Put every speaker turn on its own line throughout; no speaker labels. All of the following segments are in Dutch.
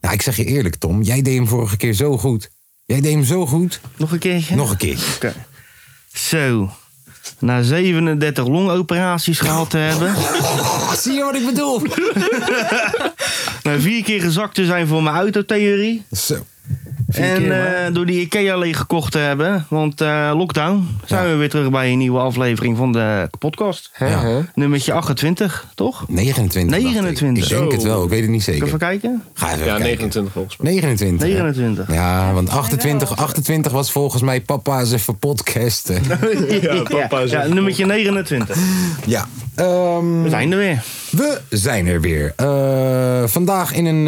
Nou, ik zeg je eerlijk, Tom. Jij deed hem vorige keer zo goed. Jij deed hem zo goed.
Nog een keertje?
Nog een keer.
Oké. Zo. Na 37 longoperaties gehad te hebben.
Zie je wat ik bedoel?
Na Nou, vier keer gezakt te zijn voor mijn autotheorie.
Zo.
En eh, door die IKEA leeggekocht te hebben. Want eh, lockdown. Zijn we weer terug bij een nieuwe aflevering van de podcast.
Ja.
Nummertje 28, toch?
29. dacht ik.
29.
Ik denk het wel, ik weet het niet zeker.
Even kijken.
Ga even
Ja,
kijken.
29 volgens mij.
29. hè?
29.
Ja, want 28, 28 was volgens mij papa's even podcasten.
Ja,
papa is
ja,
even
nummertje 29.
ja. ehm,
We zijn er weer.
we zijn er weer. Eh, vandaag in een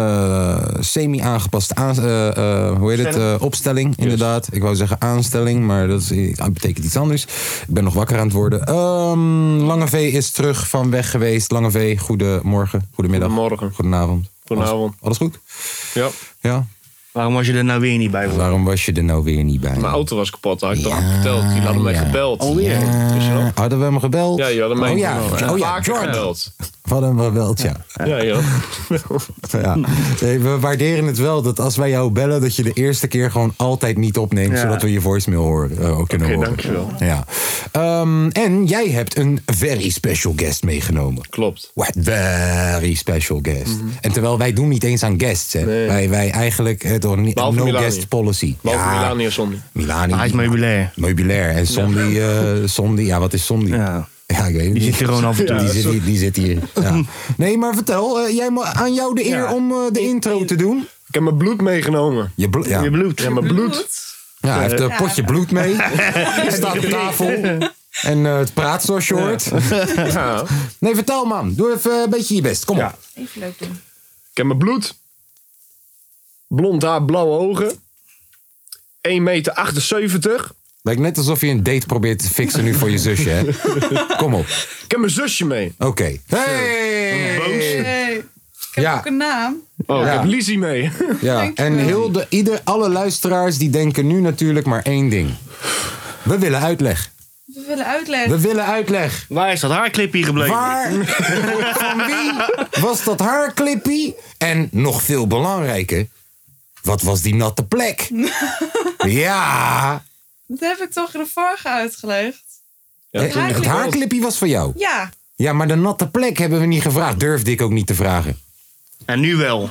eh, semi-aangepaste aan- eh, eh, hoe heet het? Eh, opstelling, inderdaad. Ik wou zeggen aanstelling, maar dat, is, eh, dat betekent iets anders. Ik ben nog wakker aan het worden. Ehm, Lange V is terug van weg geweest. Lange V, goedemorgen, goedemiddag.
Goedemorgen.
Goedenavond.
Goedenavond.
Alles, alles goed?
Ja,
Ja.
Waarom was je er nou weer niet bij? hoor?
Waarom was je er nou weer niet bij?
mijn auto was kapot, had ik
Ja,
toch verteld. Die hadden mij
ja.
gebeld.
Alweer?
Weet je wel?
Hadden we hem gebeld?
Ja, je hadden mij
Oh ja,
gebeld.
oh ja,
vaker
Jordan.
gebeld.
We hadden hem gebeld, ja.
Ja, joh.
ja. Nee, we waarderen het wel dat als wij jou bellen, dat je de eerste keer gewoon altijd niet opneemt,
Ja.
zodat we je voicemail horen, eh, ook kunnen
Oké,
horen.
dankjewel.
Ja. Ehm, en jij hebt een very special guest meegenomen.
Klopt. Mhm.
What very special guest. En terwijl wij doen niet eens aan guests, hè. Wij, wij eigenlijk het no
Behalve Milani.
guest policy.
Behalve
ja,
Melania Sondi.
Milani.
Ah, Hij is meubilair.
Meubilair. En Sondi, eh, Sondi, ja, wat is Sondi?
Ja.
Ja, ik weet het
Die
niet.
zit er gewoon af en toe.
die, zit, hier- die zit hier. Ja. Nee, maar vertel, eh, jij, ma- aan jou de eer
Ja.
om eh, de intro te doen.
Ik heb mijn bloed meegenomen.
Je blo- ja.
Je bloed.
Ja, mijn bloed.
Ja, hij heeft een potje bloed mee. Hij staat op tafel. En eh, het praat zoals je hoort.
Ja.
Nee, vertel man. Doe even een beetje je best. Kom op.
Even leuk doen.
Ik heb mijn bloed. Blond haar, blauwe ogen. 1,78 meter. 78.
Lijkt net alsof je een date probeert te fixen nu voor je zusje, hè? Kom op.
Ik heb mijn zusje mee.
Oké. Hey!
Hey, ik heb
Ja.
ook een naam.
Oh, ik
Ja.
heb Lizzie mee.
Ja,
Dankjewel.
en heel de, ieder, alle luisteraars die denken nu natuurlijk maar één ding. We willen uitleg.
We willen
We
uitleggen.
willen uitleg.
Waar is dat haarclipje gebleven?
Waar, van wie was dat haar clippy? En nog veel belangrijker, wat was die natte plek? Ja,
Dat heb ik toch in de vorige uitgelegd?
Ja,
het,
toen-
het haarclippie Eh, was van jou.
Ja.
Ja, maar de natte plek hebben we niet gevraagd. Durfde ik ook niet te vragen.
En nu wel.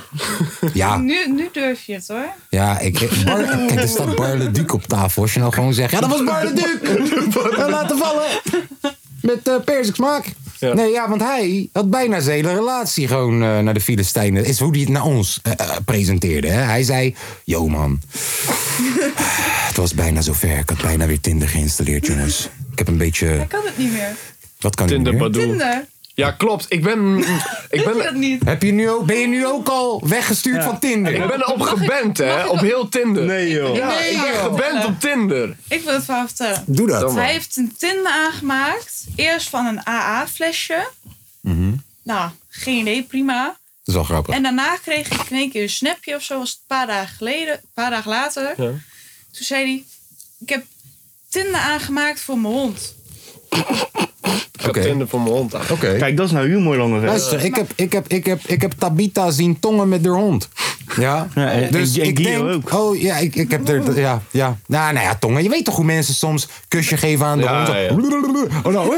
Ja,
Nu, nu durf je het hoor.
ja ik, Bar- kijk, er staat Barle Duc op tafel. Als je nou gewoon zegt, ja, dat was Barle Duc. En laten vallen. Met eh persiksmaak.
Ja.
Nee, ja, want hij had bijna zijn hele relatie gewoon eh, naar de Filistijnen. Is hoe hij het naar ons eh, eh, presenteerde. Hè? Hij zei, yo man, het was bijna zover. Ik had bijna weer Tinder geïnstalleerd, jongens. Ik heb een beetje...
Ik kan het niet meer.
Wat kan ik
Tinder
nu?
Badoe.
Tinder.
Ja, klopt. Ik ben... Ik
Doe je
ben...
dat niet?
Heb je nu ook, ben je nu ook al weggestuurd van Tinder?
Ik ben erop geband, hè? Op heel Tinder. Nee, joh. Ja,
Nee,
ik ben
joh.
geband op Tinder.
Ik wil het verhaal vertellen.
Doe dat.
Domme.
Hij heeft een Tinder aangemaakt. Eerst van een AA-flesje. Nou, geen idee, prima.
Dat Mhm. is wel grappig.
En daarna kreeg ik in één keer een snapje of zo. Was het een paar dagen geleden, een paar dagen later. Toen zei hij: Ik heb Tinder aangemaakt voor mijn hond.
Ik heb
Oké.
Tinder voor mijn hond aan.
Oké.
Kijk, dat is nou humor
Eh,
langer.
Luister, ik heb, ik, heb, ik, heb, ik heb Tabita zien tongen met haar hond. Ja? Dus
Ja, en- en- en Guido ook.
Oh ja, ik, ik heb er. Ja, ja. Nou, nou ja, tongen. Je weet toch hoe mensen soms kusje geven aan de
Ja,
hond?
ja.
Oh, nou.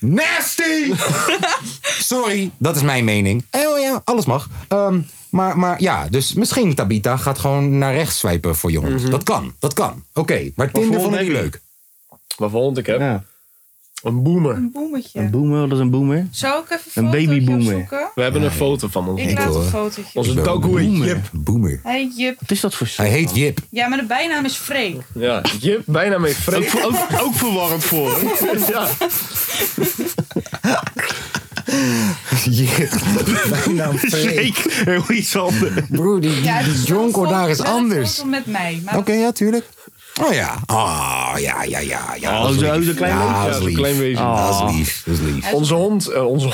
Nasty! Sorry, dat is mijn mening. Eh, Oh ja, alles mag. Ehm, maar, maar ja, dus misschien Tabita gaat gewoon naar rechts swipen voor je hond. Dat kan, dat kan. Oké, maar Tinder
voor
vond ik
hond
niet
heb
leuk.
Wat voor hond ik heb?
Ja.
Een boomer.
Een boemetje.
Een boomer, dat is een boomer.
Zou ik even
Een
een fotootje
babyboomer.
opzoeken?
We hebben een foto van ons.
Ik
Ik
laat
wil,
een
eh,
fotootje.
Onze
ben
doku heet
boomer.
Jip.
Boomer.
Hey Jip.
Wat is dat voor
Hij heet Jip.
Ja, maar de bijnaam is Freek.
Ja, Jip, bijna mee vreemd.
ook, ook verwarrend voor.
Ja.
Zeker, heel iets anders.
Broer, die,
Ja,
die,
het
die
is
jonk
wel
wordt daar is
een foto
anders.
met mij. Maar
Oké, ja, tuurlijk. Oh ja. Oh ja, ja, ja. ja dat is
Oh, zo-
lief.
zo klein
ja,
wezen.
dat
Ja,
is lief. Ah.
zo'n Oh, klein wezen.
Dat is lief. Dat is lief.
Onze hond, eh, onze,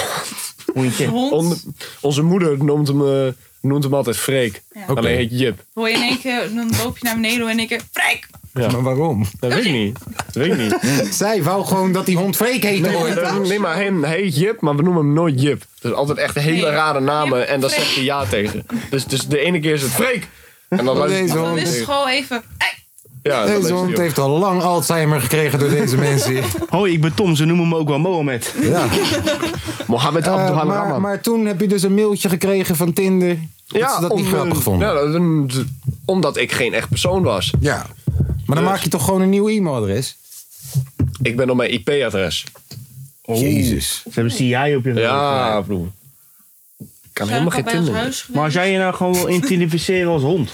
hond-
de hond
on- onze moeder noemt hem, eh, noemt hem altijd Freek.
Oké.
Alleen heet Jip.
hoor je in één keer, dan loop je naar beneden en ik keer, Freek!
Maar waarom?
Dat weet ik niet. Dat weet ik niet.
Zij wou gewoon dat die hond Freek heet
Nee,
ooit.
maar- nee, maar hem hij heet Jip, maar we noemen hem nooit Jip. Dus altijd echt hele
Nee.
rare namen
Jip,
en daar
Freek.
zegt hij ja tegen. Dus, dus de ene keer is het Freek. En dan luistert
Deze
hij-
Dan
hond.
is het gewoon even, hey,
Ja, dan
Deze
luistert
hond
hij ook.
heeft al lang Alzheimer gekregen door deze mensen.
Hoi, ik ben Tom, ze noemen me ook wel Mohamed.
Ja.
Mohammed
Eh,
Abdul
maar, maar toen heb je dus een mailtje gekregen van Tinder. Dat ze dat niet
om-
grappig vonden.
Ja, dat- dat- omdat ik geen echt persoon was. Dus-
Ja. Maar dan maak je toch gewoon een nieuw e-mailadres?
Ik ben op mijn IP-adres.
Jezus.
Oh. Ze hebben CIA op je
Ja, broer. Ik kan
zijn
helemaal
we al
geen
bij ons
Tinder.
huis
Maar als
geweest?
jij je nou gewoon wil identificeren als hond,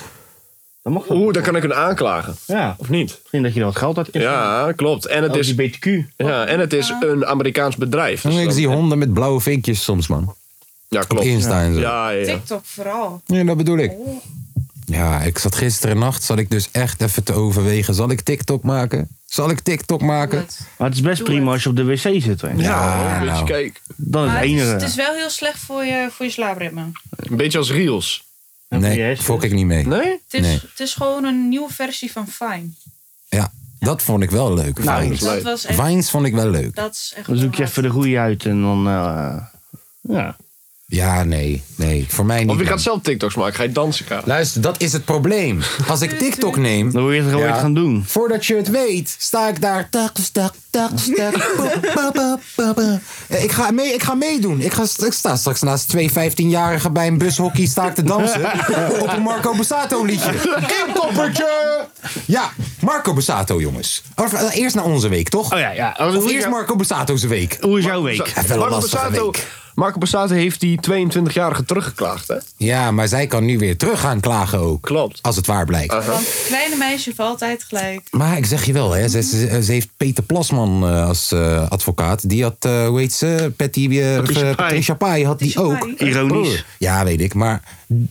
dan mag dat.
Oeh, dan kan ik een aanklagen.
Ja,
Of niet?
misschien dat je er wat geld uit Oh, krijgt.
Ja, klopt. En het is,
BTQ.
ja, en het is een Amerikaans bedrijf.
Dan
dus
ik
dan-
zie honden met blauwe vinkjes soms, man.
Ja,
Op
klopt.
Insta en zo.
Ja, ja, ja.
TikTok vooral. Oh.
Ja, dat bedoel ik. Ja, ik zat gisteren nacht, zat ik dus echt even te overwegen. Zal ik TikTok maken? Zal ik TikTok maken?
Dat.
Maar het is best
Doe
prima
het.
als je op de wc zit. hè.
Ja,
Ja,
een beetje
nou.
kijk.
Dat is
Maar
het
het, is, het
enige.
is wel heel slecht voor je, voor je slaapritme.
Een beetje als reels.
Nee, fok ik niet mee.
Nee?
Het is,
Nee.
het is gewoon een nieuwe versie van Fine.
Ja, dat vond ik wel leuk. Vines.
Nou, Dat was echt...
Vines vond ik wel leuk.
Dat is echt
Dan zoek je
wel
even de goede uit en dan. eh, ja.
Ja, nee, nee. Voor mij
Of
niet.
je
man.
gaat zelf TikToks maken. Ga je dansen, Karel?
Luister, dat is het probleem. Als ik TikTok neem,
Dan wil je het gewoon
Ja.
weer gaan doen.
Voordat je het weet, sta ik daar. Tak, stak, tak, stak. Boep, ba, ba, ba, ba. Eh, Ik ga, mee, ik ga meedoen. Ik, ga, st- ik sta straks naast twee 15-jarigen bij een bushockey sta ik te dansen. op een Marco Bussato liedje. Kinkoppertje! Ja, Marco Bussato, jongens. Of, eh, eerst naar onze week, toch?
Oh ja, ja. Als-
Of
hoe, is
eerst
jou-
Marco Bussato's week.
hoe is jouw week?
Even een
Marco
lastige
Borsato,
week.
Marco Borsato heeft die 22-jarige teruggeklaagd, hè?
Ja, maar zij kan nu weer terug gaan klagen ook.
Klopt.
Als het waar blijkt.
Want het kleine meisje valt altijd gelijk.
Maar ik zeg je wel, hè, ze, ze- ze heeft Peter Plasman eh, als eh, advocaat. Die had, eh hoe heet ze? Patty eh,
Patricia Pai.
Patricia Pai had die
Patricia
ook.
Pai.
Ironisch.
Broer. Ja, weet ik. Maar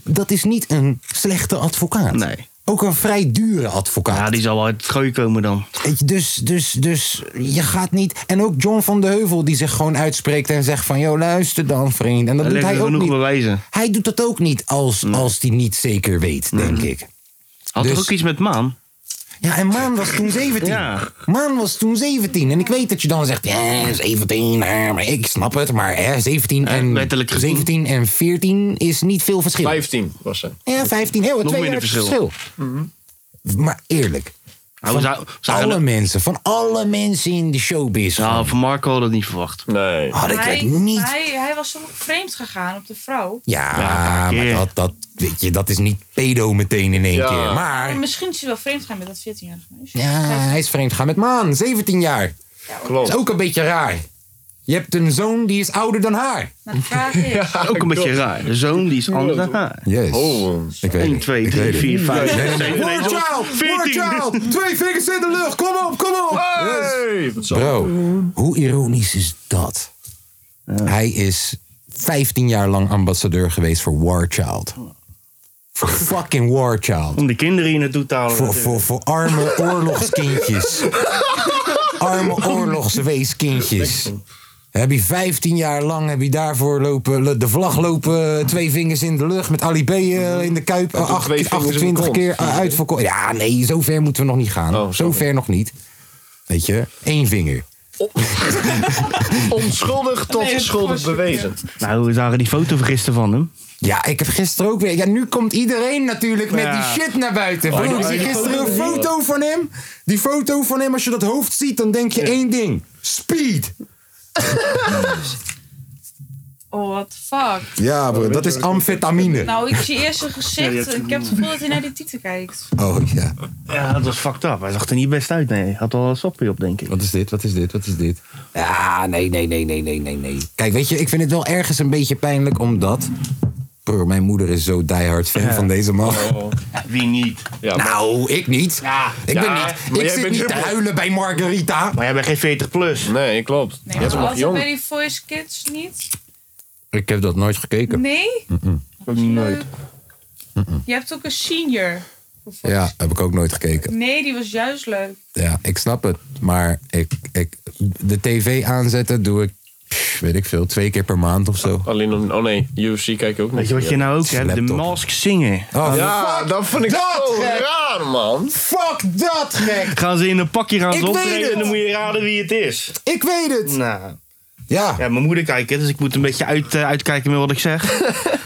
dat is niet een slechte advocaat.
Nee.
Ook een vrij dure advocaat.
Ja, die zal wel uit het gooi komen dan.
Weet je, Dus, dus, dus je gaat niet. En ook John van de Heuvel die zich gewoon uitspreekt en zegt van... joh, luister dan, vriend. En dat
Dan leg
doet hij
je
ook
genoeg
niet.
bewijzen.
Hij doet dat ook niet als hij niet zeker weet, denk ik.
Had
Dus-
er ook iets met maan?
Ja, en Maan was toen 17.
Ja.
Maan was toen 17. En ik weet dat je dan zegt, ja, 17, hè, maar ik snap het. Maar hè, 17, en,
wettelijk gezien.
17 en 14 is niet veel verschil.
15 was ze.
ja, 15, heel, twee
minder
jaar verschil.
verschil.
Mhm. Maar eerlijk,
Nou, we zou- we zouden-
alle mensen, van alle mensen in de showbiz...
Nou, van Marco had ik dat niet verwacht.
Nee.
had ik
Hij,
het niet...
hij, hij was soms vreemd gegaan op de vrouw.
Ja,
Ja,
maar
keer.
dat, dat, weet je, dat is niet pedo meteen in één
Ja.
keer.
Maar
Maar
misschien is hij wel vreemd gegaan met dat 14-jarige meisje.
ja, hij is vreemd gaan met Maan, 17 jaar. Dat is
Klopt.
ook een beetje raar. Je hebt een zoon die is ouder dan haar.
Nou, de vraag is...
Ook een beetje raar.
Dus-
De zoon die is anders dan haar.
Yes.
Oh,
Ik weet
1, 2, 3, 4, 5, 6, 7, 8,
child! Poor child! Twee vingers in de lucht! Kom op, kom op!
Ah,
Hey, wat zo.
Bro, hoe ironisch is dat? Hij is 15 jaar lang ambassadeur geweest voor War Child. Voor fucking War Child.
Om de kinderen hier naartoe te halen.
Voor, voor, voor arme oorlogskindjes. Arme oorlogsweeskindjes. Heb je 15 jaar lang heb je daarvoor lopen, de vlag lopen, eh, twee vingers in de lucht met Ali B eh, in de kuip, eh,
toen
acht-
twee vingers in de
28
kont.
keer eh, uitverkocht. Ja, nee, zover moeten we nog niet gaan.
Oh, sorry.
zover nog niet. Weet je, één vinger.
Onschuldig tot
Nee,
schuldig
voor-
bewezen.
Nou, we zagen die foto gisteren van hem.
Ja, ik heb gisteren ook weer. Ja, nu komt iedereen natuurlijk met
Ja.
die shit naar buiten.
Oh,
Broer, ik zie gisteren een foto van hem. Die foto van hem, als je dat hoofd ziet, dan denk je één ding: speed.
Oh, what the fuck.
Ja, bro, dat is amfetamine.
Nou, ik zie eerst zijn gezicht. Ik heb het gevoel dat hij naar die tieten kijkt.
Oh ja.
Ja, dat was fucked up. Hij zag er niet best uit, nee. Hij had al een sopje op, denk ik.
Wat is dit? Wat is dit? Wat is dit? Ja, nee, nee, nee, nee, nee, nee, nee. Kijk, weet je, ik vind het wel ergens een beetje pijnlijk omdat. Broer, mijn moeder is zo diehard fan van deze man.
Wie niet?
Oh, Ja, maar
Nou, ik niet.
Ja.
Ik ben
Ja, maar
niet. Ik
jij
zit
bent
niet te
huppel.
huilen bij Margarita.
Maar jij bent geen 40 plus.
Nee, klopt.
Nee,
Jij
maar
bent nog
altijd bij
jong.
die voice kids niet.
Ik heb Hm. dat nooit gekeken.
Nee?
Ook niet nooit.
Je hebt ook een senior.
Ja, heb ik ook nooit gekeken.
Nee, die was juist leuk.
Ja, ik snap het. Maar ik, ik, de tv aanzetten doe ik, pff, weet ik veel, twee keer per maand of zo.
Alleen om, oh nee, UFC kijk ik ook niet.
Weet je wat je nou ook hebt? De
Laptop.
Mask Singer.
Oh,
Ja, dat vond ik zo
gek.
raar, man.
Fuck dat, gek!
Gaan ze in een pakje gaan
Ik
ze
weet
optreden
het.
en dan moet je raden wie het is.
Ik weet het!
Nou,
Ja,
ja, mijn moeder kijkt het, dus ik moet een beetje uit, eh, uitkijken met wat ik zeg.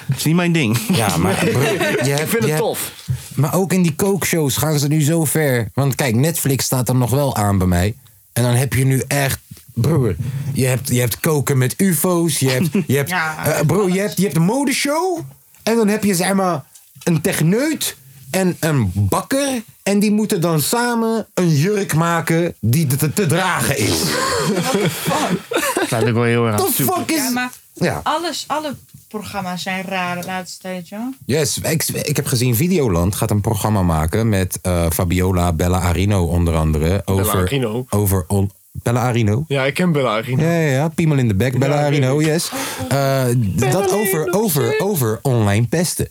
Het is niet mijn ding.
ja maar bro, je
Ik
hebt-
vind
je
het
hebt-
tof.
Maar ook in die kookshows gaan ze nu zo ver. Want kijk, Netflix staat er nog wel aan bij mij. En dan heb je nu echt. Broer, je hebt, je hebt koken met UFO's. Je hebt. Je hebt
Ja,
eh, bro, je hebt, je hebt een modeshow. En dan heb je zeg maar een techneut en een bakker. En die moeten dan samen een jurk maken die te, te- te dragen is.
Dat lijkt ook wel heel erg
The
aan.
fuck
Ja,
is.
maar
Ja.
alles, alle programma's zijn raar de laatste tijd, joh.
Yes, ik, ik heb gezien Videoland gaat een programma maken met eh, Fabiola Bella Arino onder andere. Over,
Arino?
Over on- Bella Arino.
Ja, ik ken Bella eigenlijk.
Ja, ja, ja. Piemel in de bek, Bella
Ja, weet
Arino, yes. Eh, dat over, over, over online pesten.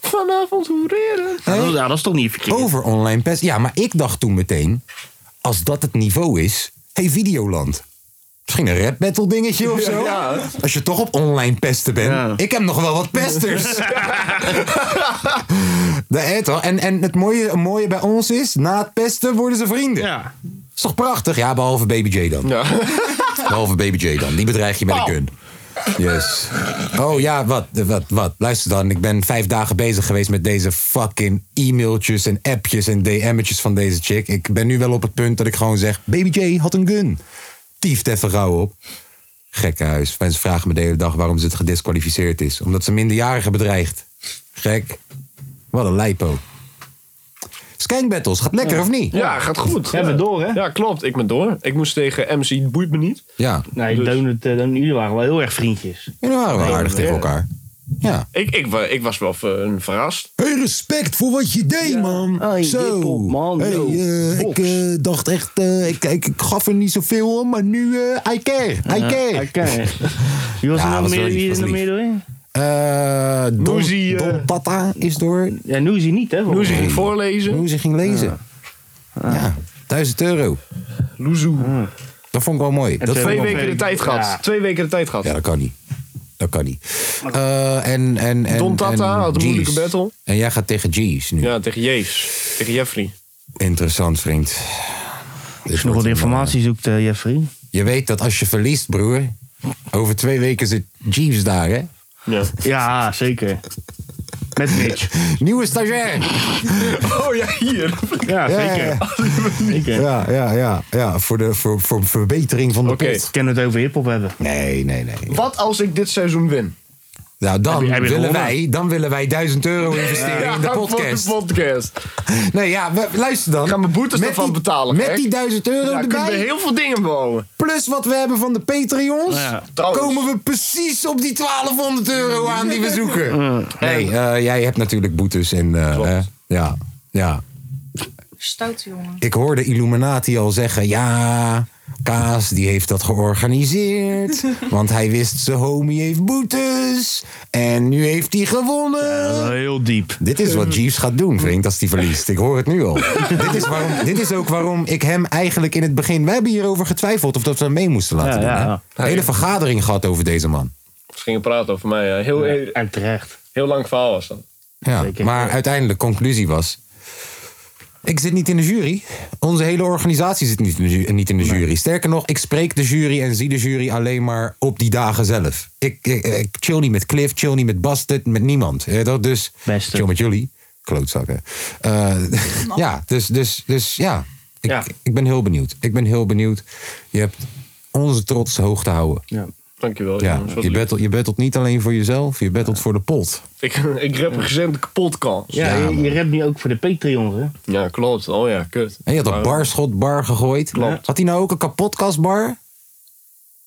Vanavond hoereren.
Ja, dat- ja, dat is toch niet verkeerd?
Over online pesten. Ja, maar ik dacht toen meteen, als dat het niveau is, hey Videoland. Misschien een rap battle dingetje of zo.
Ja.
Als je toch op online pesten bent.
Ja.
Ik heb nog wel wat pesters. De, hè, toch? en, en het mooie, mooie bij ons is, na het pesten worden ze vrienden.
Ja.
Is toch prachtig? Ja, behalve Baby J dan.
Ja.
Behalve Baby J dan. Die bedreig je met een gun. Yes. Oh ja, wat, wat, wat. Luister dan, ik ben vijf dagen bezig geweest met deze fucking e-mailtjes en appjes en DM'tjes van deze chick. Ik ben nu wel op het punt dat ik gewoon zeg, Baby J had een gun. Tieft even gauw op. Gekkenhuis. Mensen vragen me de hele dag waarom ze het gedisqualificeerd is. Omdat ze minderjarigen bedreigt. Gek. Wat een lijpo. Skank Battles, gaat lekker of niet?
Ja, gaat goed.
Jij bent door, hè?
Ja, klopt. Ik ben door. Ik moest tegen MC Boeit Me Niet.
Ja,
Nee,
Dus-
Donut, eh, Donut, jullie waren wel heel erg vriendjes.
jullie Oh, waren wel aardig tegen elkaar. Ja.
Ik, ik, wa- ik was wel eh, verrast.
Hey, respect voor wat je deed, man.
Hey,
Zo.
hip-hop, Oh, man.
Hey,
Yo,
eh, ik
box.
eh, dacht echt, eh, ik, ik, ik gaf er niet zoveel om, maar nu, eh I care. I care.
Oké. Wie was er
Ja,
nou
was wel
meer,
lief,
wie
was
is er nou
lief.
meer doorheen?
Eh, Don,
Noezie, eh,
Don Tata is door.
Ja, Noezie niet, hè? Ah.
Loezie
volgens mij.
ging voorlezen.
Hoe ze ging lezen. Ja, 1000 euro.
Loezoe.
Dat vond ik wel mooi. Dat
Ah. twee
vond ik
Twee
wel
weken de tijd gehad.
Ja.
Twee weken de tijd gehad.
Ja, dat kan niet. Dat kan niet. Eh, en, en, en,
Don Tata
en
had een moeilijke
Jeez.
battle.
En jij gaat tegen G's nu.
Ja, tegen Jees. Tegen Jeffrey.
Interessant, vriend. Dit
Als je nog wat
wordt een, eh,
informatie zoekt, eh, Jeffrey.
Je weet dat als je verliest, broer. Over twee weken zit Jeeves daar, hè?
Ja.
Ja, zeker. Met Mitch.
Nieuwe stagiair.
Oh ja, hier.
Ja, zeker. zeker.
Ja, ja, ja. ja voor, de, voor, voor verbetering van de
Oké.
pot.
Ik kan het over hiphop hebben.
Nee, nee, nee.
Wat als ik dit seizoen win?
Nou, dan,
Heb je- heb je
willen,
gewonnen?
wij, dan willen wij 1000 euro investeren in de
voor
podcast.
de podcast.
Nee, ja, we- luister dan.
Ik ga mijn boetes
Met
ervan
die-
betalen,
Met
gek.
die 1000 euro
Ja, kunnen
erbij,
we heel veel dingen bouwen.
plus wat we hebben van de Patreons,
Ja.
Trouwens.
komen we precies op die 1200 euro aan die we zoeken. Nee, eh, jij hebt natuurlijk boetes en... eh,
Klopt.
hè? ja, ja.
Stout, jongen.
Ik hoorde Illuminati al zeggen: ja, Kaas die heeft dat georganiseerd. want hij wist zijn homie heeft boetes. En nu heeft hij gewonnen.
Heel diep.
Dit is wat Jeeves gaat doen, vriend, als hij verliest. Ik hoor het nu al. dit, is waarom, dit is ook waarom ik hem eigenlijk in het begin. We hebben hierover getwijfeld of dat we hem mee moesten laten
Ja,
doen.
ja,
hè?
ja.
Een hele vergadering gehad over deze man.
Ze gingen praten over mij. ja. Heel, heel,
En terecht.
heel lang verhaal was dat.
Ja,
Zeker.
maar uiteindelijk, conclusie was... Ik zit niet in de jury. Onze hele organisatie zit niet in de, ju- niet in de jury. Sterker nog, ik spreek de jury en zie de jury alleen maar op die dagen zelf. Ik, ik, ik chill niet met Cliff, chill niet met Bastard, met niemand. Ja, dat dus
Beste.
chill met jullie. Klootzakken. Eh, ja, dus, dus, dus ja. Ik,
Ja.
ik ben heel benieuwd. Ik ben heel benieuwd. Je hebt onze trots hoog te houden.
Ja.
Dankjewel.
Ja,
jongens, wat
je,
lief.
battelt, je battelt niet alleen voor jezelf, je battelt voor de pot.
Ik, ik represent de podcast.
Ja,
Ja,
je, je redt nu ook voor de Patreons, hè?
Ja, klopt. Oh ja, kut.
En je had een barschotbar gegooid.
Klopt.
Had hij nou ook een kapotkastbar?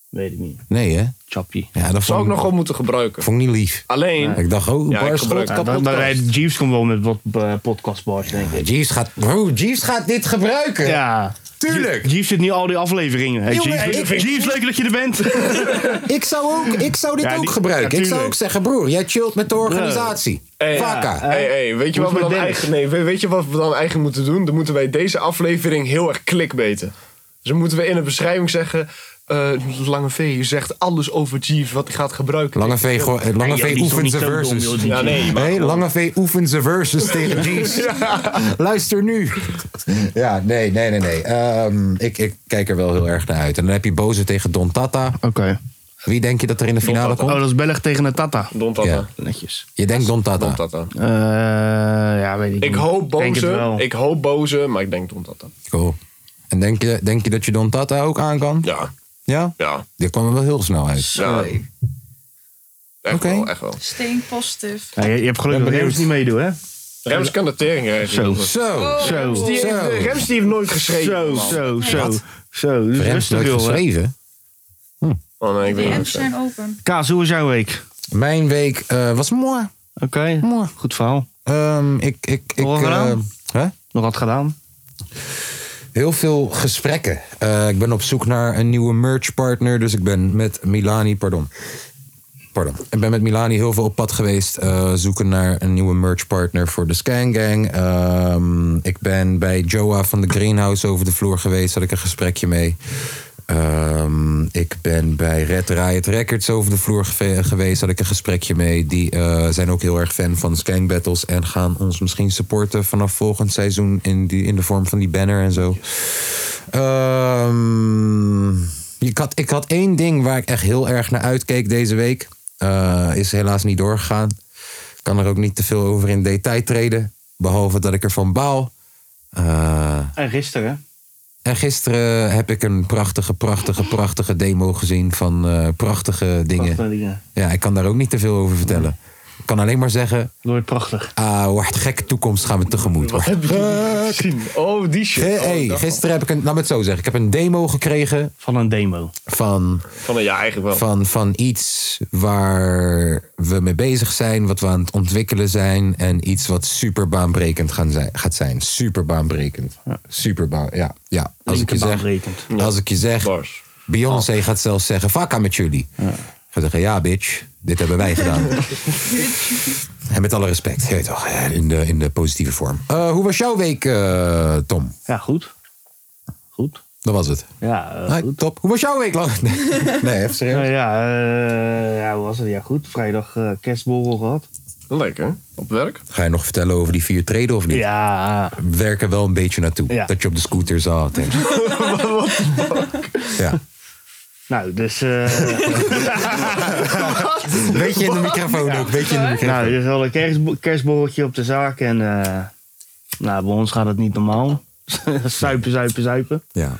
Weet ik niet.
Nee, hè?
Chappie.
Ja,
Zou
dat vond
ik
ik,
nog wel moeten gebruiken.
vond ik niet lief.
Alleen,
Ik dacht, oh,
Ja, ik
barschot,
gebruik-
Ja, dan, dan rijdt Jeeves komt wel met wat eh, podcastbars, denk ik.
oh, Jeeves gaat, bro, Jeeves gaat dit gebruiken.
Ja.
Tuurlijk.
Jeeves zit nu al die afleveringen. Hey,
Jongen,
Jeeves,
ik-
Jeeves, leuk dat je er bent.
Ik zou, ook, ik zou dit
Ja,
ook
die-
gebruiken.
ja,
ik zou
tuurlijk.
ook zeggen, broer, jij chillt met de organisatie.
Hey,
Vaka.
ja. Hey, hey, weet, je
Hoe
wat
is
we
het
dan
met Dennis?
eigen, nee, weet weet je wat we dan eigen moeten doen? Dan moeten wij deze aflevering heel erg clickbaiten. Dus dan moeten we in de beschrijving zeggen... eh, Lange V zegt alles over Jeeves wat hij gaat gebruiken.
Lange V, go- eh, Lange
joh,
v
die is toch
oefent
niet
zijn
zo dom,
verses.
joh, die-
Ja, nee. maar-
Hé, Lange V oefent zijn verses tegen Jeeves. Luister nu. Ja, nee, nee, nee, nee. Ehm, ik, ik kijk er wel heel erg naar uit. En dan heb je Boze tegen Don Tata.
Oké.
Wie denk je dat er in de finale
Oh,
komt?
dat is Belg tegen een Tata.
Don Tata.
Ja.
Netjes.
Je denkt Don
Don
Tata.
Tata.
Eh, ja, weet ik
Ik
niet.
hoop
Denk het
boze.
wel.
Ik hoop boze, maar ik denk Don Tata.
Cool. En denk je, denk je dat je Don Tata ook aan kan?
Ja,
Ja?
ja.
Die kwam er wel heel snel uit.
ja.
Sorry.
Echt
Oké.
wel, echt wel.
Steen positief.
Ja, je, je hebt geluk
Ben
dat
benieuwd.
Rems niet meedoet, hè?
Rems kan de tering
Zo.
krijgen.
Zo.
Zo.
Die heeft-
Zo.
Rems die heeft nooit geschreven.
Zo,
man.
zo, zo.
Wat?
Zo, dus
Rems
rustig
leuk
wil, hè?
geschreven. Hm.
Oh nee, ik
De
weet
DM's
niet.
zijn open.
Kaas, hoe was jouw week?
Mijn week eh, was mooi.
Oké, goed verhaal. Oh,
Ehm, ik, ik, ik,
Horen we dan?
eh, hè?
Nog wat gedaan?
Heel veel gesprekken. Eh, ik ben op zoek naar een nieuwe merchpartner. Dus ik ben met Milani, pardon. Pardon. Ik ben met Milani heel veel op pad geweest. eh, zoeken naar een nieuwe merchpartner voor de Scan Gang. Ehm, ik ben bij Joa van de Greenhouse over de vloer geweest. Had ik een gesprekje mee. Ehm, ik ben bij Red Riot Records over de vloer geve- geweest. Had ik een gesprekje mee. Die eh, zijn ook heel erg fan van Skank Battles. En gaan ons misschien supporten vanaf volgend seizoen. In, die, in de vorm van die banner en zo. Ehm, ik, had, ik had één ding waar ik echt heel erg naar uitkeek deze week. Eh, is helaas niet doorgegaan. Ik kan er ook niet te veel over in detail treden. Behalve dat ik ervan baal. Eh,
En gisteren,
en gisteren heb ik een prachtige, prachtige, prachtige demo gezien van eh, prachtige dingen.
Prachtige dingen.
Ja, ik kan daar ook niet te veel over vertellen. Ik kan alleen maar zeggen,
Nooit prachtig.
ah, wordt gekke toekomst gaan we tegemoet.
Wat
wordt
heb je gezien? Oh, die shit.
Ge-
Oh,
hey,
dat-
gisteren heb ik een, laat me het zo zeggen, ik heb een demo gekregen
Van een demo.
van,
Van ja, eigenlijk wel.
van, van iets waar we mee bezig zijn, wat we aan het ontwikkelen zijn en iets wat super baanbrekend gaan zijn, gaat zijn. Super baanbrekend. Super baan, ja, ja. Als ik je zeg,
Linkerbaanbrekend.
als ik je zeg,
Bars. Oh.
Beyoncé gaat zelfs zeggen, vakka met jullie. Ik ga zeggen, ja bitch, dit hebben wij gedaan. en met alle respect, je weet toch, eh, in de, in de positieve vorm. Eh, hoe was jouw week, eh, Tom?
Ja, goed. Goed.
Dat was het.
Ja, eh,
Hi,
goed.
top. Hoe was jouw week lang? nee, even serieus.
Nou ja, eh, ja, hoe was het? Ja, goed. Vrijdag eh, kerstborrel gehad.
Lekker. Op werk.
Ga je nog vertellen over die vier treden of niet?
Ja,
Werken wel een beetje naartoe.
Ja.
Dat je op de scooter zat. En... ja.
nou, dus... eh,
Weet je in de microfoon ook. Weet je in de microfoon.
Nou, er is al een kerstbo- kerstborreltje op de zaak. En eh, nou, bij ons gaat het niet normaal. zuipen, zuipen, zuipen.
Ja.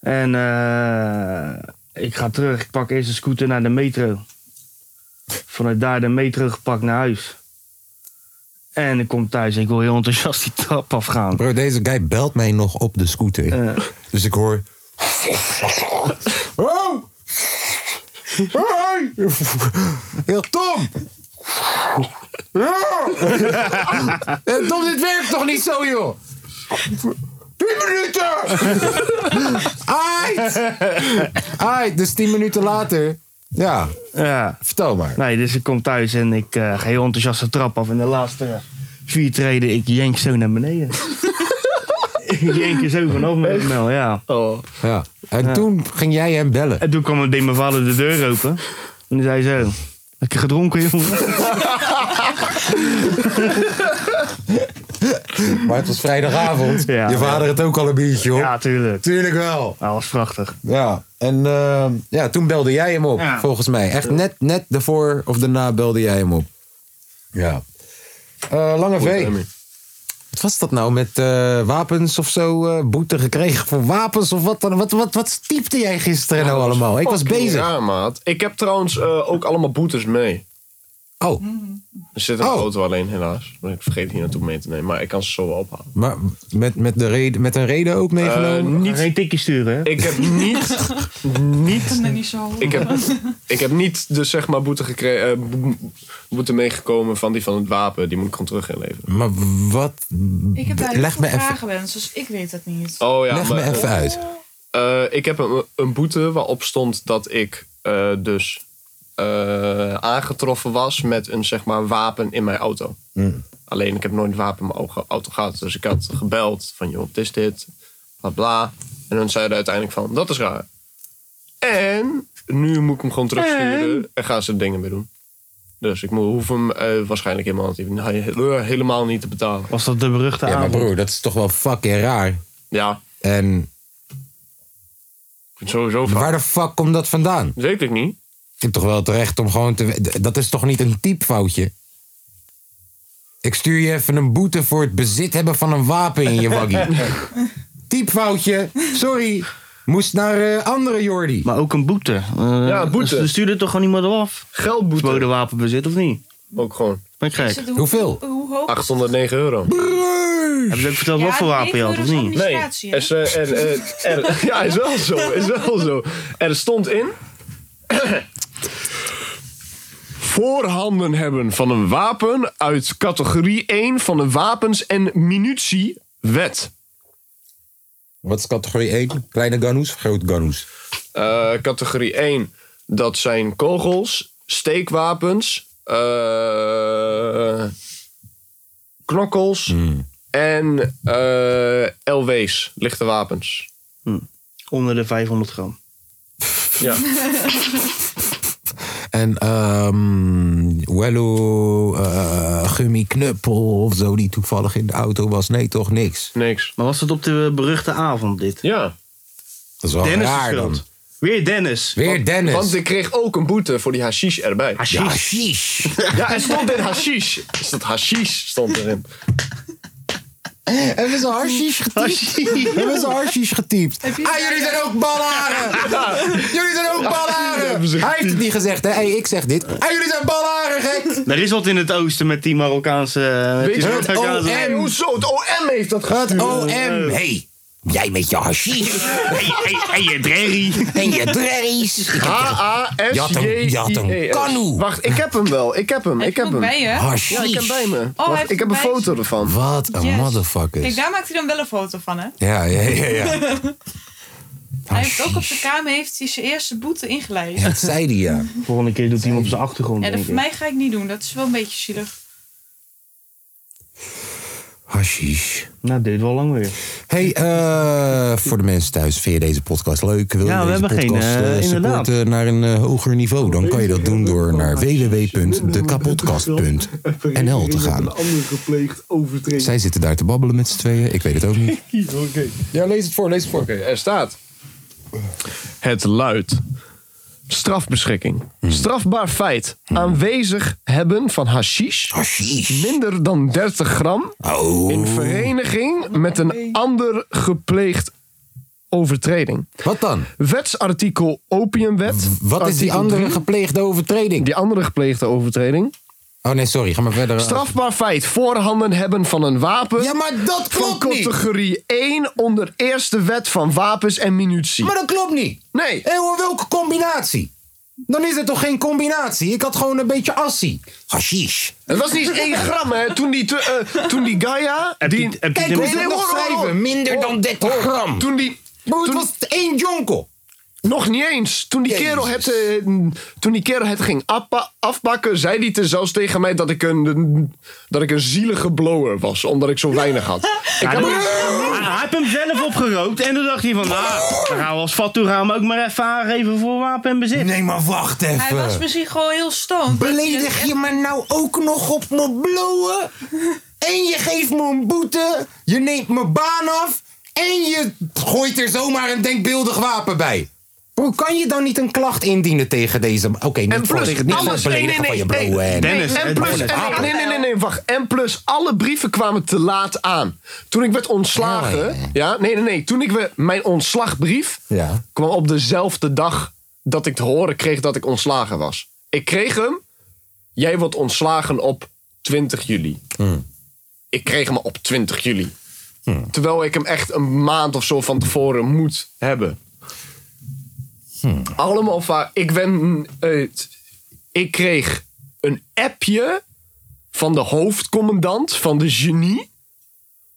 En eh, ik ga terug. Ik pak eerst een scooter naar de metro. Vanuit daar de metro gepakt naar huis. En ik kom thuis en ik wil heel enthousiast die trap afgaan.
Bro, deze guy belt mij nog op de scooter.
Eh,
Dus ik hoor. Oh! Hey! Heel Tom! Ja! Eh, Tom, dit werkt toch niet zo, joh? 10 minuten! Ait! Ait, dus 10 minuten later. Ja,
ja.
Ah, vertel maar.
Nee, dus ik kom thuis en ik eh, ga heel enthousiast de trap af. En de laatste vier treden, ik jenk zo naar beneden. ik jenk er zo vanaf met mijn mel, ja.
Oh.
Ja. En toen ging jij hem bellen.
En toen kwam deed mijn vader de deur open. En toen zei zo... Lekker gedronken, jongen.
Maar het was vrijdagavond.
Ja.
Je vader had ook al een biertje, hoor.
Ja, tuurlijk.
Tuurlijk wel.
Dat was prachtig.
Ja, en eh, ja, toen belde jij hem op,
Ja.
volgens mij. Echt net, net daarvoor of daarna belde jij hem op. Ja. Eh, Lange V.
timing.
Wat was dat nou met eh, wapens of zo? eh, boete gekregen voor wapens of wat dan? Wat, wat, wat typte jij
Ah,
gisteren nou allemaal? Ik was bezig.
Ja, maat. Ik heb trouwens eh, ook allemaal boetes mee.
Oh.
Er zit een
Oh.
auto alleen, helaas. Maar ik vergeet hier naartoe mee te nemen. Maar ik kan ze zo wel ophalen.
Maar met, met, de reden, met een reden ook meegenomen?
Eh, niet,
Geen tikje sturen, hè?
ik heb niet, niet,
Nee, niet zo.
ik heb, ik heb niet de zeg maar boete, gekregen, boete meegekomen van die van het wapen. Die moet ik gewoon terug gaan leveren.
Maar wat...
ik heb daar heel
Leg
veel
me even,
vragen bij mensen, dus ik weet het niet.
Oh ja,
leg me
maar,
even uit.
eh, ik heb een, een boete waarop stond dat ik eh, dus eh, aangetroffen was met een zeg maar wapen in mijn auto.
Mm.
Alleen ik heb nooit een wapen in mijn ogen- auto gehad. Dus ik had gebeld van joh, dit is dit, bla bla. En dan zeiden uiteindelijk van dat is raar. En nu moet ik hem gewoon terugsturen en, gaan ze er dingen mee doen. Dus ik moet, hoef hem eh, waarschijnlijk helemaal niet, nee, helemaal niet te betalen.
Was dat de beruchte
Ja, maar
aanbod?
broer, dat is toch wel fucking raar.
Ja,
En
ik vind het sowieso vaak.
waar de fuck komt dat vandaan?
Dat weet ik niet.
Ik heb toch wel het recht om gewoon te. d- Dat is toch niet een typfoutje? Ik stuur je even een boete voor het bezit hebben van een wapen in je waggie. typfoutje, sorry. Moest naar eh, andere Jordi.
Maar ook een boete. Eh,
Ja, boete.
Dan stuurde toch gewoon iemand af?
Geldboete
Verboden wapenbezit of niet?
ook gewoon.
Ben je gek?
Ze doen-
Hoeveel?
Hoe hoog?
809 euro.
Heb je ook verteld wat voor wapen je had of niet?
Nee,
Administratie,
er, is, eh, er- er- er- ja, is wel zo, is wel zo. Er stond in... Voorhanden hebben van een wapen uit categorie 1 van de Wapens- en Munitiewet.
Wat is categorie 1? Kleine ganoes of grote ganoes?
Eh, categorie 1, dat zijn kogels, steekwapens, eh, knokkels
Hmm.
en eh, LW's, lichte wapens.
Onder de 500 gram.
Ja.
En ehm Wello, eh, Gummi Knuppel of zo, die toevallig in de auto was. Nee, toch niks.
Niks.
Maar was dat op de beruchte avond dit?
Ja.
Dat is wel
Dennis is
raar
schuld.
dan.
Weer Dennis.
Weer Dennis.
Want ik kreeg ook een boete voor die hashish erbij.
Hashish.
ja, sheesh.
Ja, er stond in hashish. Er stond hashish stond erin.
Hebben ze harsjes getypt? Hebben ze harsjes getypt? Ah, jullie zijn ook balaren! Jullie zijn ook
hebben ze
balaren! Hij heeft het niet gezegd, hè? Hey, ik zeg dit. Ah, jullie zijn balaren, gek!
Er is wat in het oosten met die Marokkaanse... eh, met die
Weet je wat?
Marokkaanse-
Eh, Het
Hey, hoezo? Het OM heeft dat
Het
gestuurd.
OM.
Eh.
Hey, jij met je harsjes
En je drerrie.
en je drerries.
E.
Je had hem- je had hem.
H-A-S-J-I-E-S.
Kanoe.
E Wacht, ik heb hem wel. Ik heb hem.
Hij
Ik heb
komt
hem.
bij je.
Ja,
Oh,
ik heb
Harsjes.
bij me.
hij
Wacht,
heeft
ik heb een
hem bij
foto ervan.
Wat een
Yes. Kijk,
motherfuckers.
daar maakt hij dan wel een foto van, hè?
Ja, ja, ja. ja.
Hij heeft ook op zijn kamer heeft hij zijn eerste boete ingeleid.
Dat zei die ja.
Volgende keer doet hij hem op zijn achtergrond,
Ja, dat
denk
voor
ik.
mij ga ik niet doen. Dat is wel een beetje zielig.
Hashish.
Nou, dit wel lang weer.
Hey, eh, voor de mensen thuis, vind je deze podcast leuk? Wil je
Ja, we
deze
hebben geen,
podcast,
eh,
eh,
inderdaad.
supporten naar een eh, hoger niveau? Dan kan je dat doen door naar www.dekapodcast.nl te gaan.
Andere gepleegd overtreding.
Zij zitten daar te babbelen met z'n tweeën. Ik weet het ook niet.
Ja, lees het voor, lees het voor. er staat. Het luidt. Strafbeschikking. Strafbaar feit. Aanwezig hebben van Hmm. hashish.
Hashish.
Minder dan 30 gram. In
Oh.
vereniging met een ander gepleegd overtreding.
Wat dan?
Wetsartikel opiumwet.
Wat is die
Artikel
andere
drie.
gepleegde overtreding?
Die andere gepleegde overtreding.
Oh nee, sorry. Ga maar verder.
Strafbaar feit. Voorhanden hebben van een wapen.
Ja, maar dat
van
klopt niet.
categorie 1 onder eerste wet van wapens en munitie.
Maar dat klopt niet.
Nee.
Hé, Eh, hoor, welke combinatie? Dan is het toch geen combinatie? Ik had gewoon een beetje assie. Hashish.
Het was niet eens 1 gram, hè. Toen die, te- eh, toen die Gaia...
Heb
Die,
je- heb je
Kijk,
de-
hoe ze het
hoor,
nog
hoor, hoor.
schrijven. Minder dan 30 gram.
toen die...
Bro, het
toen-
was één jonkel.
Nog niet eens. Toen die,
Jezus.
kerel het, eh, toen die kerel het ging appa- afbakken, zei hij te zelfs tegen mij dat ik, een, dat ik een zielige blower was, omdat ik zo weinig had. Ik
Ja,
heb-
dat- Hij heeft hem zelf opgerookt en toen dacht hij van... Ah, dan gaan we als Fatouraam ook maar even aangeven voor wapen en bezit.
Nee, maar wacht
Hij was misschien gewoon heel stoned.
eh, Beledig je me nou ook nog op mijn blowen? En je geeft me een boete. Je neemt mijn baan af. En je gooit er zomaar een denkbeeldig wapen bij. Bro, kan je dan niet een klacht indienen tegen deze... Oké, niet
En
voor
plus,
tegen- niet voor
alles-
het
nee,
beledigen
nee,
van
nee,
je Ah, blowen.
nee,
en-
Dennis,
En
het
plus,
was-
en- nee, nee, nee, nee, wacht. En plus, alle brieven kwamen te laat aan. Toen ik werd ontslagen,
Oh, ja.
ja, nee, nee, nee. Toen ik we, mijn ontslagbrief
Ja.
kwam op dezelfde dag dat ik te horen kreeg dat ik ontslagen was. Ik kreeg hem Jij wordt ontslagen op 20 juli.
Hmm.
Ik kreeg hem op 20 juli. Terwijl ik hem echt een maand of zo van tevoren moet hebben.
Hm.
Allemaal va- Ik ben. eh, t- ik kreeg een appje van de hoofdcommandant van de genie.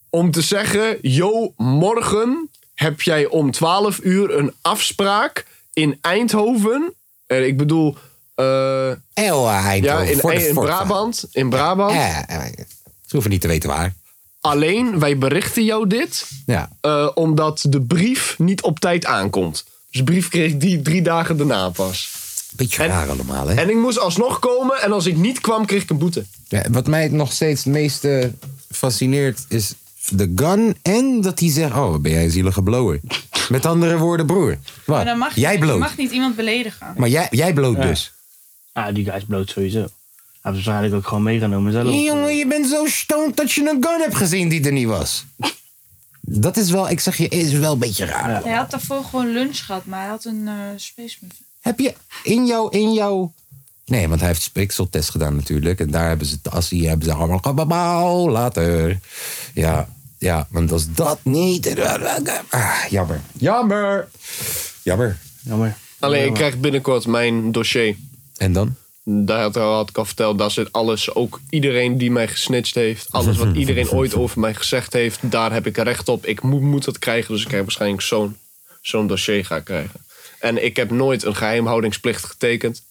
Om te zeggen: Yo, morgen heb jij om 12 uur een afspraak in Eindhoven. Eh, ik bedoel. eh,
Ewa,
ja, in,
voor de
in
Forza.
Brabant. In Brabant.
Ja, ja, ja. Ze hoeven niet te weten waar.
Alleen, wij berichten jou dit
Ja.
eh, omdat de brief niet op tijd aankomt. Dus de brief kreeg die drie dagen daarna pas.
Beetje
En-
raar allemaal, hè?
En ik moest alsnog komen en als ik niet kwam, kreeg ik een boete.
Ja, wat mij nog steeds het meeste fascineert is de gun en dat hij zegt: Oh, ben jij een zielige blower? Met andere woorden, broer. Wat?
Maar dan mag je-
jij
je
bloot.
mag niet iemand beledigen.
Maar jij, jij bloot dus.
Ah, die guy is bloot sowieso. Hij heeft waarschijnlijk ook gewoon meegenomen zelf.
Jongen, je bent zo stoned dat je een gun hebt gezien die er niet was. Dat is wel, ik zeg je, is wel een beetje raar.
Hij had daarvoor gewoon lunch gehad, maar hij had een eh space muffin.
Heb je in jouw, in jouw... Nee, want hij heeft spikseltest gedaan natuurlijk. En daar hebben ze het assie, hebben ze allemaal... kababauw, Later. Ja, ja, want als dat niet... Ah, jammer. Jammer. Jammer.
Jammer.
Alleen, ik krijg binnenkort mijn dossier.
En dan?
Daar had, had ik al verteld, daar zit alles, ook iedereen die mij gesnitcht heeft. Alles wat iedereen ooit over mij gezegd heeft, daar heb ik recht op. Ik moet, moet dat krijgen, dus ik krijg waarschijnlijk zo'n zo'n dossier ga ik krijgen. En ik heb nooit een geheimhoudingsplicht getekend.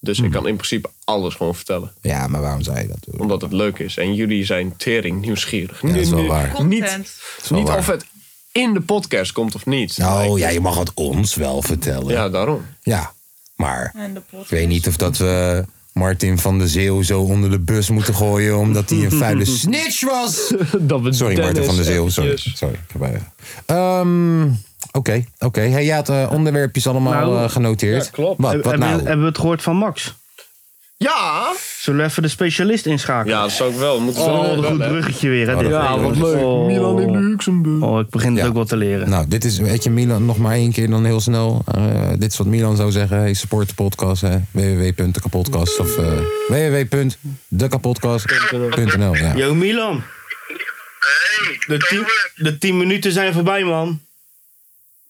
Dus ik kan in principe alles gewoon vertellen.
Hmm. Ja, maar waarom zei je dat? doen?
Omdat het leuk is. En jullie zijn tering nieuwsgierig.
dat is wel
Niet-
waar.
Content.
is wel
Niet
waar.
of het in de podcast komt of niet. dus
Nou, ja, je mag het ons wel vertellen. Ja.
Ja, daarom.
maar
En de
ik weet niet of dat we... Martin van de Zeeuw zo onder de bus moeten gooien... omdat hij een vuile snitch was. Sorry, Martin van der Zeeuw. Sorry.
eventjes.
Sorry. ik heb, eh, ehm, Oké, oké. Hey, jij had eh, onderwerpjes allemaal
Nou,
eh, genoteerd.
ja, klopt.
Wat,
Hebben
wat
hebben-
nou? Oh,
hebben we het gehoord van Max?
Ja!
Zullen we even de specialist inschakelen?
Ja, dat zou ik wel. Moeten we
Oh,
wel
wat een goed
bellen.
bruggetje weer. Hè, dit.
Ja, wat leuk.
Oh.
Milan in Luxemburg.
Oh, ik begin het
Ja.
ook wel te leren.
nou, dit is, weet je, Milan, nog maar één keer dan heel snel. Eh, dit is wat Milan zou zeggen. Hey, support de podcast, hè. www.dekapodcast of eh www.dekapodcast.nl. Ja.
Yo Milan, de tien, de tien minuten zijn voorbij man.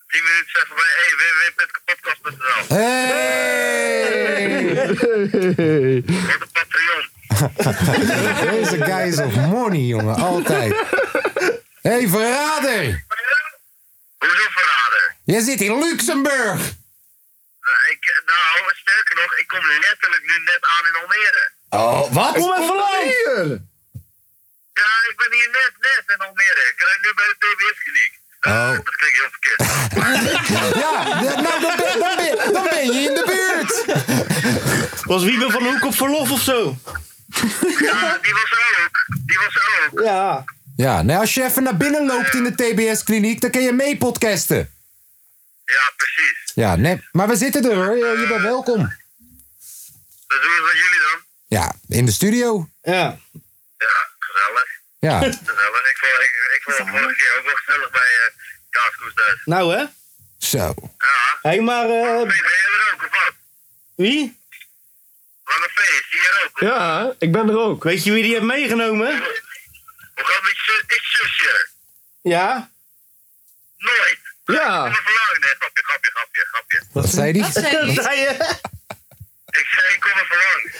10 minuten zijn voorbij. Hey, www.kapotkast.nl.
Hey!
Word een Patreon.
Deze guy is of money, jongen. Altijd. hey, verrader!
Hoezo verrader?
Jij zit in Luxemburg!
Nou, ik, nou, sterker nog, ik kom letterlijk nu net aan in Almere.
Oh, wat?
Kom even langs!
Ja, ik ben hier net, net in Almere. Ik rijd nu bij de TBS-kliniek.
Oh.
Dat klinkt heel verkeerd.
Ja, ja, nou, dan ben, dan, ben, dan ben je in de buurt.
Was Wiebe van de Hoek op verlof of zo?
ja, die was er ook. Die was er ook.
Ja.
Ja, nou, als je even naar binnen loopt in de TBS-kliniek, dan kun je mee podcasten.
Ja, precies.
Ja, nee, maar we zitten er hoor. Je, je bent welkom.
Dus hoe is het met jullie dan?
Ja, in de studio.
Ja.
Ja, gezellig.
Ja,
Gezellig. Ik vond, ik, ik vond het vorige keer ook wel gezellig bij eh Kaaskoes thuis.
Nou hè?
zo.
Ja.
Hé, maar eh,
Hey, ben jij er ook of wat?
wie?
Lange feest, zie je er ook?
Ja, ik ben er ook.
Weet je wie die heeft meegenomen?
Hoe gaat het met je zus- ik zusje?
Ja.
Nooit.
Ja,
Ik kom even langs. Nee, grapje, grapje, grapje, grapje.
Wat zei die?
Dat zei hij.
Zei je?
Ik zei, ik kom even langs.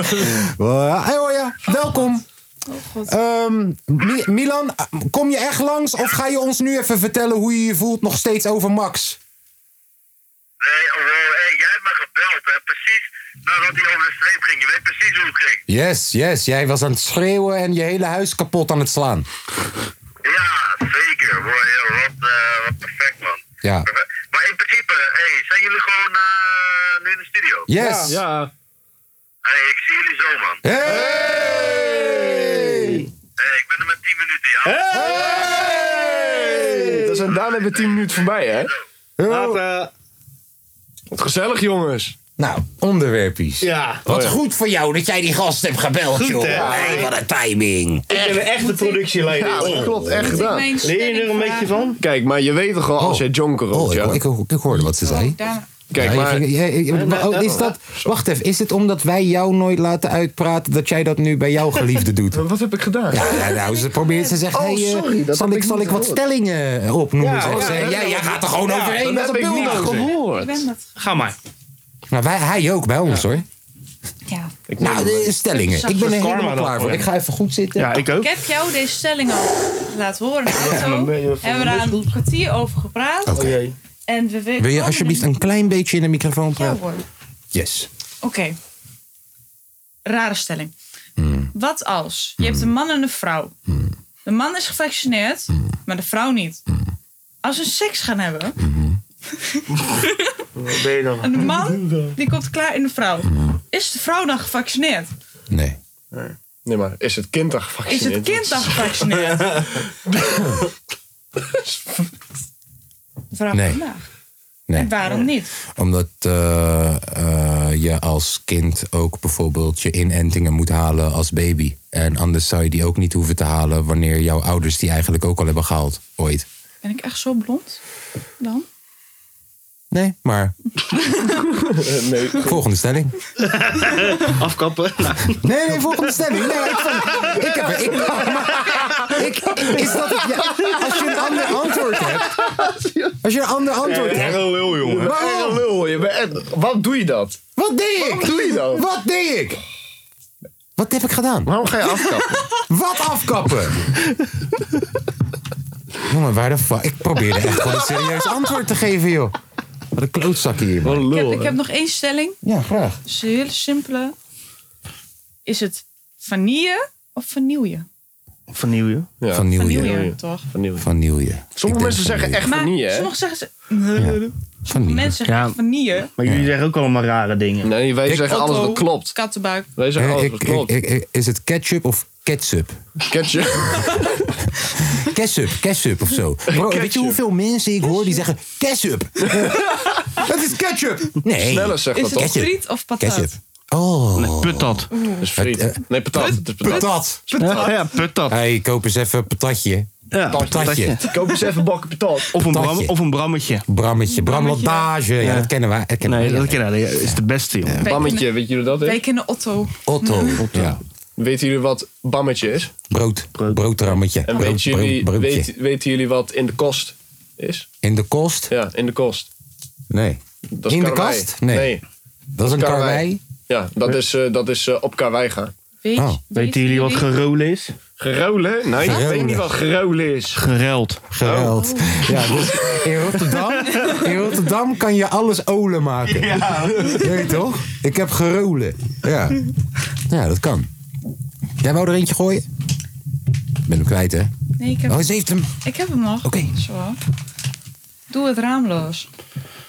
Ja, hey, hoor ja, welkom.
Oh god.
Ehm, Mi- Milan, kom je echt langs of ga je ons nu even vertellen hoe je je voelt nog steeds over Max?
Nee, oh, wow, hey, jij hebt me gebeld, hè. Precies nadat hij over de streep ging. Je weet precies hoe het ging.
Yes, yes, jij was aan het schreeuwen en je hele huis kapot aan het slaan.
Ja, zeker. Wow, ja, wat, eh, wat perfect, man.
Ja.
Perfect. Maar in principe, hey, zijn jullie gewoon eh, nu in de studio?
Yes.
ja.
Hey, ik zie jullie zo, man.
Hey!
Hey, ik ben er met 10 minuten, ja.
Dat zijn daarna hebben we 10 minuten voorbij, hè? eh,
Later.
Wat gezellig, jongens.
Nou, onderwerpjes.
Ja.
Wat
Oh ja.
goed voor jou dat jij die gast hebt gebeld,
Goed,
joh.
hè?
Hey, wat een timing.
Ik ben een echte productieleider.
Ja, dat klopt, echt
Moet ik
gedaan.
mijn
Leer
stelling
je er een beetje
vragen?
van?
Kijk, maar je weet toch al als jij jonker
Oh,
rookt,
ik,
ja?
ik, ik hoorde wat ze zei.
Daarna-
Kijk,
Ja, je
maar-
ging- je- je-
Nee, nee,
oh,
nee,
is dat, wacht even, is het omdat wij jou nooit laten uitpraten dat jij dat nu bij jouw geliefde doet?
Wat heb ik gedaan?
Ja, ja, nou, ze probeert, ze zegt,
Oh,
hey, eh,
sorry, dat
zal
heb
ik,
ik
zal
niet
ik wat
gehoord.
stellingen eh, opnoemen?
Ja,
Zoals,
ja,
eh,
dat
jij,
heb
jij
ik
gaat er
niet-
gewoon
ja, dat
overheen met
heb
een
ik niet
bulldozer.
gezegd.
Ik ben dat.
Ga maar.
Nou, wij, hij ook bij ons hoor.
Ja.
Ik neem
Nou,
hem.
de stellingen. Ik ben
Karma
er helemaal
dan
klaar voor.
Oh,
voor
Ik ga even goed zitten.
Ja, ik ook.
Ik heb jou deze stelling al laten horen in de
maar
auto.
ben je van
Hebben we daar een kwartier over gepraat.
Oh,
Oké.
Oh, jee.
En we we-
Wil je alsjeblieft een klein beetje in de microfoon
Ja
praten?
hoor. Oké.
Yes.
Rare stelling.
Hmm.
Wat als je hebt een man en een vrouw. De man is gevaccineerd,
Hmm.
maar de vrouw niet. Als ze seks gaan hebben,
Hmm.
Wat ben je dan?
en de man die komt klaar in de vrouw.
Hmm.
Is de vrouw dan gevaccineerd?
Nee.
Nee, maar is het kind dan
Is
gevaccineerd?
het kind dan gevaccineerd? Vraag
Nee.
vandaag.
Nee.
En waarom niet?
Omdat eh, eh, je als kind ook bijvoorbeeld je inentingen moet halen als baby. En anders zou je die ook niet hoeven te halen wanneer jouw ouders die eigenlijk ook al hebben gehaald ooit.
Ben ik echt zo blond dan?
Nee, maar
Nee,
volgende stelling.
Afkappen.
Nee, nee, volgende stelling. Nee, ik, vond- ik heb ik, maar- ik, Is dat het? Ja, als je een ander antwoord hebt. Als je een ander antwoord hebt.
een lul, jongen.
Waarom?
een lul. Je bent echt- Wat doe je dat?
Wat deed
Wat
ik?
doe je dan?
Wat deed ik? Wat heb ik gedaan?
Waarom ga je afkappen?
Wat afkappen? Jongen, waar de fuck? Ik probeerde echt gewoon een serieus antwoord te geven, joh. Wat een klootzak hier. man.
een
Ik heb, ik heb nog één stelling.
Ja, graag.
Het is een hele simpele. Is het vanille of vanille?
Vernieuw je.
Ja.
Van Nieuwje.
Vanille, toch?
Vanille.
Van Nieuwje.
Sommige mensen zeggen echt
Maar
vanille, hè?
sommigen zeggen ze... Sommige
Van Nieuwje.
mensen zeggen
Ja.
vanille.
Maar jullie zeggen ook allemaal rare dingen.
Nee, wij zeggen alles wat
Otto,
klopt.
Kattenbuik.
Wij zeggen alles wat
Eh, Ik, ik,
klopt.
ik, ik- is het ketchup of ketchup?
Ketchup.
Ketchup, ketchup of zo. Bro, weet je
Ketchup.
hoeveel mensen ik hoor die zeggen ketchup? Het is ketchup. Nee.
Sneller zegt
Is
dat
het
toch?
Ketchup.
friet of patat?
Ketchup. Oh.
Put dat.
Het is friet. Nee, patat. Het is patat.
eh, Patat.
Ja, ja, put dat.
hey, koop eens even een patatje.
Ja.
Patatje.
Koop eens even bakken patat.
Of een,
Patatje.
bram, of een brammetje.
Brammetje. Bramlandage. Ja, dat kennen wij. Dat kennen
Nee,
wij.
dat ken ik. Dat is de beste, joh.
Wij
Bammetje,
kennen-
weet jullie wat dat
Wij
is?
kennen Otto.
Otto.
Hmm.
Ja.
Weten jullie wat bammetje is?
Brood. Broodrammetje.
En
Brood,
weten jullie,
brood- broodje.
weet- weten jullie wat in de kost is?
In de kost?
Ja, in de kost.
Nee.
Dat is
In de
karwei.
kast? Nee. Dat is een
Karwei.
karwei.
Ja, dat is, eh, dat is eh, op karwei gaan.
Weet,
Oh.
Weten jullie wat gerolen is?
Gerolen? Nee, ik
Gerolen.
weet niet wat gerolen is.
Gereld.
Geweld. Ja, dus in Rotterdam, in Rotterdam kan je alles olen maken. Ja. Weet je toch? Ik heb gerolen. Ja. Ja, dat kan. Jij wou er eentje gooien? Ik ben hem kwijt, hè?
Nee, ik heb,
Oh, ze heeft hem.
ik heb hem nog.
Oké.
Zo. Doe het raamloos.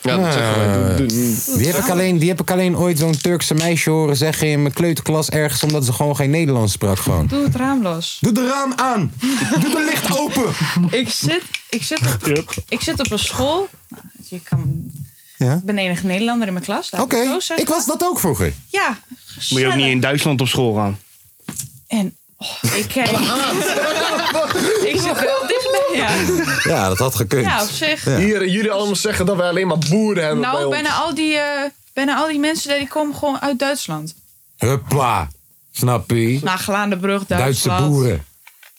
Ja, dat zeggen
Ah.
wij. Doe- doe-
Die heb, ik alleen, die heb ik alleen ooit zo'n Turkse meisje horen zeggen in mijn kleuterklas ergens... omdat ze gewoon geen Nederlands sprak gewoon.
Doe het raamloos.
Doe de raam aan! Doe de licht open!
Ik zit, ik zit, op, ik zit op een school. Nou, je kan,
Ja.
Ik ben de enige Nederlander in mijn klas. laat
Oké,
ik het zo zeggen.
ik was dat ook vroeger.
Ja,
Moet je ook
gezellig.
niet in Duitsland op school gaan.
En oh, ik kijk. ik zit wel dichtbij. Ja,
Ja, dat had gekund.
ja op zich.
Hier, jullie allemaal zeggen dat wij alleen maar boeren hebben bij
Nou,
ons.
bijna al, die, eh, bijna al die mensen daar, die komen gewoon uit Duitsland.
Huppa, snap je?
Nou, Gelaandebrug,
Duitse
Duitsland.
boeren.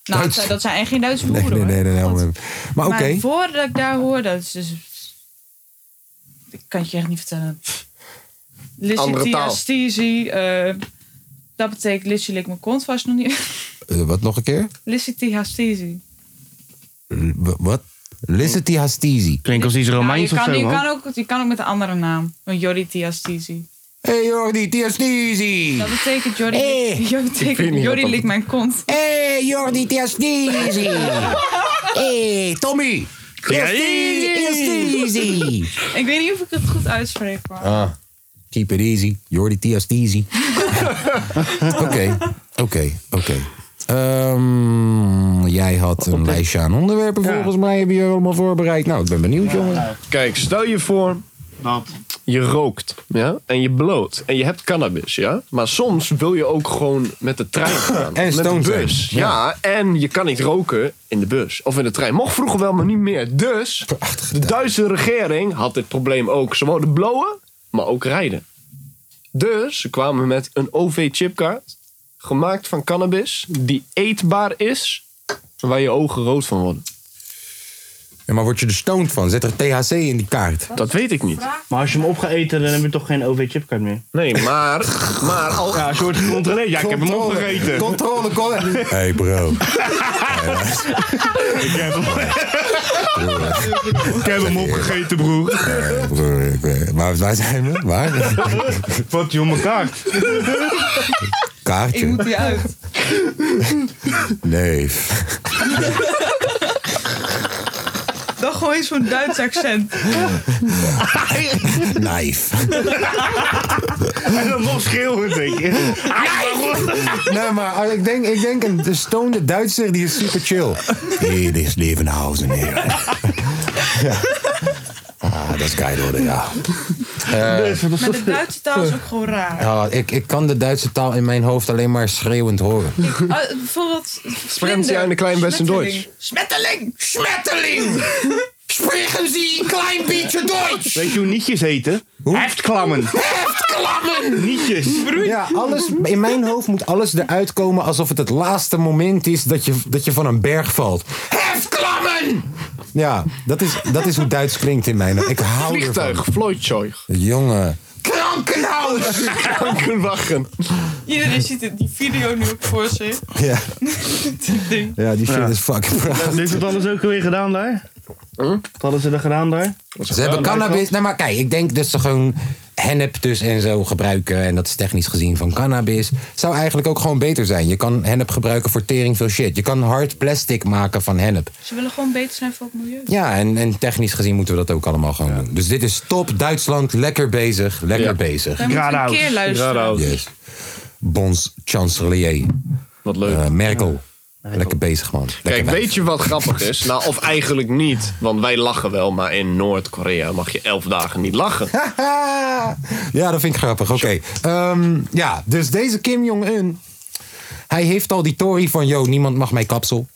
Nou,
Duits-
dat zijn echt geen Duitse boeren.
Nee, nee, nee, nee. nee,
hoor.
nee. Maar oké.
Maar voordat ik daar hoorde, dat is dus... Ik kan het je echt niet vertellen.
Andere taal.
Lissitiastisi. eh dat betekent Lissie lik mijn kont vast nog niet.
Eh, wat nog een keer?
Lissitiastisi.
L- w- wat? Licity Hastisi.
Klinkt als iets
Nou, je,
Romeins of
kan,
zo,
je,
man.
kan ook, je kan ook met een andere naam. Een Joritiastisi.
Hey Jordi, Tiastisi.
Dat betekent Jordi,
Eh,
Jordi,
weet
betekent,
niet
Jordi
wat dat
lik mijn kont.
Hey Jordi, Tiastisi. Hey Tommy. Tiastisi.
Ik weet niet of ik het goed uitspreek. Maar.
Ah, keep it easy. Jordi, Tiastisi. Oké, oké, oké. Ehm, jij had een lijstje aan onderwerpen volgens mij. Heb je allemaal voorbereid? Nou, ik ben benieuwd, jongen.
Kijk, stel je voor dat je rookt ja? en je bloot en je hebt cannabis. Ja? Maar soms wil je ook gewoon met de trein gaan.
En
met
stoned
de
zijn,
bus.
ja.
Ja. en je kan niet roken in de bus of in de trein. Mocht vroeger wel, maar niet meer. Dus de Duitse regering had dit probleem ook. Ze wouden blowen, maar ook rijden. Dus ze kwamen met een OV-chipkaart gemaakt van cannabis die eetbaar is, waar je ogen rood van worden.
Ja, maar word je er stoned van? Zet er THC in die kaart?
Dat weet ik niet.
Maar als je hem op gaat eten, dan heb je toch geen OV-chipkaart meer.
Nee, maar, maar al...
Ja, als je wordt gecontroleerd. Ja, ik heb hem
Controle.
opgegeten.
Controle, controle. Hey bro.
Ik heb hem, ik heb hem opgegeten, broer.
Hey, broer, ik weet- Eh, Waar, waar zijn we? Waar?
Wat, joh, mijn kaart.
Ik moet
Kaartje.
die uit.
Nee.
Dan gooi je zo'n Duits accent.
Knife.
En dan nog schreeuwend, denk je.
Nee, maar als ik denk, ik denk een stoned Duitser die is super chill. Dit is Levenhausen, heer. Ja. Ah, dat is geil, hoor, ja. Eh,
Maar de Duitse taal is ook gewoon raar.
Ja, ik, ik kan de Duitse taal in mijn hoofd alleen maar schreeuwend horen.
Ah, bijvoorbeeld.
Spremt ze aan de klein beste Duits.
Smetteling!
Schmetterling! Spreken ze een klein beetje Duits!
Weet je hoe nietjes heten? Heftklammen.
Klammen!
Nietjes.
Ja, alles, in mijn hoofd moet alles eruit komen alsof het het laatste moment is dat je, dat je van een berg valt. Heftklammen! Ja, dat is, dat is hoe Duits klinkt in mijn hoofd. Ik hou
Vliegtuig,
ervan.
Vlootjoig.
Jongen.
Oh,
Krankenhuis!
Krankenwagen.
Iedereen ziet het, die video nu ook voor zich.
Ja,
Dit ding.
ja die shit is fucking praat.
Heeft dat alles ook weer gedaan daar? Wat hadden ze er gedaan daar?
Ze hebben cannabis. Nee, maar kijk, ik denk dat ze gewoon hennep dus en zo gebruiken. En dat is technisch gezien van cannabis. Zou eigenlijk ook gewoon beter zijn. Je kan hennep gebruiken voor tering veel shit. Je kan hard plastic maken van hennep.
Ze willen gewoon beter zijn voor het milieu.
Ja, en, en technisch gezien moeten we dat ook allemaal gewoon doen. Dus dit is top. Duitsland, lekker bezig. Lekker
Ja.
bezig.
Wij moeten een
Raadhout.
keer luisteren.
Yes. Bons chancelier.
Wat leuk.
Eh, Merkel. Lekker bezig, man. Lekker
Kijk,
wijf.
weet je wat grappig is? Nou, of eigenlijk niet. Want wij lachen wel, maar in Noord-Korea mag je elf dagen niet lachen.
ja, dat vind ik grappig. Oké. Ehm, ja, dus deze Kim Jong-un. Hij heeft al die tory van: yo, niemand mag mijn kapsel.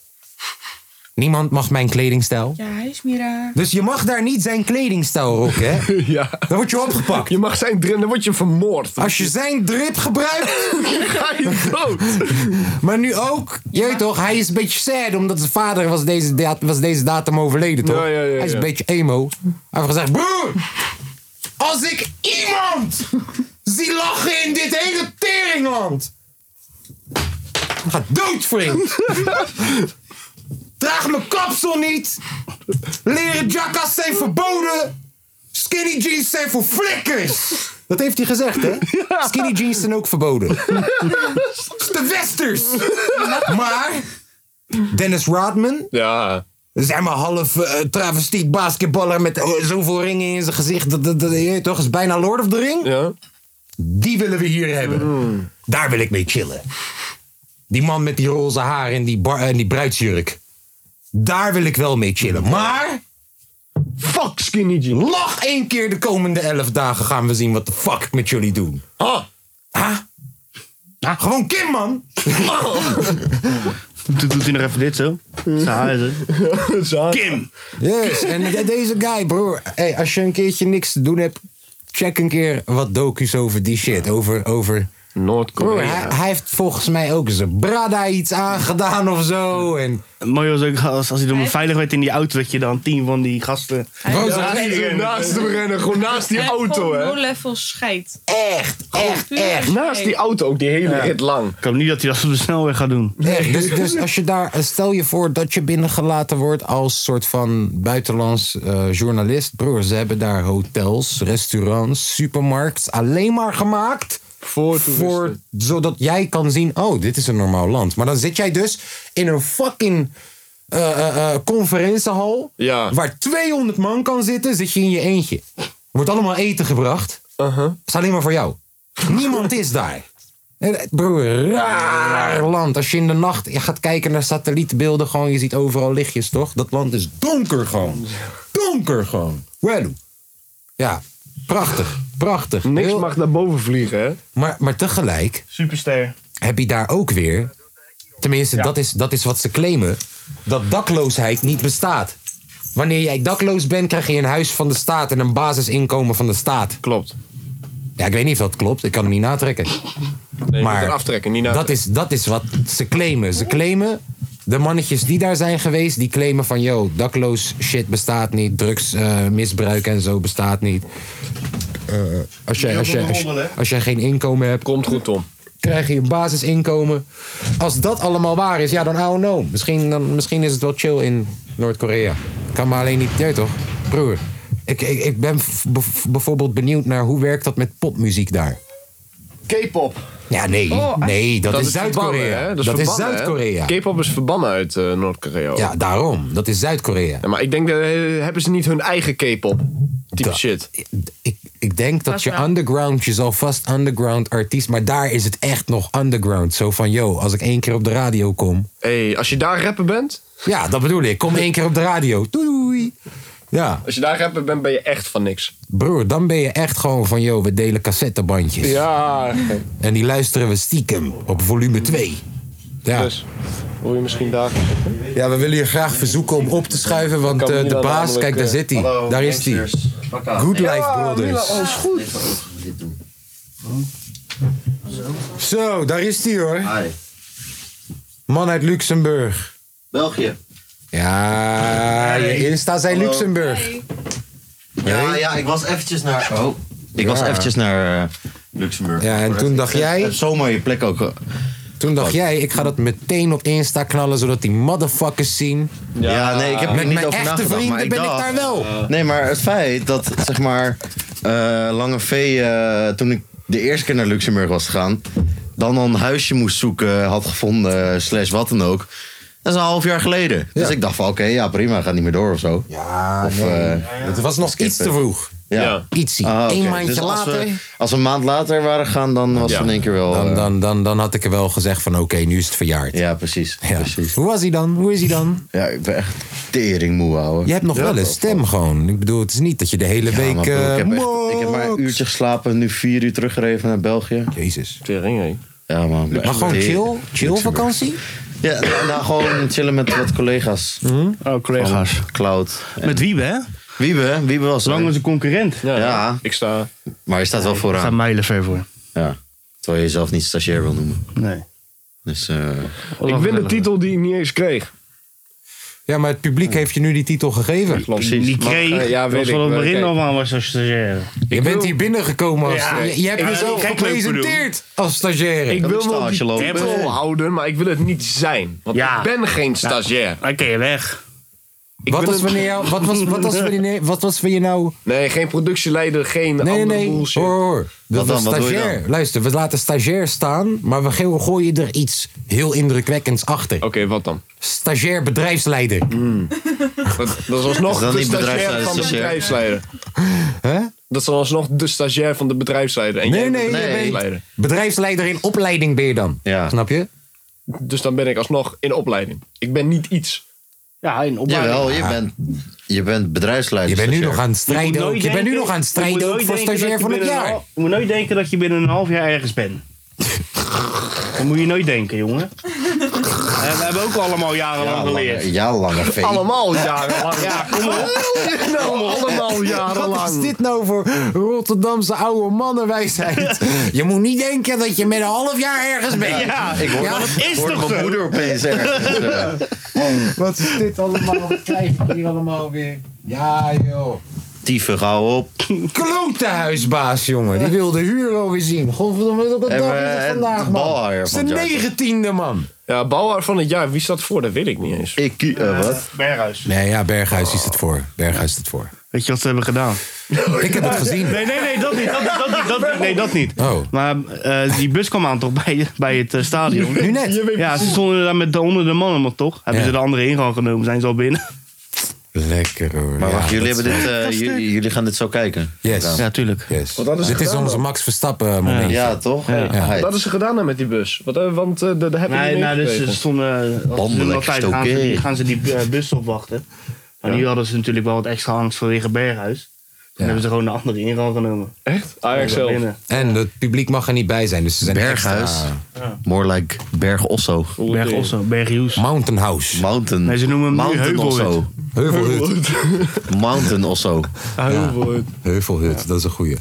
Niemand mag mijn kledingstijl.
Ja, hij is meer raar.
Dus je mag daar niet zijn kledingstijl rocken, hè?
Ja.
Dan word je opgepakt.
Je mag zijn drin, dan word je vermoord.
Als je zijn drip gebruikt.
ga je dood.
Maar nu ook, je weet toch, hij is een beetje sad omdat zijn vader was deze, dat- was deze datum overleden, toch?
Ja, ja, ja,
hij is een
ja.
beetje emo. Hij heeft gezegd, broer, als ik iemand zie lachen in dit hele teringland, dan ga ik dood, vriend. Draag mijn kapsel niet. Leren jackas zijn verboden. Skinny jeans zijn voor flikkers. Dat heeft hij gezegd, hè? Skinny jeans zijn ook verboden. De Westers. Maar Dennis Rodman,
Ja.
zeg maar half eh, travestiet basketballer met eh, zoveel ringen in zijn gezicht. Dat, dat, dat- je weet toch is bijna Lord of the Ring.
Ja. Mm.
Die willen we hier hebben. Daar wil ik mee chillen. Die man met die roze haar en die, bar, en die bruidsjurk. Daar wil ik wel mee chillen. Maar
Fuck skinny jeans.
lach één keer de komende elf dagen. Gaan we zien wat de fuck ik met jullie doen.
Ah.
Ah, Gewoon Kim, man.
Toen doet hij nog even dit zo. Saaizen. Kim!
Yes, en de- deze guy, broer. Hey, als je een keertje niks te doen hebt, check een keer wat docu's over die shit. Over, over... Broer, hij,
Noord-Korea.
hij heeft volgens mij ook zijn brada iets aangedaan of zo. En...
Mooi was ook als, als hij door me veilig werd in die auto, dat je dan tien van die gasten.
Roze
Ja,
haar.
hij is naast hem rennen, gewoon naast die
Hij heeft
auto,
gewoon
hè.
low-level scheid.
Echt, echt,
Puur
echt.
Naast die
scheid.
auto ook, die hele rit lang.
Ik hoop niet dat hij dat op de snelweg gaat doen.
echt. Dus, dus als je daar, stel je voor dat je binnengelaten wordt als soort van buitenlands eh, journalist. Broer, ze hebben daar hotels, restaurants, supermarkts alleen maar gemaakt.
Voor toeristen.
voor, zodat jij kan zien, oh, dit is een normaal land. Maar dan zit jij dus in een fucking eh, eh, eh, conferentiehal...
Ja.
waar 200 man kan zitten, zit je in je eentje. Er wordt allemaal eten gebracht.
Uh-huh.
is alleen maar voor jou. Niemand is daar. En, eh, Broer, raar land. Als je in de nacht je gaat kijken naar satellietbeelden, gewoon, je ziet overal lichtjes, toch? Dat land is donker gewoon. Donker gewoon. Wel. Ja, Prachtig, prachtig.
Niks mag naar boven vliegen, hè?
Maar, maar tegelijk
Superster.
heb je daar ook weer... Tenminste, dat, is, dat is wat ze claimen. Dat dakloosheid niet bestaat. Wanneer jij dakloos bent, krijg je een huis van de staat... en een basisinkomen van de staat.
Klopt.
Ja, ik weet niet of dat klopt. Ik kan hem niet natrekken.
Nee, je
Maar
moet er aftrekken, niet naar.
Dat is, dat is wat ze claimen. Ze claimen, de mannetjes die daar zijn geweest, die claimen van... yo, dakloos shit bestaat niet, drugsmisbruik en zo bestaat niet. Eh, als, jij, als, jij, als, jij- als jij geen inkomen hebt,
Komt goed, Tom.
krijg je een basisinkomen. Als dat allemaal waar is, ja, dan I don't know. Misschien, dan, misschien is het wel chill in Noord-Korea. Kan me alleen niet... Ja, toch? Broer, ik, ik, ik ben v- bev- bijvoorbeeld benieuwd naar... hoe werkt dat met popmuziek daar?
K-pop.
Ja, nee.
Oh,
nee, dat, is Zuid-Korea.
verbannen, hè?
Dat, is
verbannen, hè?
Zuid-Korea.
K-pop is verbannen uit eh, Noord-Korea.
Ja, daarom. Dat is Zuid-Korea.
Ja, maar ik denk, dat, eh, hebben ze niet hun eigen K-pop? Type
Dat-
shit.
Ik, ik denk dat
Vast
je
wel.
underground, je zal vast underground artiest, maar daar is het echt nog underground. Zo van, yo, als ik één keer op de radio kom.
hey, als je daar rapper bent,
Ja, dat bedoel ik. Kom één keer op de radio. Doei, doei. Ja,
als je daar rapper bent, ben je echt van niks.
broer, dan ben je echt gewoon van, yo, we delen cassettebandjes.
Ja,
En die luisteren we stiekem op volume 2. Ja.
dus wil je misschien daar...
ja, we willen je graag verzoeken om op te schuiven, want
Kan
eh, de
Milan
baas,
namelijk,
kijk, daar
eh,
zit hij. Daar is hij. Good Life Brothers. Zo, daar is hij hoor.
Hi.
Man uit Luxemburg.
België.
Ja, je Insta zijn
Hallo.
Luxemburg.
Hey.
Ja, ja, ik was eventjes naar. Oh. Ik was
Ja.
eventjes naar eh, Luxemburg.
Ja, en
Maar
toen
ik
dacht
heb-
jij-
heb Zo'n mooie plek ook. eh.
Toen dacht jij, ik ga dat meteen op Insta knallen, zodat die motherfuckers zien.
Ja, nee, ik heb er
Met
niet
mijn
over
echte
nagedacht. maar
vrienden ben ik
dacht- eh,
daar wel.
Nee, maar het feit dat, zeg maar, eh, Lange V, eh, toen ik de eerste keer naar Luxemburg was gegaan, dan al een huisje moest zoeken, had gevonden, slash wat dan ook. Dat is een half jaar geleden. Dus ik dacht van, oké, ja prima, gaat niet meer door of zo.
Ja,
Of, eh,
Het was nog iets te vroeg.
ja.
Ja.
Ietsie.
Ah, oké.
Eén maandje
Dus als we-
later.
als we een maand later waren gegaan, dan was
Ja.
het in één keer wel...
Dan,
eh,
dan, dan, dan had ik er wel gezegd van, oké, nu is het verjaard.
Ja, precies.
Ja.
precies.
Hoe was hij dan? Hoe is hij dan?
Ja, ik ben echt tering moe, ouwe.
Je hebt nog
Ja,
wel een
wel,
stem gewoon. Ik bedoel, het is niet dat je de hele
Ja, maar
week...
broer,
eh,
ik, heb echt, ik heb maar
mok.
een uurtje geslapen, nu vier uur teruggereden naar België.
Jezus.
Tering, hé.
Ja, man. ik ben
Maar
echt
gewoon
tering-
chill, chill vakantie?
Ja, nou, nou, gewoon chillen met wat collega's.
Oh, collega's.
Van Cloud.
Met wie, hè?
Wiebe, Wiebe was
Zolang als een concurrent.
Ja,
Ja.
ik sta...
Maar je staat wel
Daar staat
vooraan.
mijlen ver voor.
Ja. Terwijl je jezelf niet stagiair wil noemen.
Nee.
Dus, eh,
Ik win de titel die ik niet eens kreeg.
Ja, maar het publiek heeft je nu die titel gegeven.
Klopt.
Precies.
Die kreeg.
Mag, eh, ja,
dat
weet
was
ik,
wel
weet
het begin
ik.
nog aan was als stagiaire.
Je bent hier binnengekomen. Als,
Ja,
je, je hebt
ik-
jezelf
ik- ik-
gepresenteerd als stagiaire.
Ik
wil
wil
ik
wel
stage
die
lopen.
titel houden, maar ik wil het niet zijn. Want
Ja.
ik ben geen stagiair.
Oké, weg.
Ik
wat,
ben
was
een-
wanneer jou, wat, was, wat, was wanneer, wat was voor je nou...
Nee, geen productieleider, geen
Nee,
andere
nee, nee.
bullshit.
Hoor, hoor. Dat
Wat
was
dan? Wat doe je
stagiair.
dan?
Luister, we laten stagiair staan, maar we go- gooien er iets heel indrukwekkends achter.
Oké, wat dan?
Stagiair bedrijfsleider.
Hmm.
Dat, dat is alsnog
Is dat
de
niet
stagiair
bedrijfsleider,
van de
stagiair?
bedrijfsleider.
Hè?
Dat is alsnog de stagiair van de bedrijfsleider. En
Nee,
jij
nee,
bent de
nee.
bedrijfsleider.
Bedrijfsleider in opleiding ben je dan.
Ja.
Snap je?
Dus dan ben ik alsnog in opleiding. Ik ben niet iets.
Ja, in opleiding.
jawel, je bent, je bent bedrijfsleider.
Je bent nu nog
stagiair.
aan
Dus
het
Je moet
strijden ook.
nooit
Je bent nu
denken-
nog aan het
je
strijden
moet
ook
nooit
voor
denken dat
stagiair
je
van het
binnen een
jaar.
hal- Je moet nooit denken dat je binnen een half jaar ergens bent. Dat moet je nooit denken, jongen. Eh, We hebben ook allemaal jarenlang
Ja, lange,
geleerd.
ja, lange vee.
Allemaal jarenlang. Nou,
Ja, kom op.
allemaal
nou- Wat is
jarenlang.
dit nou voor Rotterdamse oude mannenwijsheid? je moet niet denken dat je met een half jaar ergens bent.
Ja,
Ik hoor
Ja, dat
is
hoor
toch
mijn
zo?
moeder opeens ergens. eh.
Wat is dit allemaal? Wat krijg ik hier allemaal weer? Ja, joh.
Tyfe, gauw op.
Klote huisbaas, jongen. Die wil de huur alweer zien. Godverdomme, wat een
En
dag
we-
is het
en
vandaag,
de
man?
balhaaier
Het is de
van het jaar, toch?
negentiende, man.
Ja, bouwer van het jaar. Wie staat voor? Dat weet ik niet eens.
Ik, eh, wat?
Berghuis.
Nee, ja, Berghuis is het voor. Berghuis is het voor.
Weet je wat ze hebben gedaan?
Ik heb het gezien.
Nee, nee, nee, dat niet. Dat, niet, dat, niet, dat, niet. nee, dat niet.
Oh.
Maar eh, die bus kwam aan toch bij, bij het eh, stadion?
Nu net.
Ja, ze stonden daar met de honderden mannen, maar toch? Hebben
Ja.
ze de andere ingang genomen, zijn ze al binnen?
Lekker, hoor.
Maar
Ja,
wacht, jullie,
dat-
hebben dit, eh, jullie, jullie gaan dit zo kijken.
Yes.
Ja, tuurlijk.
yes.
Wat hadden ze
Dit is
gedaan
onze
dan?
Max Verstappen moment.
Ja, toch? Hey,
Ja.
hey.
Wat hadden ze gedaan dan met die bus? Wat, eh, want eh, daar heb je
Nee,
niet
nou, dus
meegekregen.
ze stonden. als ze doen
Bandelijk
altijd gaan, ze,
gestoken.
gaan ze die eh, bus opwachten. Maar nu hadden ze natuurlijk wel wat extra angst vanwege Berghuis. Dan hebben ze gewoon een andere ingang genomen.
Echt?
Ajax zelf.
En het publiek mag er niet bij zijn, dus ze zijn
Berghuis.
extra...
More like Berg Osso.
Berg Osso, Berg Hoes.
Mountain House.
Mountain.
Nee, ze noemen hem nu
Mountain
Heuvelhut.
Osso.
Heuvelhut.
Mountain Osso.
Heuvelhut.
Heuvelhut, dat is een goeie.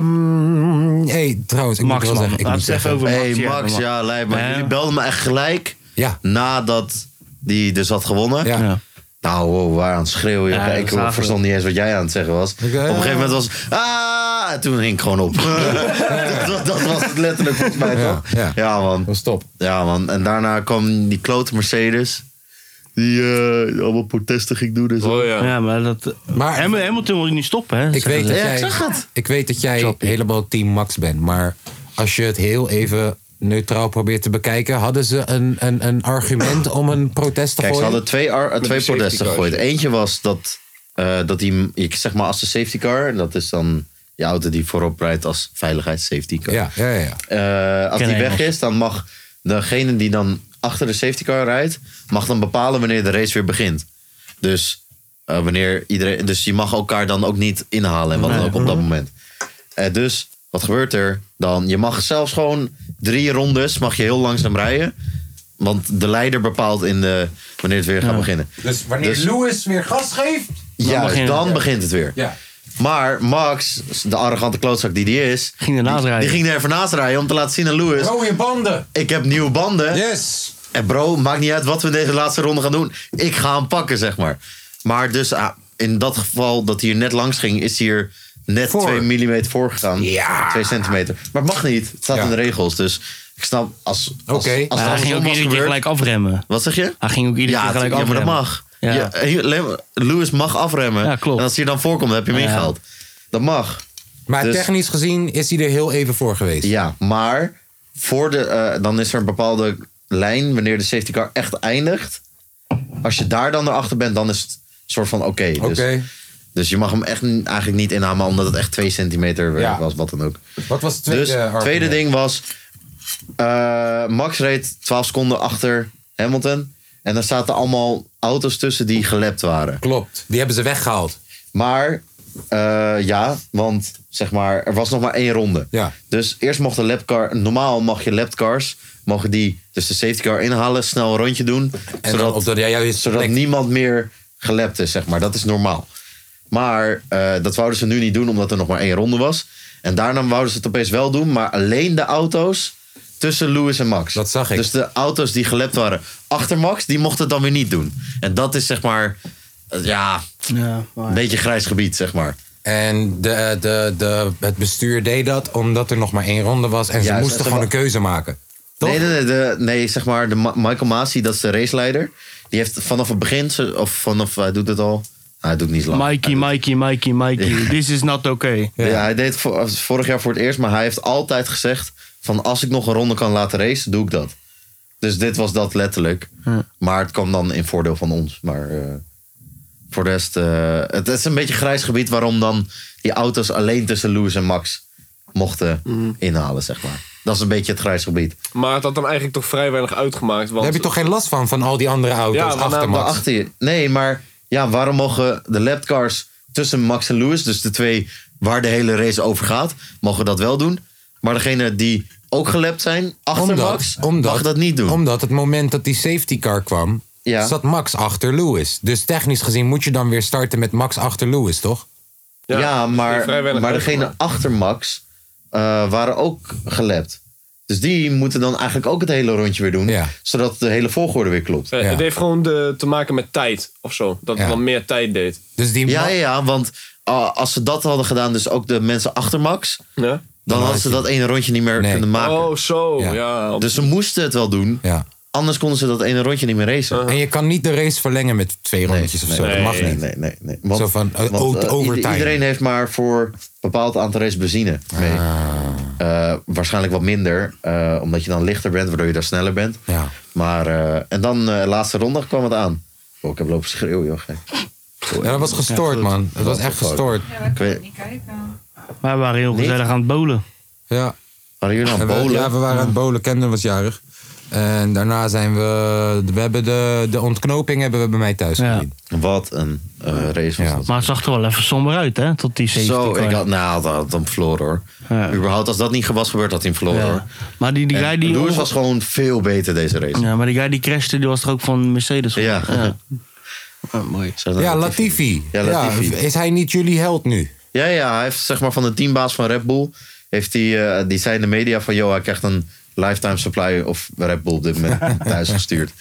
Ehm hey, trouwens, ik
Max,
moet
man.
wel zeggen... Ik
Laat
moet
het even
zeggen
over Max.
Hey
hebben,
Max,
man.
ja, lijp maar.
Ja.
Jullie belden me echt gelijk
ja,
nadat die dus had gewonnen.
ja.
Ja.
Nou, wow, waar aan het schreeuwen.
Ja,
ik
dat zagen
verstond niet eens wat jij aan het zeggen was. Op een gegeven moment was ah, en toen ging ik gewoon op. dat, dat was het letterlijk volgens mij,
Ja,
toch?
ja.
man.
Dat is top.
Ja, man. En daarna kwam die klote Mercedes. Die eh, allemaal protesten ging doen en zo.
Oh ja.
Ja, maar dat...
Maar-
Ham- Hamilton wil ik niet stoppen, hè.
Ik weet, dat
Ja,
jij,
ik zag het.
ik weet dat jij helemaal team Max bent, maar als je het heel even neutraal probeert te bekijken, hadden ze een, een, een argument om een protest te
Kijk, ze
gooien?
hadden twee, ar- eh, twee
safety
protesten
cars.
gegooid. Eentje was dat, eh, dat die, ik zeg maar als de safety car, dat is dan je auto die voorop rijdt als veiligheids-safety car.
Ja, ja, ja. ja.
Eh, als
Ken
die weg
Engels.
is, dan mag degene die dan achter de safety car rijdt, mag dan bepalen wanneer de race weer begint. Dus, eh, wanneer iedereen, dus je mag elkaar dan ook niet inhalen en wat dan ook op dat moment. Eh, dus wat gebeurt er dan? Je mag zelfs gewoon drie rondes mag je heel langzaam rijden. Want de leider bepaalt in de, wanneer het weer gaat beginnen.
Dus wanneer
Dus-
Lewis weer gas geeft...
Ja, dan,
begint-
begint het weer.
Ja.
Maar Max, de arrogante klootzak die die is,
Ging ernaast rijden.
die ging er even naast rijden om te laten zien aan Lewis:
Rode banden.
ik heb nieuwe banden.
Yes.
En bro, maakt niet uit wat we in deze laatste ronde gaan doen. Ik ga hem pakken, zeg maar. Maar dus ah, in dat geval dat hij er net langs ging, is hij er net
Voor.
2 mm voor gegaan.
Ja.
2 centimeter. Maar het mag niet. Het staat
Ja.
in de regels. Dus ik snap, als, als,
Oké.
als
Maar
het
Maar hij ging
andersom was
ook iedere keer
gebeurd-
gelijk afremmen.
Wat zeg je?
Hij ging ook iedere
Ja,
keer gelijk
ja, maar dat
afremmen.
mag.
Ja.
Ja. hier, Lem- Lewis mag afremmen.
Ja, klopt.
En als hij er dan voorkomt, dan heb je hem
Ja.
ingehaald. Dat mag.
Maar
Dus-
technisch gezien is hij er heel even voor geweest.
Ja, maar voor de, eh, dan is er een bepaalde lijn wanneer de safety car echt eindigt. Als je daar dan erachter bent, dan is het soort van oké.
Oké.
Dus, dus je mag hem echt n- eigenlijk niet inhamen, omdat het echt 2 centimeter eh,
Ja.
was, wat dan ook.
Wat was het tweede
dus
argument?
tweede ding was, eh, Max reed 12 seconden achter Hamilton. En daar zaten allemaal auto's tussen die gelept waren.
Klopt. Die hebben ze weggehaald.
Maar eh, ja, want zeg maar, er was nog maar één ronde.
Ja.
Dus eerst mocht de lapcar, normaal mag je lapcars, mogen die dus de safety car inhalen, snel een rondje doen.
En
zodat
dan op de, ja, juist,
zodat
plek.
niemand meer gelept is, zeg maar. Dat is normaal. Maar eh, dat wouden ze nu niet doen, omdat er nog maar één ronde was. En daarna wouden ze het opeens wel doen, maar alleen de auto's tussen Lewis en Max.
Dat zag ik.
Dus de auto's die gelept waren achter Max, die mochten het dan weer niet doen. En dat is zeg maar, eh, ja,
Ja, maar-
een beetje grijs gebied, zeg maar.
En de, de, de, het bestuur deed dat omdat er nog maar één ronde was. En ze
Juist,
moesten
en ze
gewoon een
wa-
keuze maken. Toch?
Nee, nee, nee, de- nee, zeg maar, de Ma- Michael Masi, dat is de raceleider. Die heeft vanaf het begin, ze- of vanaf, hij doet het al. Nou, hij doet niet zo lang.
Mikey, Mikey, Mikey, Mikey. This is not okay.
Ja. hij deed het vo- vorig jaar voor het eerst, maar hij heeft altijd gezegd: van als ik nog een ronde kan laten racen, doe ik dat. Dus dit was dat letterlijk. Maar het kwam dan in voordeel van ons. Maar eh, voor de rest, eh, het is een beetje grijs gebied waarom dan die auto's alleen tussen Lewis en Max mochten inhalen, zeg maar. Dat is een beetje het grijs gebied.
Maar het had hem eigenlijk toch vrij weinig uitgemaakt. Want
Daar heb je toch geen last van, van al die andere auto's
Ja, maar
achter
nou,
Max?
Achter je. Nee, maar ja, waarom mogen de lapcars tussen Max en Lewis, dus de twee waar de hele race over gaat, mogen dat wel doen? Maar degene die ook gelapt zijn achter Max, mag dat niet doen.
Omdat het moment dat die safety car kwam,
Ja.
zat Max achter Lewis. Dus technisch gezien moet je dan weer starten met Max achter Lewis, toch?
ja,
heeft vrij
maar,
weinig
maar degene
uitgemaakt.
achter Max eh, waren ook gelapt. Dus die moeten dan eigenlijk ook het hele rondje weer doen,
Ja.
zodat de hele volgorde weer klopt.
Eh,
Ja.
Het heeft gewoon de, te maken met tijd of zo. Dat
Ja.
het dan meer tijd deed.
Dus die
Ja,
Ma-
ja, ja, want ah, als ze dat hadden gedaan, dus ook de mensen achter Max,
Ja?
dan hadden ze dat ene rondje niet meer
Nee.
kunnen maken.
Oh, zo.
Ja.
Ja.
Dus ze moesten het wel doen.
Ja.
Anders konden ze dat ene rondje niet meer racen.
En je kan niet de race verlengen met twee rondjes of zo. dat mag
nee,
niet.
nee, nee, nee. Want,
Zo van, eh,
want,
o-
eh,
overtime.
ieder- Iedereen heeft maar voor een bepaald aantal races benzine mee.
Ah.
Eh, waarschijnlijk wat minder, eh, omdat je dan lichter bent, waardoor je daar sneller bent.
Ja.
Maar, eh, en dan eh laatste ronde kwam het aan. Oh, ik heb lopen schreeuwen, joh. gek.
Ja, dat was gestoord, man. Dat was echt
Fuck.
gestoord.
Ja, wij
Ik
kunnen
weet-
het niet kijken.
Wij waren heel gezellig aan het bowlen.
Ja.
Waren jullie aan
En
het
we,
bowlen?
ja, we waren aan het bolen. Camden was jarig. En daarna zijn we. We hebben de, de ontknoping hebben we bij mij thuis
Ja.
gezien.
Wat een eh, race was
Maar het zag er wel even somber uit, hè? Tot die 70
Zo,
car.
ik had, nou, dat had hem verloren hoor.
Ja.
Überhaupt, als dat niet was gebeurd, had hij hem verloren
Ja.
hoor.
Maar die, die
En
guy die...
Lewis was gewoon veel beter deze race.
Ja, maar die guy die crashte, die was er ook van Mercedes. van.
Ja.
ja. Ja, mooi.
Zo dat-
Ja, Latifi.
Ja,
Ja,
Latifi.
is hij niet jullie held nu?
Ja, ja, hij heeft zeg maar van de teambaas van Red Bull. Heeft hij, eh, die zei in de media van: joh, hij krijgt een lifetime supply of Red Bull op dit moment thuis gestuurd.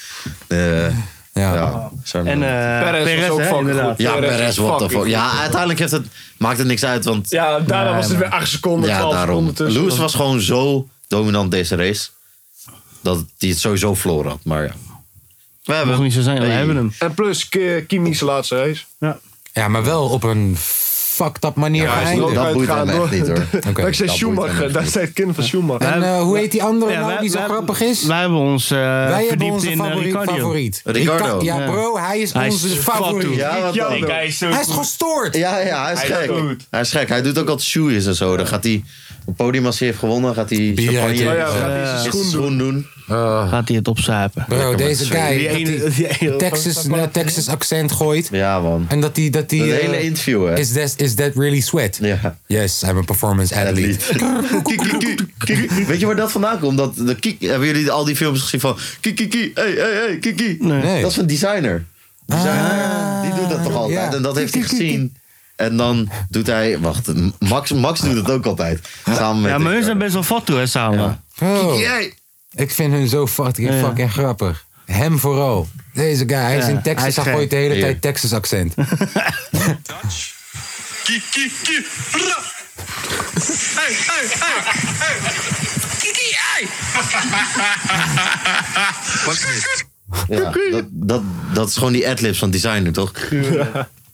Eh,
Ja.
ja, zo-
En eh
Perez was
Perez,
ook
hè,
fucking
inderdaad.
goed.
ja,
Perez
Perez,
is
what the
fucking
fuck. Ja,
goed.
uiteindelijk heeft het, maakt het niks uit, want ja,
Ja, daarna was het weer 8 seconden, 12
daarom.
seconden tussen.
Lewis was gewoon zo dominant deze race dat hij het sowieso verloren had. Maar ja, we hebben
Mocht niet zo zijn, we
Hey.
hebben hem.
En plus Ki- Kimi's laatste race.
Ja, maar wel op een fucked up manier
Ja, hij is
geëindigd.
wel- dat boeit
Uitgaan
hem echt
door-
niet, hoor.
Dankzij
Oké, dat boeit
Schumacher,
hem echt
daar
niet.
zei het kind van Schumacher.
En eh, hoe heet die andere
Ja,
nou
wij-
die zo
wij-
grappig is?
Wij hebben ons eh
Wij hebben
verdiept
onze
in eh,
favoriet.
Ricciardo.
favoriet.
Ricardo.
Rica- Ja,
Ja.
bro, hij is
Hij is
onze
fucking
favoriet.
goed.
Ja, wat dan?
Die guy is zo
Hij is
goed.
gestoord.
Ja, ja, hij is
is
gek.
goed.
Hij is gek. Hij doet ook altijd shoeies en zo. Dan gaat hij op het podium als hij heeft gewonnen, gaat hij
Bier
champagne-
uitdelen.
Oh ja, gaat hij zijn
eh,
schoen
zijn schoen doen.
Gaat hij het opzuipen.
Bro, deze guy
Die
dat
ene-
hij
die ene-
Texas, naar Texas accent gooit.
Ja, man.
En dat hij... Dat die,
Een
eh,
hele interview, hè?
is, that, is that really sweat?
Ja.
Yes, I'm a performance
Dat
athlete.
lied. Kiek, kiek, kiek, kiek. Weet je waar dat vandaan komt? Dat de kiek, hebben jullie al die films gezien van Kiki, hey, hey, hey, Kiki?
Nee. Ah.
Dat is een designer. designer die doet dat toch altijd?
ja.
En dat heeft hij gezien. En dan doet hij, wacht, Max, Max doet het ook altijd. Samen met
Ja, maar hun
Ricardo.
zijn best wel fat toe, hè, samen.
Oh,
Kiki, hey.
ik vind hun zo fucking,
Ja.
fucking grappig. Hem vooral. Deze guy, hij is
Ja,
in
hij
Texas,
is
hij
gek.
gooit de hele
Hier.
tijd Texas accent.
Kiki, kiki, ra. Hey, hey, hey, hey. Kiki, hey.
Ja, dat, dat, dat is gewoon die adlibs van designer, toch?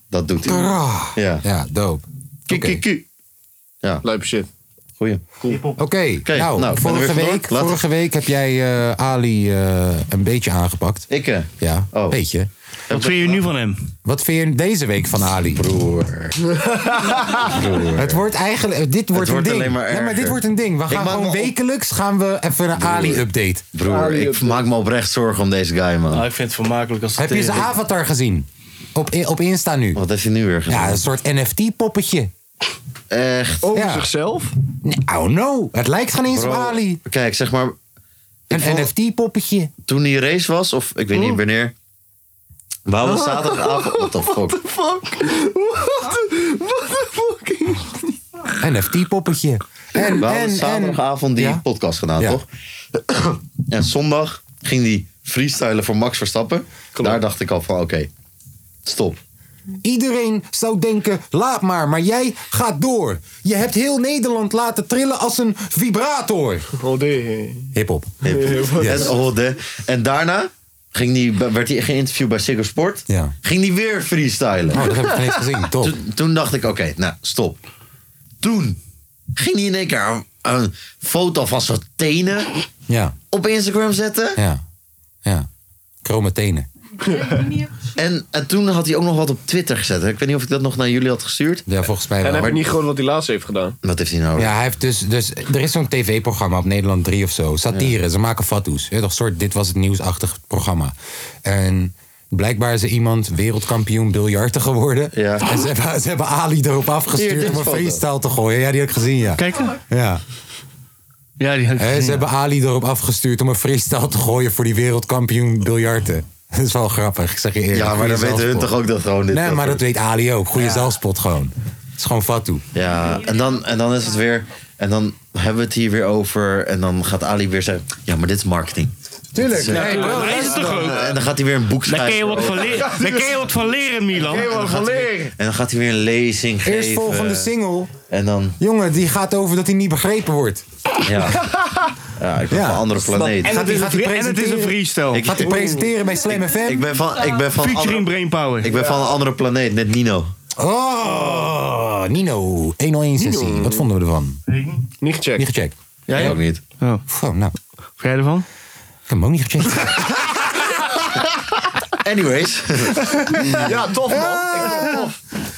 Dat doet hij.
Ah.
Ja.
Ja, dope. Oké,
Kiki, kiki.
Leuke shit.
Goeie.
Oké,
nou,
nou,
ben er
vorige,
weer vandoor.
week,
Laten we-
vorige week heb jij eh, Ali eh, een beetje aangepakt.
Ik, eh,
Ja,
Oh.
een beetje.
Wat vind je nu van hem?
Wat vind je deze week van Ali?
broer.
Het wordt eigenlijk, dit wordt een
wordt
ding.
alleen maar
ja, maar dit
erger.
wordt een ding. We
Ik maak
gaan
me
gewoon
op-
wekelijks gaan we even een Ali-update.
Broer, ik maak me oprecht zorgen om deze guy, man.
Nou, ik vind het vermakelijk als
Heb je zijn avatar gezien? Op, eh, op Insta nu.
Wat heeft hij nu weer
Ja,
gedaan?
een soort NFT-poppetje.
Echt.
Over
Ja.
zichzelf?
Nou, no. Het lijkt geen eens op
Bro,
Ali.
Kijk, zeg maar,
Een
vond-
NFT-poppetje.
toen die race was, of ik weet niet wanneer. We hadden
Oh.
zaterdagavond. What the fuck?
NFT-poppetje. En,
We hadden
en, en.
zaterdagavond die
Ja.
podcast gedaan,
Ja.
toch? en zondag ging die freestylen voor Max Verstappen. Daar dacht ik al van, oké, stop.
Iedereen zou denken, laat maar, maar jij gaat door. Je hebt heel Nederland laten trillen als een vibrator.
Oh, nee.
Hip-hop.
En, oh, de, en daarna ging die, werd hij geïnterviewd bij Ziggo Sport.
Ja.
Ging hij weer freestylen.
Oh, dat heb ik geen eens gezien. Top.
Toen, toen dacht ik, oké, nou, stop. Toen ging hij in één keer een, een foto van zijn tenen
Ja,
op Instagram zetten.
ja, ja. Kromme tenen.
En, en toen had hij ook nog wat op Twitter gezet. Ik weet niet of ik dat nog naar jullie had gestuurd.
Ja, volgens mij
En
wel.
heb je niet gewoon wat hij laatst heeft gedaan?
Wat heeft hij nou?
Ja, hij heeft dus, dus er is zo'n tv-programma op Nederland 3 of zo. Satire, ze maken fatsoes. Ja, toch soort dit was het nieuwsachtig programma. En blijkbaar is er iemand wereldkampioen biljarten geworden.
Ja.
En ze hebben, ze hebben Ali erop
Hier, dit
afgestuurd om een
foto.
freestyle te gooien. Ja, die heb ik gezien, ja.
Kijk, hè?
Ja.
ja, die had ik
Hè,
gezien,
ze
ja.
hebben Ali erop afgestuurd om een freestyle te gooien voor die wereldkampioen biljarten. Dat is wel grappig, ik zeg je eerlijk.
ja, maar
Goeie
dan weten hun
zelfspot.
toch ook dat gewoon dit.
Nee, maar dat weet Ali ook. Goede zelfspot gewoon. Het is gewoon fatu.
Ja, en dan, en dan is het weer... En dan hebben we het hier weer over. En dan gaat Ali weer zeggen... Ja, maar dit is marketing. eh,
Tuurlijk. Nee,
Ja, maar hij is het toch ook?
En dan gaat hij weer een boek
Daar kun je
schrijven.
wat van leren, daar kun je wat van leren, Milan.
En dan gaat hij weer een lezing geven.
Eerst volgende single.
En dan...
Jongen, die gaat over dat hij niet begrepen wordt.
Ja, ja ik ben
Ja.
van een andere planeet.
En
Gaat
het
hij-
is,
gaat hij
een- en het is een
presenteren?
freestyle.
Ik-
Gaat hij presenteren bij Slam
Ik
FM?
ben van, ik ben van, een
Featuring
andere,
Brainpower.
ik ben van een andere planeet, net Nino.
Oh, Nino. 101 sessie. Wat vonden we ervan?
Niet
Niet
gecheckt.
gecheckt.
Jij ook niet.
Oh, nou, ik
Wat jij ervan?
heb hem ook niet gecheckt.
Anyways.
Ja, tof man.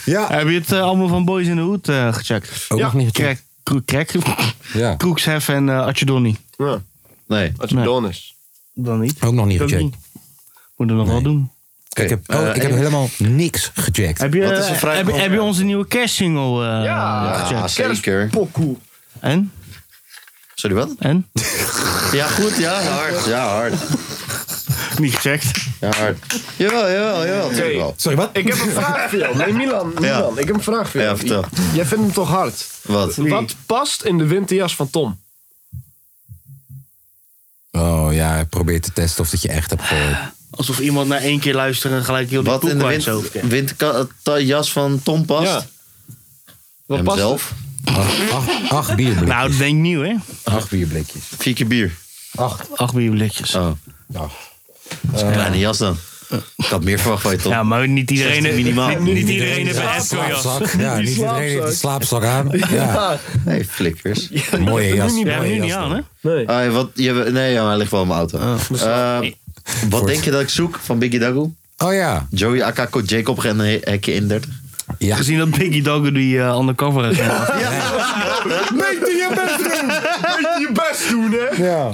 Ja.
Heb je het eh, allemaal van Boys in the Hood eh, gecheckt?
Ook
Ja,
nog niet gecheckt.
Crack, Kroek- Crack,
Ja.
Kroekshef en eh Acedonny.
Ja,
Nee.
als je
Nee.
Donis.
Dan niet.
Ook nog niet
Ook
gecheckt.
Moet er nog wel doen.
Ik heb, oh,
eh,
ik heb
en-
helemaal niks gecheckt.
Heb je, eh, heb, je- heb je onze nieuwe cash single eh
Ja,
gecheckt?
zeker.
Pokoe.
En?
Sorry, wat?
En?
Ja, goed, ja, hard. Ja, hard.
Niet gecheckt.
Ja, hard. Jawel, jawel, jawel.
Oké.
natuurlijk wel.
Sorry, wat?
Ik heb een vraag voor jou. Nee, Milan, Milan ik heb een vraag voor jou.
Ja, vertel.
Jij vindt hem toch hard?
Wat?
Wat past in de winterjas van Tom?
Oh ja, probeer te testen of dat je echt hebt eh, gehoord.
Alsof iemand na één keer luisteren en gelijk heel die
Wat in de
poep uit
wind,
zijn hoofd krijgt.
winterjas van Tom past?
Ja.
Wat
past
Hemzelf?
Acht, acht, acht bierblikjes.
Nou, dat denk ik nieuw, hè?
Acht bierblikjes.
Vier keer bier.
Acht. Eh.
Acht bierblikjes.
Oh. Dat is een kleine jas dan. Ik had meer verwacht van je, Tom.
Ja, maar niet iedereen,
16 minimaal.
niet,
Niet
iedereen heeft een Esco
Slaapzak. Ja, niet iedereen heeft die slaapzak aan. Ja.
Nee, flikkers.
Mooie jas.
Ja,
mooie
nu
jas
niet
dan. Ah, dus-
aan, hè?
Ah, wat, je, nee, ja, hij ligt wel in mijn auto. Eh, wat denk je dat ik zoek van Biggie Dagoe?
Oh ja.
Joey Akako, Jacob en He- Hekje in 30.
Gezien dat Biggie Dogger die eh, undercover is. gemaakt.
Beetje je best doen.
Beetje je best doen, hè?
Ja.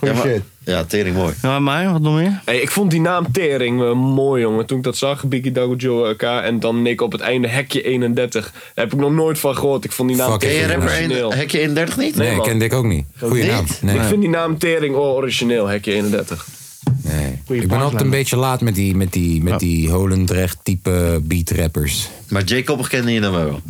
Ja, maar- ja, tering mooi.
Ja, maar mij, wat nog meer?
Hey, ik vond die naam Tering eh, mooi, jongen. Toen ik dat zag, Biggie Dago Joe elkaar en dan Nick op het einde Hekje 31. Daar heb ik nog nooit van gehoord. Ik vond die naam
Fuck,
Ken
ik
je
vind
rapper
hem
in- Hekje 31 niet?
Nee,
man.
kende ik ook niet. Goeie
niet?
naam. Nee.
Ik vind die naam Tering wel origineel, Hekje 31.
nee. Ik ben altijd een beetje laat met die, met die, met die Holendrecht type beatrappers.
Maar Jacob kende je dan wel.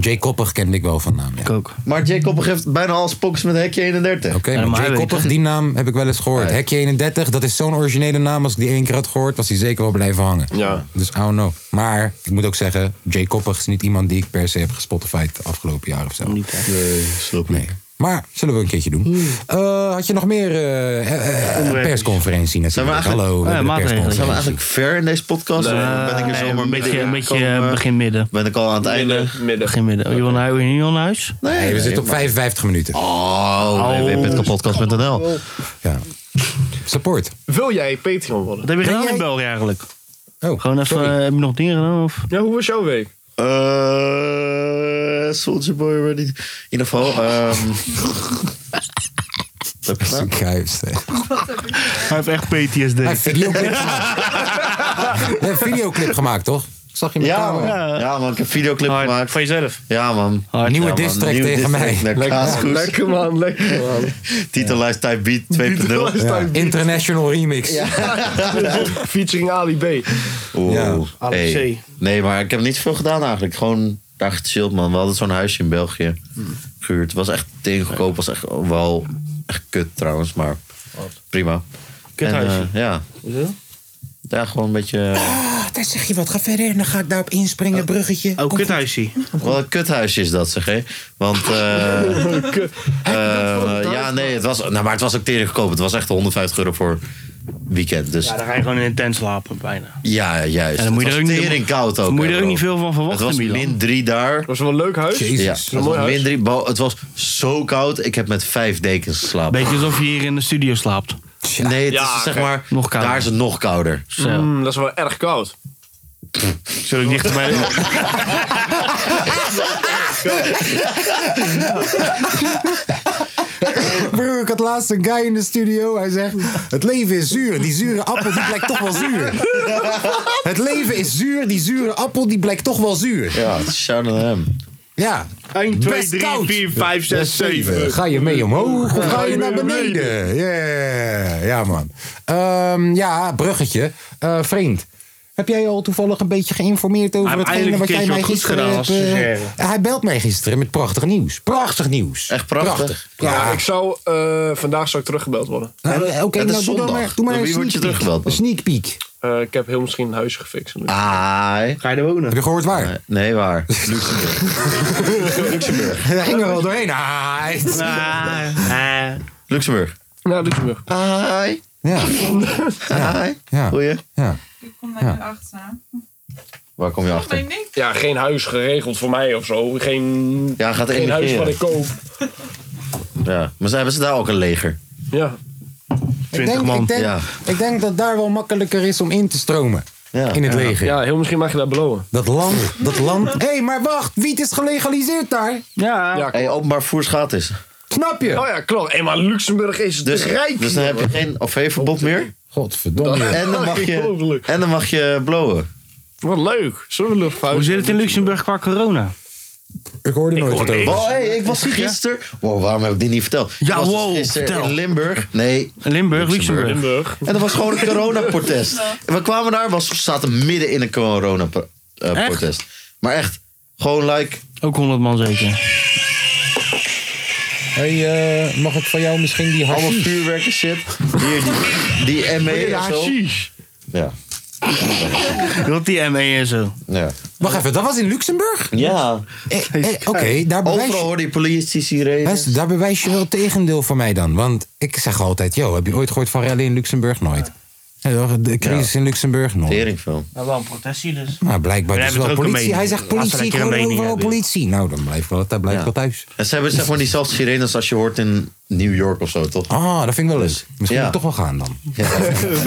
Jay Koppig kende ik wel van naam, ja.
Ik ook.
Maar Jacob heeft bijna al spokes met Hekje 31.
Oké,
Ja, maar
maar
hij
Jay
weet
Koppig,
het.
die naam heb ik wel eens gehoord. Hekje 31, dat is zo'n originele naam. Als ik die één keer had gehoord, was die zeker wel blijven hangen.
Ja.
Dus I don't know. Maar ik moet ook zeggen, Jay Koppig is niet iemand die ik per se heb gespotified de afgelopen jaar of zo.
Nee, snap ik.
Maar zullen we een keertje doen. Eh, had je nog meer eh, eh, eh, persconferentie
Zijn we eigenlijk-
natuurlijk?
Oh
Hallo, we
Ja,
hebben de
maatregelen.
Zijn we
persconferentie.
eigenlijk ver in deze podcast? of ben ik er
Eh, Nee,
zomaar
een beetje,
midden
een beetje
gekomen?
eh, begin midden.
Ben ik al aan het einde?
Midden, midden.
Begin midden. Oh, je wil naar, je wil naar huis?
Nee,
Hey, we
nee,
zitten op
maar-
55 minuten.
Oh,
Oh.
www.kapodcast.nl.
Ja. Support.
Wil jij Patreon worden?
Wat heb je
Nee,
gedaan
jij-
in België eigenlijk?
Oh,
Gewoon even,
sorry.
eh, heb je nog dingen gedaan? Of?
Ja, hoe was jouw week?
Eh, Soldier Boy ready. In ieder geval. ehm, Wat heb ik gedaan?
Zo'n kuis, hè.
Hij heeft echt
Hij
PTSD.
heeft een videoclip gemaakt. Hij heeft een videoclip gemaakt, toch? Zag je hem
ja,
kamer?
man. ja, man. Ik heb een videoclip gemaakt.
Van jezelf.
Ja, man.
Hard.
Nieuwe
ja, man.
diss track
Nieuwe
tegen
diss
mij.
track naar Kaaskoes.
Lekker man, lekker man.
Titellijst Type Beat 2.0.
Titellijst.
Ja,
Type beat.
International remix.
Featuring Ali B.
Oeh,
Ja.
hey.
Alex
Nee, maar ik heb niet veel gedaan eigenlijk. Gewoon daar gechilled, man. We hadden zo'n huisje in België gehuurd. Het was echt tegengekoop. was echt wel echt kut trouwens, maar prima. En,
Kuthuisje.
eh, ja. Ja, gewoon een beetje... eh,
Ah, daar zeg je wat. Ga verder en dan ga ik daarop inspringen. Bruggetje.
Oh, kuthuisje.
Wat een kuthuisje is dat, zeg hé. Want, eh, eh, ja, nee, het was, nou, maar het was ook tering goedkoop. Het was echt 150 euro voor weekend. Dus
Ja, dan ga je gewoon in een tent slapen bijna.
ja, juist.
En dan moet je
het
er
was
ook niet-
tering koud ook.
Dan moet je
hè,
er ook
bro.
niet veel van
Het
verwachten,
was
Milan.
min 3 daar.
Was wel een leuk huis.
Jezus.
Ja,
Een
het was,
mooi huis.
min drie, bo- het was zo koud. Ik heb met vijf dekens geslapen.
Beetje alsof je hier in de studio slaapt.
Nee, het
Ja,
is zeg
oké.
maar,
Nog kouder.
daar is het nog kouder.
Zo.
Mm, dat is wel erg koud.
Zullen we dichter bij de...
Bro, ik had laatst een guy in de studio. Hij zegt: Het leven is zuur. Die zure appel die blijkt toch wel zuur. Het leven is zuur. Die zure appel die blijkt toch wel zuur.
Ja, shout out hem.
Ja.
1, 2,
Best
3,
koud.
4, 5, 6, 7.
Ga je mee omhoog of ga je naar beneden? Yeah. Ja, man. Ehm, ja, bruggetje. Eh, vriend. Heb jij je al toevallig een beetje geïnformeerd over
Hij heeft
hetgene wat
eindelijk een
jij mij
keertje wat
gisteren
goeds
hebt,
gedaan,
eh,
als ze
Hij belt mij gisteren met prachtig nieuws. Prachtig nieuws.
Echt prachtig?
Ja,
Ja, ik zou, eh, vandaag zou ik teruggebeld worden.
Nou, Oké,
Het is
nou, doe dan
zondag.
maar, doe maar
Door
een
wie word je
sneak peek.
teruggebeld
Een
dan?
sneak peek.
Eh, ik heb heel misschien een huisje gefixt. nu.
Ai.
Ga je er wonen?
Heb je gehoord waar?
Nee, waar? Luxemburg. Luxemburg.
Hij ging er al doorheen. Ah,
Ah, ah.
Eh. Luxemburg.
Nou, Luxemburg.
Hi.
Ja,
Hi.
Ja.
Goeie.
ja.
Ik kom daar nu achteraan.
Waar kom je
Dat
achter?
ben ik niet.
Ja, geen huis geregeld voor mij of zo. Geen,
Ja, gaat
geen huis wat
emigreren.
ik koop.
Ja. Maar ze hebben ze daar ook een leger?
Ja.
20 man.
Ik denk,
Ja.
ik denk dat daar wel makkelijker is om in te stromen.
Ja.
In het leger.
ja, heel misschien mag je daar blowen.
Dat land, dat land. Hé, hey, maar wacht. Wiet is gelegaliseerd daar.
Ja.
Ja.
Hey, openbaar voer is gratis.
Snap je?
Oh ja, klopt. Eenmaal in Luxemburg is het dus,
Dus,
rijk.
dus dan heb je geen OV-verbod meer.
Godverdomme.
En dan mag je, en dan mag je blowen.
Wat leuk. Zullen we luchtfouten?
Hoe zit het in Luxemburg qua corona?
Ik hoorde nooit wat
hoor
over.
niks.
Oh, hey, ik was gisteren... Wow, waarom heb ik dit niet verteld?
Ja,
ik was dus
wow,
gisteren
vertel.
in Limburg. Nee,
Limburg, Luxemburg.
Luxemburg?
En dat was gewoon een coronaprotest. En we kwamen daar, was, we zaten midden in een
Echt?
coronaprotest. maar echt, gewoon like...
Ook 100 man zeker.
Hey, eh, mag ik van jou misschien die
Allemaal
hashish?
vuurwerk en shit. Hier, die, die
E-
ME en zo. Ja.
Wilt die ME en zo?
Ja.
Wacht even, dat was in Luxemburg?
ja.
Eh, eh, Oké, daar bewijs
Overal
je...
hoorde je politie sirenes.
Luister, daar bewijs je wel het tegendeel van mij dan. Want ik zeg altijd, yo, heb je ooit gehoord van rellen in Luxemburg? Nooit. Ja, toch, De crisis in Luxemburg? Nooit.
Teringfilm.
Nou, wel een protestje dus.
Maar blijkbaar
We
is
hebben
wel
er ook een
politie.
mening.
Hij zegt
Laten we
politie,
een keer een
gewoon
mening
overal
hebben.
politie. Nou, dan blijf wel, daar blijf ik
Ja.
wel thuis.
En ze hebben zeg maar diezelfde sirenes als je hoort in New York of zo, toch?
Ah, dat vind ik wel leuk. Misschien
Ja.
moet ik toch wel gaan dan.
Dat vind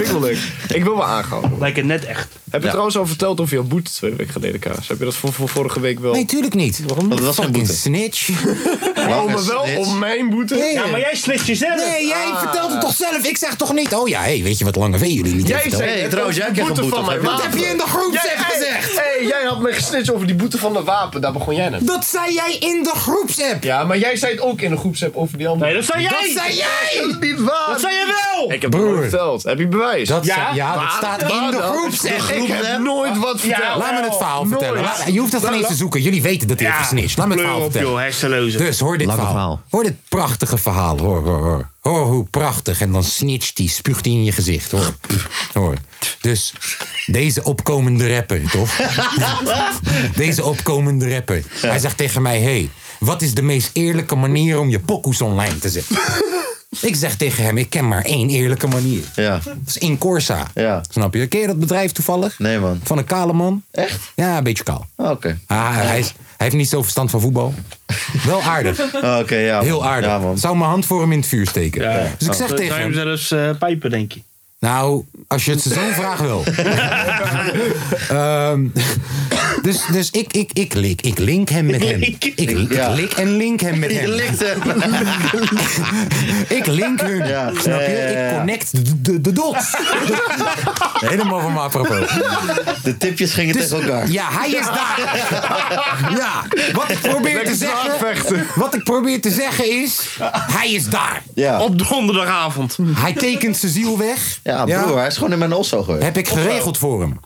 ik wel leuk. Ik wil wel aangehouden. worden.
Lijkt het net echt.
Heb je
Ja.
trouwens al verteld over jouw boete twee weken geleden, Kaas? Heb je dat voor, voor vorige week wel...
Nee, tuurlijk niet.
Waarom
Want
niet?
het was geen
Fucking
boete.
snitch.
Oh, maar wel om mijn boete? Ah.
Nee,
Ja, maar jij slicht jezelf.
nee jij vertelt het toch zelf? Ik zeg toch niet, oh ja, hey, weet je wat lange V jullie niet
Jij
hebben verteld?
zei
Hey,
net
trouwens,
over
jij
die
krijgt een boete
van
van
mijn
Dat heb je in de groepsapp
hey,
gezegd.
hey, jij had me gesnitcht over die boete van de wapen. Daar begon jij net.
Dat zei jij in de groepsapp.
Ja, maar jij zei het ook in de groepsapp over die andere.
Nee, dat zei jij!
Dat zei jij!
is niet waar.
Dat zei je wel!
Ik heb
Broer.
het nooit verteld. Heb je bewijs?
Dat
Ja,
zei- ja, dat
Waar-
staat
waar
in de
dan?
groepsapp.
Ik heb nooit wat verteld.
Laat me het verhaal
Nooit.
vertellen. Laat- je hoeft dat geen eens te zoeken. Jullie weten dat hij heeft gesnitcht. Laat me het
kleur
verhaal
op,
vertellen.
joh, hersenloze.
Dus hoor dit
Lang
verhaal.
verhaal.
Hoor dit prachtige verhaal. Hoor, hoor, hoor. Hoor hoe prachtig. En dan snitcht hij, spuugt hij in je gezicht. Hoor. hoor. Dus deze opkomende rapper, toch? deze opkomende rapper. Hij zegt tegen mij, hey, wat is de meest eerlijke manier om je pokoes online te zetten? ik zeg tegen hem, ik ken maar één eerlijke manier.
Ja.
Dat is in Corsa.
Ja.
Snap je? Ken je dat bedrijf toevallig?
Nee, man.
Van een kale man?
Echt?
Ja, een beetje kaal.
Ah, Oké.
Ah, hij, is- hij heeft niet zoveel verstand van voetbal. Wel aardig.
Ah, Oké, ja. man.
Heel aardig.
Ja, man.
Zou mijn hand voor hem in het vuur steken. Dus ik zeg
Dan
tegen
zou je hem
hem...
Oh, zelfs eh, pijpen, denk je.
Nou, als je het zo vraagt wel. Ehm, dus dus ik, ik, ik, link, ik link hem met hem. Ik, ik
Ja.
lik en link hem met
Je
hem.
likt hem.
Ik link hun.
Ja.
Snap
Ja, ja,
je?
ja,
Ik
ja.
connect de, de, de dots. Helemaal van mijn apropos.
De tipjes gingen tegen elkaar.
Dus Ja, hij is daar. Ja, wat ik probeer te zeggen... Wat ik probeer te zeggen is... Hij is daar.
Ja.
Op donderdagavond.
Hij tekent zijn ziel weg.
Ja, broer, hij is gewoon in mijn osso geweest.
Heb ik geregeld voor hem.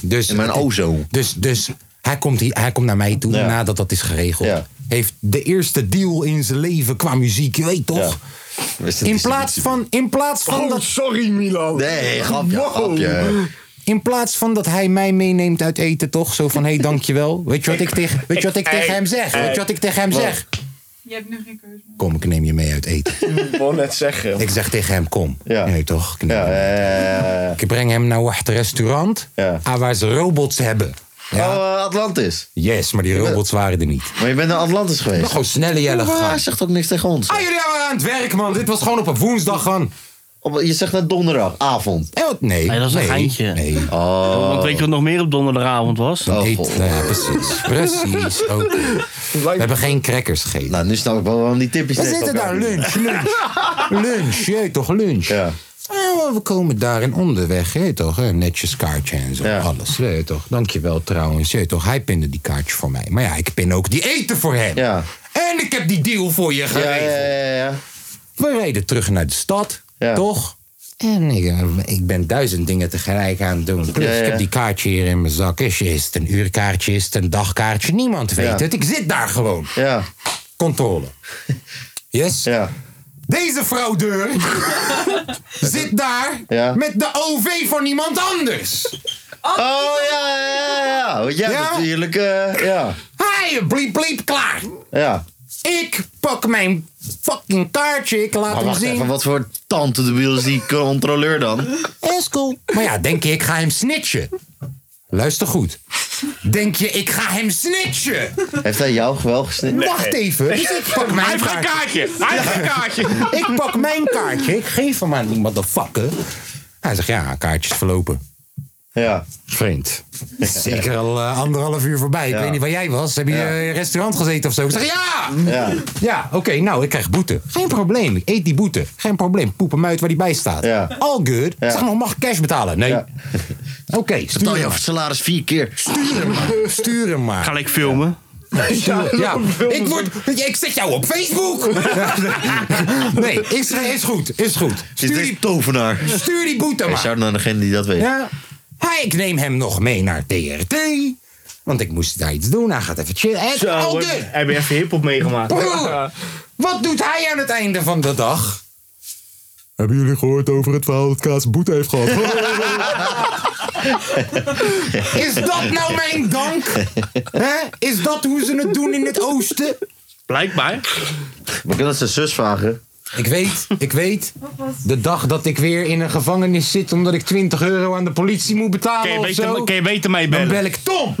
Dus,
In mijn ozo.
Dus, dus hij, komt hier, hij komt naar mij toe
Ja.
nadat dat is geregeld.
Ja.
Heeft de eerste deal in zijn leven qua muziek, je weet toch?
Wist het
In,
niet.
plaats van, in, plaats van
Oh,
dat,
sorry Milan.
Nee, grapje,
Wow.
grapje.
in plaats van dat hij mij meeneemt uit eten, toch? Zo van, hé, hey, dankjewel. Weet je wat ik, tegen- weet je wat ik tegen hem zeg? Weet je wat ik tegen hem zeg?
Je hebt nu geen keuze meer.
Kom, ik neem je mee uit eten.
Ik wou net zeggen.
Ik zeg tegen hem, kom.
Ja.
Nee, toch? Ik neem
Ja,
je mee.
eh,
Ik breng hem naar het restaurant
Ja.
ah, waar ze robots hebben. Ja.
Oh, eh, Atlantis.
Yes, maar die robots waren er niet.
Maar je bent naar Atlantis
Ik ben
geweest.
gewoon snelle jelle
Ah,
gegaan.
hij zegt ook niks tegen ons.
Ah, jullie waren aan het werk, man. Dit was gewoon op een woensdag, gewoon.
Op- je zegt net donderdagavond.
Eh, wat? Nee.
Nee, dat is een
nee,
geintje.
Nee.
Want weet je wat nog meer op donderdagavond was?
Oh,
Eet-
god.
nou ja, precies. Precies. Ook. We hebben geen crackers gegeten.
Nou, nu snap ik wel waarom die tipjes
we
tegen
zitten
elkaar
daar, lunch, lunch. lunch, jeet toch, lunch.
Ja.
Ah, we komen daar en onderweg, jeet toch, hè, netjes kaartje en zo,
Ja.
alles, jeet toch. Dankjewel trouwens, jeet toch, hij pinde die kaartje voor mij. Maar ja, ik pin ook die eten voor hem.
Ja.
En ik heb die deal voor je
Ja,
geregeld.
ja, ja, ja.
We reden terug naar de stad,
Ja.
toch? En ik, ik ben duizend dingen tegelijk aan het doen. Plus,
Ja, ja.
ik heb die kaartje hier in mijn zak. Is is het een uurkaartje? Is het een dagkaartje? Niemand weet
Ja.
het. Ik zit daar gewoon.
Ja,
Controle. Yes?
ja.
Deze fraudeur zit daar
Ja.
met de OV van iemand anders.
Oh, ja, ja, ja, ja. Nou, Want jij
Ja?
bent natuurlijk, eh, ja.
Hij bliep bliep klaar.
Ja.
Ik pak mijn fucking kaartje. Ik laat
Maar
hem
wacht
zien.
even, wat voor tante de wiel is die controleur dan?
Eskel. Maar ja, denk je, ik ga hem snitchen? Luister goed. Denk je, ik ga hem snitchen?
Heeft hij jou wel gesneden?
Wacht even. Dus ik pak mijn kaartje.
Hij heeft een kaartje!
Ik pak mijn kaartje. Ik geef hem aan die motherfucker. Hij zegt, ja, kaartje is verlopen.
Ja.
Vreemd. Zeker al eh, anderhalf uur voorbij. Ik weet niet waar jij was. Heb je eh, in een restaurant gezeten of zo? Ik zeg ja!
Ja,
ja oké, nou, ik krijg boete. Geen probleem. Ik eet die boete. Geen probleem. Poep hem uit waar die bij staat. All good. Zeg maar, mag ik cash betalen? Nee. Oké,
Betaal
stuur
je
hem
over
maar.
salaris vier keer.
Stuur hem maar. Stuur hem maar.
Ga ik filmen?
Ja, ja. Ik, word, ik zet jou op Facebook! nee, is, is goed, is goed.
Is
Stuur die,
dit tovenaar?
stuur die boete
Hey,
maar.
shout naar degene die dat weet.
Ja. Hij, ik neem hem nog mee naar TRT. Want ik moest daar iets doen. Hij gaat even chillen. Het
Zo,
al
hoor.
de-
heb je even hiphop meegemaakt?
Broer, wat doet hij aan het einde van de dag? Hebben jullie gehoord over het verhaal dat Kaas boete heeft gehad? Is dat nou mijn dank? Hè? Is dat hoe ze het doen in het oosten?
Blijkbaar.
We kunnen zijn zus vragen.
Ik weet, ik weet. De dag dat ik weer in een gevangenis zit omdat ik 20 euro aan de politie moet
Kun
betalen
je
of zo.
beter, kun je beter mee bellen?
Dan bel ik Tom.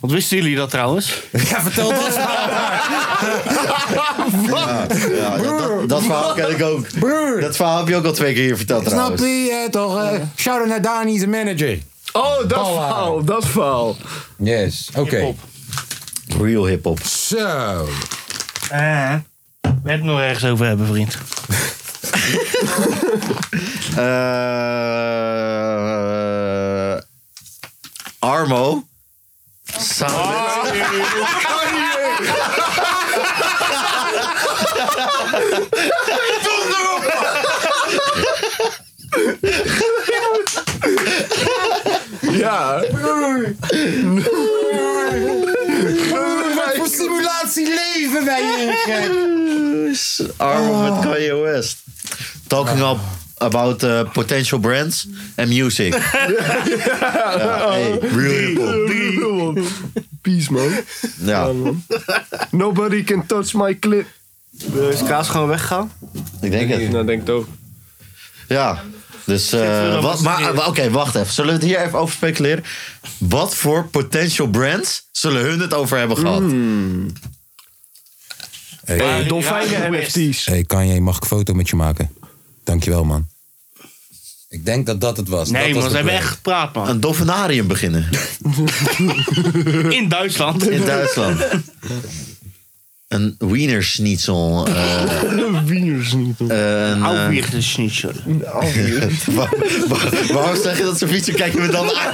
Want wisten jullie dat trouwens?
Ja, vertel dat verhaal maar.
Ja, dat, dat, dat verhaal ken ik ook.
Broer.
Dat verhaal heb je ook al twee keer hier verteld
Snap
trouwens.
je eh, toch? eh, shout out naar Dani, zijn manager.
Oh, dat
Paul
verhaal, dat verhaal.
Yes, oké.
Real hip-hop.
Zo.
Eh. We het nog ergens over hebben, vriend.
Eh, Armo.
Oh, Ja,
Wat voor simulatie leven wij hier?
Armo met Kanye West. Talking up about eh, potential brands and music. ja, hey, real hip-hop.
peace man.
Ja,
Nobody can touch my clip.
Is Kaas gewoon weggegaan?
ik denk het.
Nou, denk ik ook.
Ja. Dus, eh, wat, maar eh, oké, wacht even. Zullen we het hier even over speculeren? Wat voor potential brands zullen hun het over hebben gehad?
Hmm.
Hey.
Dolfijnen NFT's.
hey, Kanye, mag ik een foto met je maken? Dankjewel, man. Ik denk dat dat het was.
Nee, man,
dat was de
ze hebben
plan.
echt gepraat, man.
Een dolfinarium beginnen
In Duitsland.
in Duitsland. een wienerschnitzel. eh
Wieners niet.
een, eh,
Aufwicht is niet zo.
waar- waar- waarom zeg je dat ze fietsen? Kijk je me dan aan?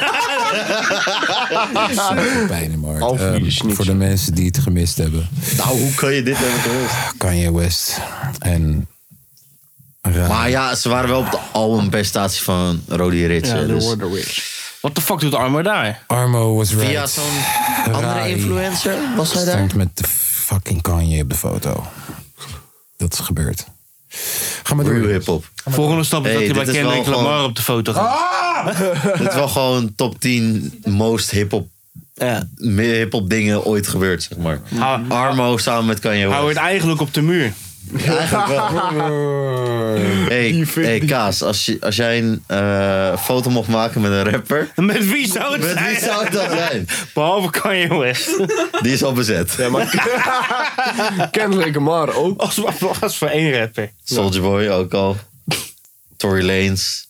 Pijnenmarkt.
Half uur
Ehm,
is niks.
voor de mensen die het gemist hebben.
Nou, hoe kan je dit hebben gerust?
Kanye West en... Ra-
Maar ja, ze waren wel op de albumpresentatie van Roddy Ricch. hè, dus
What the fuck doet Armo daar?
Armo was right.
via zo'n andere
Rai.
influencer was hij daar?
stond met de fucking Kanye op de foto. Dat is gebeurd. Ga maar
Real
door.
hip-hop.
Volgende stap
Hey,
is dat
dit
hij
is
bij
wel
Kendrick
gewoon- Ah!
Lamar op de foto gaat.
Dit is wel gewoon top 10 most hip-hop
Ja.
meer hip-hop dingen ooit gebeurd, zeg maar.
Hou-
Armo samen met Kanye
Hou het
West.
eigenlijk op de muur.
Eigenlijk wel. Hey, hey Kaas, als, je, als jij een eh, foto mocht maken met een rapper,
Met wie zou het
met
zijn?
wie zou dat zijn?
Behalve Kanye West.
Die is al bezet.
Ja, maar Kendrick Lamar ook.
Als, als voor één rapper.
Soldier Boy ook al. Tory Lanez.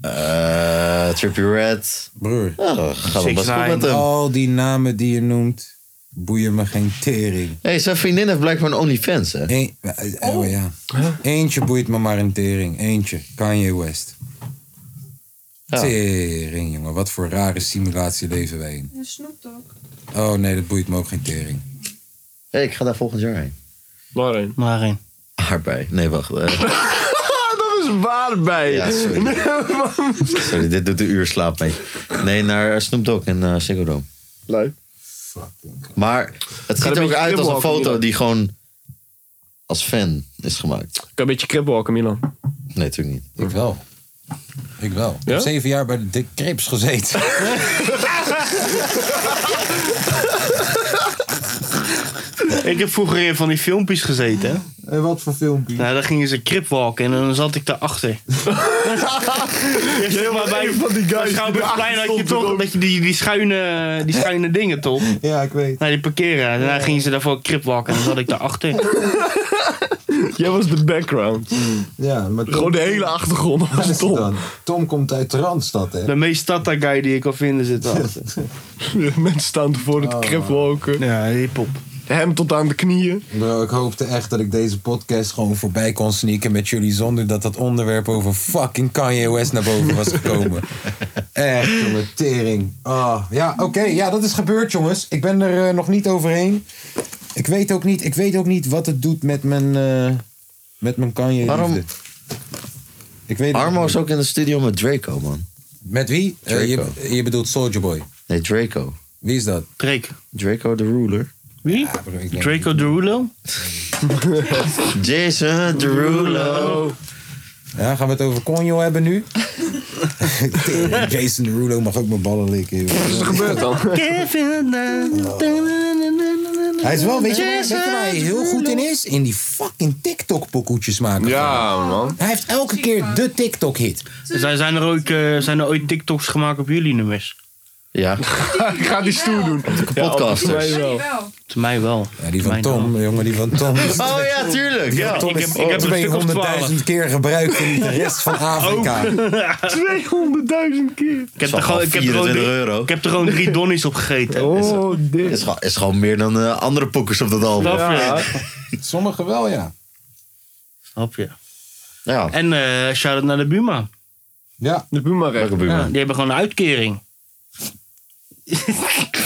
Eh, Trippie Red.
Broer. Oh.
Ja, dat gaat wel best goed met hem.
Al die namen die je noemt, boeien me geen tering.
Hey, zijn vriendin heeft blijkbaar een OnlyFans, hè?
Eén- oh ja. Eentje boeit me maar een tering. Eentje. Kanye West.
Ja.
Tering, jongen. Wat voor rare simulatie leven wij in.
En Snoop Dogg.
Oh nee, dat boeit me ook geen tering.
Hey, ik ga daar volgend jaar heen.
Lauren.
Maar één.
Aardbei. Nee, wacht. eh,
Dat is waar bij.
ja, sorry. Sorry, dit doet de uur slaap mee. Nee, naar Snoop Dogg en eh Ziggo Dome.
Leuk.
Maar het ziet
een
er ook
beetje
uit als een
dribbelhakken,
foto
Milan.
die gewoon als fan is gemaakt.
Ik kan een beetje cribwalken, Milan.
Nee, natuurlijk niet.
Ik wel. Ik wel. Ik heb
Ja?
zeven jaar bij de Dick Crips gezeten.
Ik heb vroeger in van die filmpjes gezeten. hè.
En wat voor filmpje?
Nou, daar gingen ze cripwalken en dan zat ik daarachter. je zit maar bij van die guys. Schouwburgplein had je toch dat je die, die, schuine, die schuine dingen toch? Nou,
Ja, ik weet.
Naar die parkeren. Daarna gingen ze daarvoor cripwalken en dan zat ik daarachter.
Jij was de background.
Ja, maar
Gewoon de hele achtergrond was
Luister
Tom.
dan. Tom komt uit de Randstad, hè?
De meest tata guy die ik kan vinden zit achter.
Mensen staan ervoor het crepwalken.
Ja, hip-hop.
Hem tot aan de knieën.
Bro, ik hoopte echt dat ik deze podcast gewoon voorbij kon sneaken met jullie zonder dat dat onderwerp over fucking Kanye West naar boven was gekomen. echt, jongen, tering. Ah, ja, oké, ja, dat is gebeurd, jongens. Ik ben er eh, nog niet overheen. Ik weet ook niet, ik weet ook niet wat het doet met mijn, eh, met mijn Kanye.
Waarom-
liefde. Ik weet het
Armo
niet.
is ook in de studio met Draco, man.
Met wie? Eh,
Draco.
je, je bedoelt Soldier Boy.
Nee, Draco.
Wie is dat?
Drake.
Draco Derulo.
Wie?
Ja, bro, ik denk-
Draco Derulo?
Jason Derulo.
Ja, gaan we het over Conjo hebben nu? Tering, Jason Derulo mag ook mijn ballen likken. joh.
Wat is er gebeurd eh, dan?
Hij is wel, weet je, waar- weet je waar hij heel goed in is? In die fucking TikTok-pokoetjes maken.
Ja, man.
Hij heeft elke keer de TikTok-hit.
Zijn, zijn, er ook, eh, zijn er ooit TikToks gemaakt op jullie nummers?
Ja,
Ik ga die stoer doen. Ja,
podcasters.
volgens mij wel.
Dankjewel.
Te mij wel.
Ja, die van
Mijn
Tom, jongen, die van Tom. is-
Oh ja, tuurlijk. Ja.
Tom
ik heb-
is
ik heb een stuk of Oh.
200.000 keer gebruikt in de rest van Afrika.
Oh. 200.000 keer.
Ik heb,
Zal
er gewoon,
wel
ik, heb er gewoon
24
drie-
euro.
ik heb er gewoon drie donnies op gegeten.
Oh, dit.
Is, gewoon- is gewoon meer dan eh, andere pokers op dat album.
Snap je?
Sommigen wel, ja.
Snap je?
Ja,
En eh shout-out naar de Buma.
Ja,
De Buma
lekker buurman.
Ja, die hebben gewoon een uitkering.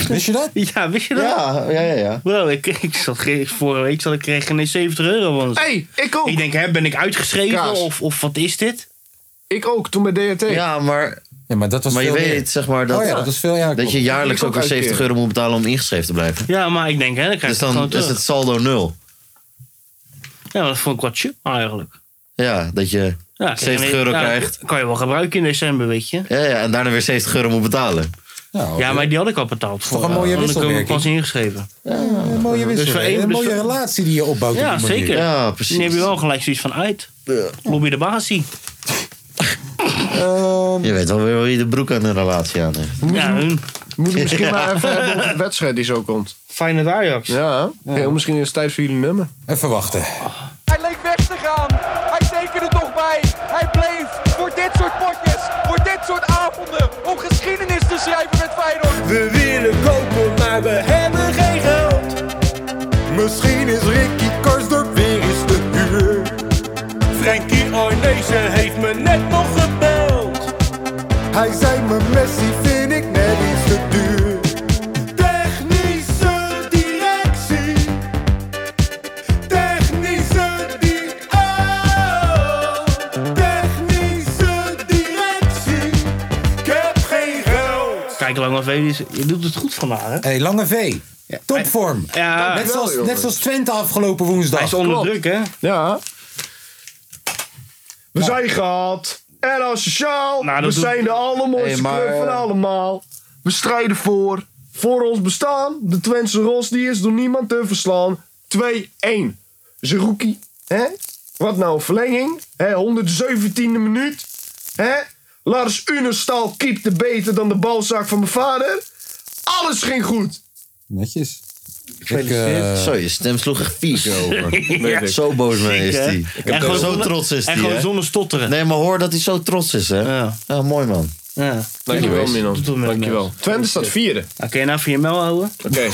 wist je dat?
Ja, wist je dat?
Ja, ja, ja. ja.
Bro, ik, ik zat ge- vorige week zat ik kreeg ineens 70 euro van ze.
hey, ik ook.
Ik denk, hè, ben ik uitgeschreven
Kaas.
of, of wat is dit?
Ik ook, toen bij DHT.
Ja, maar,
Ja, maar dat was
maar je
veel meer.
weet zeg maar dat,
oh ja, dat was veel, ja.
dat je
klopt.
jaarlijks
Ik ook
ook weer 70
uitkeren.
euro moet betalen om ingeschreven te blijven.
Ja, maar ik denk, hè, dan krijg
Dus
ik het gewoon
dan is
terug.
het saldo nul.
Ja, dat vond ik wat chill eigenlijk.
Ja, dat je
Ja,
70 euro krijgt.
Kan je wel gebruiken in december, weet je.
Ja, ja, en daarna weer 70 euro moet betalen.
Ja,
Ja, maar die had ik al betaald.
toch een mooie
want ik heb hem
wisselwerking?
pas ingeschreven.
Een mooie wissel.
voor één-
een
dus
mooie
voor-
relatie die je opbouwt op
Ja,
die manier.
zeker.
Ja,
Dan heb
precies.
je wel gelijk zoiets van uit. Lobby de basie.
Ehm,
Je weet wel weer wie de broek aan een relatie aan heeft.
Ja, hun.
Moet ik misschien maar even hebben over de wedstrijd die zo komt.
Feyenoord Ajax.
Ja, hè? Heel misschien is het tijd voor jullie nummer.
even wachten.
Hij leek weg te gaan. Hij tekende toch bij. Hij bleef voor dit soort potjes, voor dit soort avonden, om geschiedenis te schrijven met Feyenoord.
We willen kopen, maar we hebben geen geld. Misschien is Ricky Karsdorp weer eens te duur. Frankie Arnezen heeft me net nog gebeld. Hij zei me Messi vind ik net iets te duur. Technische directie. Technische di- oh. Technische directie. Ik heb geen geld.
Kijk, Lange V, die is- je doet het goed vandaag, hè?
Hey, Lange V. Topvorm.
Ja,
net, zoals,
jongens.
net zoals Twente afgelopen woensdag.
Eh, hij is onder
klopt.
druk, hè?
Ja. We zijn gehad. En asociaal.
Nou,
we
dat doet-
zijn de allermooiste
Hey, maar,
club van
eh,
allemaal. We strijden voor. Voor ons bestaan. De Twentse Ros die is door niemand te verslaan. 2-1. Zerouki. Hè? Wat nou een verlenging. Hè? 117e minuut. Hè? Lars Unestal keepte beter dan de balzak van mijn vader. Alles ging goed.
Netjes. Ik, eh,
Zo, je stem sloeg echt vies over. Zo boos mee is
Zeker, hè?
hij.
En gewoon
Zo
zonder-
trots is
En gewoon
hij.
zonder stotteren.
Nee, maar hoor dat hij zo trots is, hè?
Ja.
Ja, mooi man.
Ja.
Dankjewel,
Doet het met mensen.
Twente staat vierde.
Nou, kun je nou van je mel houden?
Oké.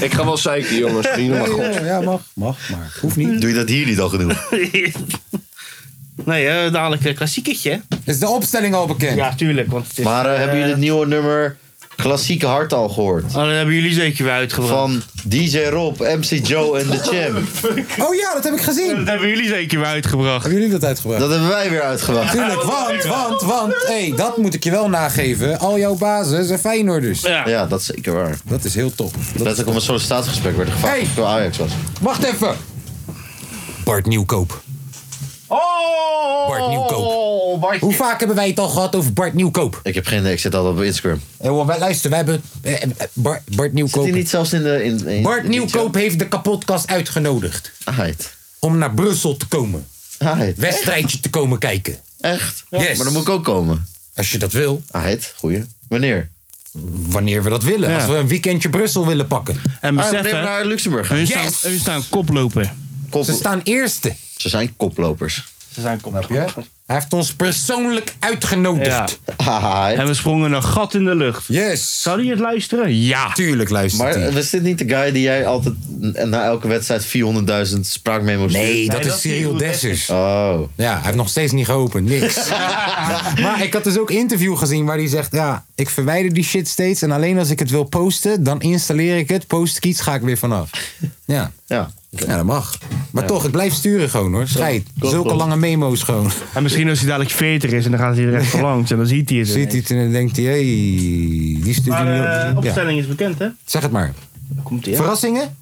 ik ga wel zeiken, jongens. Vrienden, maar goed.
ja, mag, mag, maar hoeft niet.
Doe je dat hier niet al genoeg?
nee, hè, dadelijk een klassieketje, hè?
Is de opstelling al bekend?
Ja, tuurlijk. Want het is,
Maar eh, hebben jullie het nieuwe nummer Klassieke Hart al gehoord?
Oh, dat hebben jullie zeker weer uitgebracht.
Van DJ Rob, MC Joe en The Champ.
Oh ja, dat heb ik gezien.
Dat hebben jullie zeker weer uitgebracht.
Hebben jullie dat uitgebracht?
Dat hebben wij weer uitgewacht.
Tuurlijk, want, want, want, hey, dat moet ik je wel nageven. Al jouw bazen zijn Feyenoorders.
Ja.
Ja, dat is zeker waar.
Dat is heel top. Dat-
Letterlijk om een sollicitatiegesprek werd gevraagd
Hey!
of ik door Ajax was.
Wacht even. Bart Nieuwkoop.
Oh!
Bart Nieuwkoop. Hoe vaak hebben wij het al gehad over Bart Nieuwkoop?
Ik heb geen idee, ik zit altijd op Instagram.
Eh, wel, wij- luister, wij hebben eh, eh, Bart, Bart
Zit
Nieuwkoop.
hij niet zelfs in de... In, in-
Bart
in die
Nieuwkoop heeft de kapotkast uitgenodigd
chat? Heid.
om naar Brussel te komen.
Heid.
Wedstrijdje te komen kijken.
Echt?
Yes.
Maar dan moet ik ook komen.
Als je dat wil.
Heid, goeie. Wanneer?
wanneer we dat willen.
Ja.
Als we een weekendje Brussel willen pakken.
Ah,
En beseffen, Hun staan, hun staan koploper.
Ze staan eerste.
Ze zijn koplopers.
Ze zijn
koplopers. Hij heeft ons persoonlijk uitgenodigd.
En we sprongen een gat in de lucht.
Yes.
Zou hij het luisteren? Ja.
Tuurlijk luisteren.
Maar was dit niet de guy die jij altijd n- na elke wedstrijd 400.000 spraakmemo's
Nee,
stuurt?
dat is Cyril Dessers.
Oh.
Ja, hij heeft nog steeds niet geopend. Niks. maar ik had dus ook interview gezien waar hij zegt... ja, ik verwijder die shit steeds... en alleen als ik het wil posten, dan installeer ik het. Post ik iets, ga ik weer vanaf. Ja.
Ja.
Ja, dat mag. Maar toch, het blijft sturen gewoon hoor. Scheid.
klopt,
Zulke
klopt.
lange memo's gewoon.
En misschien als hij dadelijk 40 is en dan gaat hij er echt van langs en dan ziet hij het.
Ziet hij het en dan denkt hij... hé, die stuurt
Maar
hij niet
de
op. Ja.
opstelling is bekend, hè?
Zeg het maar.
Komt hij?
Verrassingen?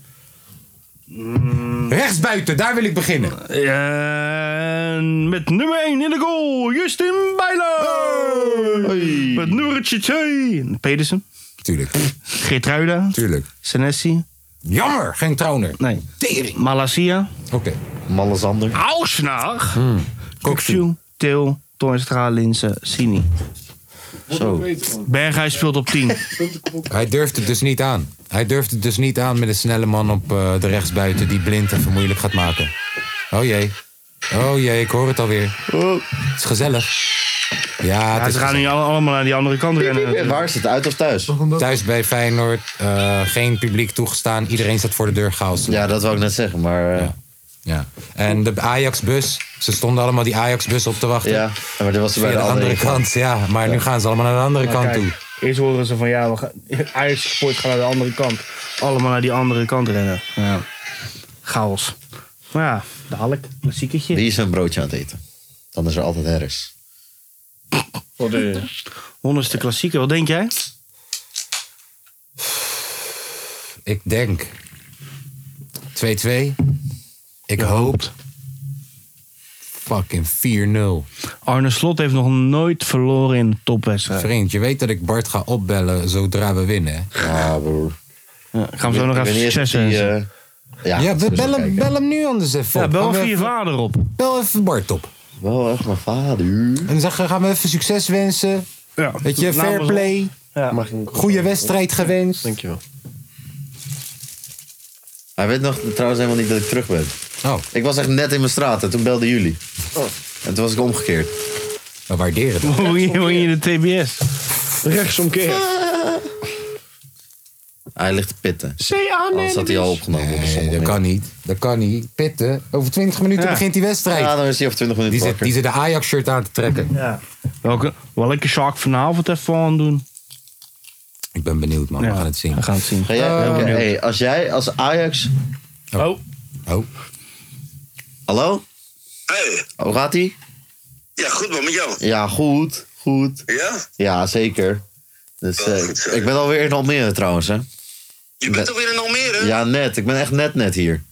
Hmm.
Rechtsbuiten, daar wil ik beginnen.
En met nummer 1 in de goal, Justin Bijlo. Met nummer 2, Pedersen.
Tuurlijk.
Geertruida.
Tuurlijk.
Senesi.
Jammer, geen Trauner.
Nee.
Tering.
Malasia.
Oké. Hmm.
Mallesander.
Ausnag. Koksu. Til. Toornstra, Linse, Sini.
Zo.
Berghuis speelt op 10.
Hij durft het dus niet aan. Hij durft het dus niet aan met een snelle man op eh, de rechtsbuiten die blind en vermoeilijk gaat maken. Oh jee. Oh jee, ik hoor het alweer. Het is gezellig. Ja, het
Ja,
is
ze gaan nu al- allemaal naar die andere kant rennen.
Waar is het? Uit of thuis?
Thuis bij Feyenoord, eh, geen publiek toegestaan. Iedereen staat voor de deur chaos.
Ja, dat wou ik net zeggen, maar... eh,
Ja. Ja. En de Ajax-bus, ze stonden allemaal die Ajax-bus op te wachten.
Ja, maar dat was
Via
bij de
de
andere Nou,
andere kant. Ja, maar nu gaan ze allemaal naar de andere
Maar
kant
kijk,
toe.
Eerst horen ze van ja, we gaan, Ajax support gaan naar de andere kant. Allemaal naar die andere kant rennen. Ja. Chaos. Maar ja, dadelijk. Een zieketje.
Wie is een broodje aan het eten? Dan is er altijd herres.
Honderdste klassieker, wat denk jij?
Ik denk 2-2. Ik hoop fucking 4-0.
Arne Slot heeft nog nooit verloren in de topwedstrijd.
Vriend, je weet dat ik Bart ga opbellen zodra we winnen. hè?
Ja, broer.
Ja, gaan we zo nog even succes wensen.
Ja,
eh, ja,
we bel, hem, bel hem nu anders even
Ja,
op.
bel
Gaan we
even je
even-
vader op.
Bel even Bart op.
Wel echt mijn vader.
En zeg, gaan we even succes wensen.
Ja.
Weet je,
Namens
fair
ons.
play.
Ja.
Goede wedstrijd gewenst.
Dankjewel.
Hij weet nog trouwens helemaal niet dat ik terug ben.
Oh,
Ik was echt net in mijn straat en toen belden jullie. En toen was ik omgekeerd.
we waarderen dat.
Hoe win je de TBS?
Rechtsomkeer.
Hij ligt te pitten.
CA
Anders had hij al opgenomen. op een
Nee,
zondag.
dat kan niet. Dat kan niet. Pitten. Over 20 minuten
Ja.
begint die wedstrijd.
Ja, dan is hij over 20
die,
minuten
zit, die
wakker.
zit de Ajax-shirt aan te trekken.
Ja. Welke, welke zaak vanavond even aan doen?
Ik ben benieuwd, man. We
Ja.
gaan het zien.
We gaan het zien.
Ga jij,
Eh,
Oké, hey, als jij als Ajax...
Oh.
Oh.
Hallo?
Hey,
Hoe gaat ie?
ja goed man, met jou.
Ja, goed. Goed.
Ja?
Ja, zeker. Dus, eh, ik ben alweer in Almere trouwens, hè?
Je bent toch weer in Almere?
Ja, net. Ik ben echt net net hier.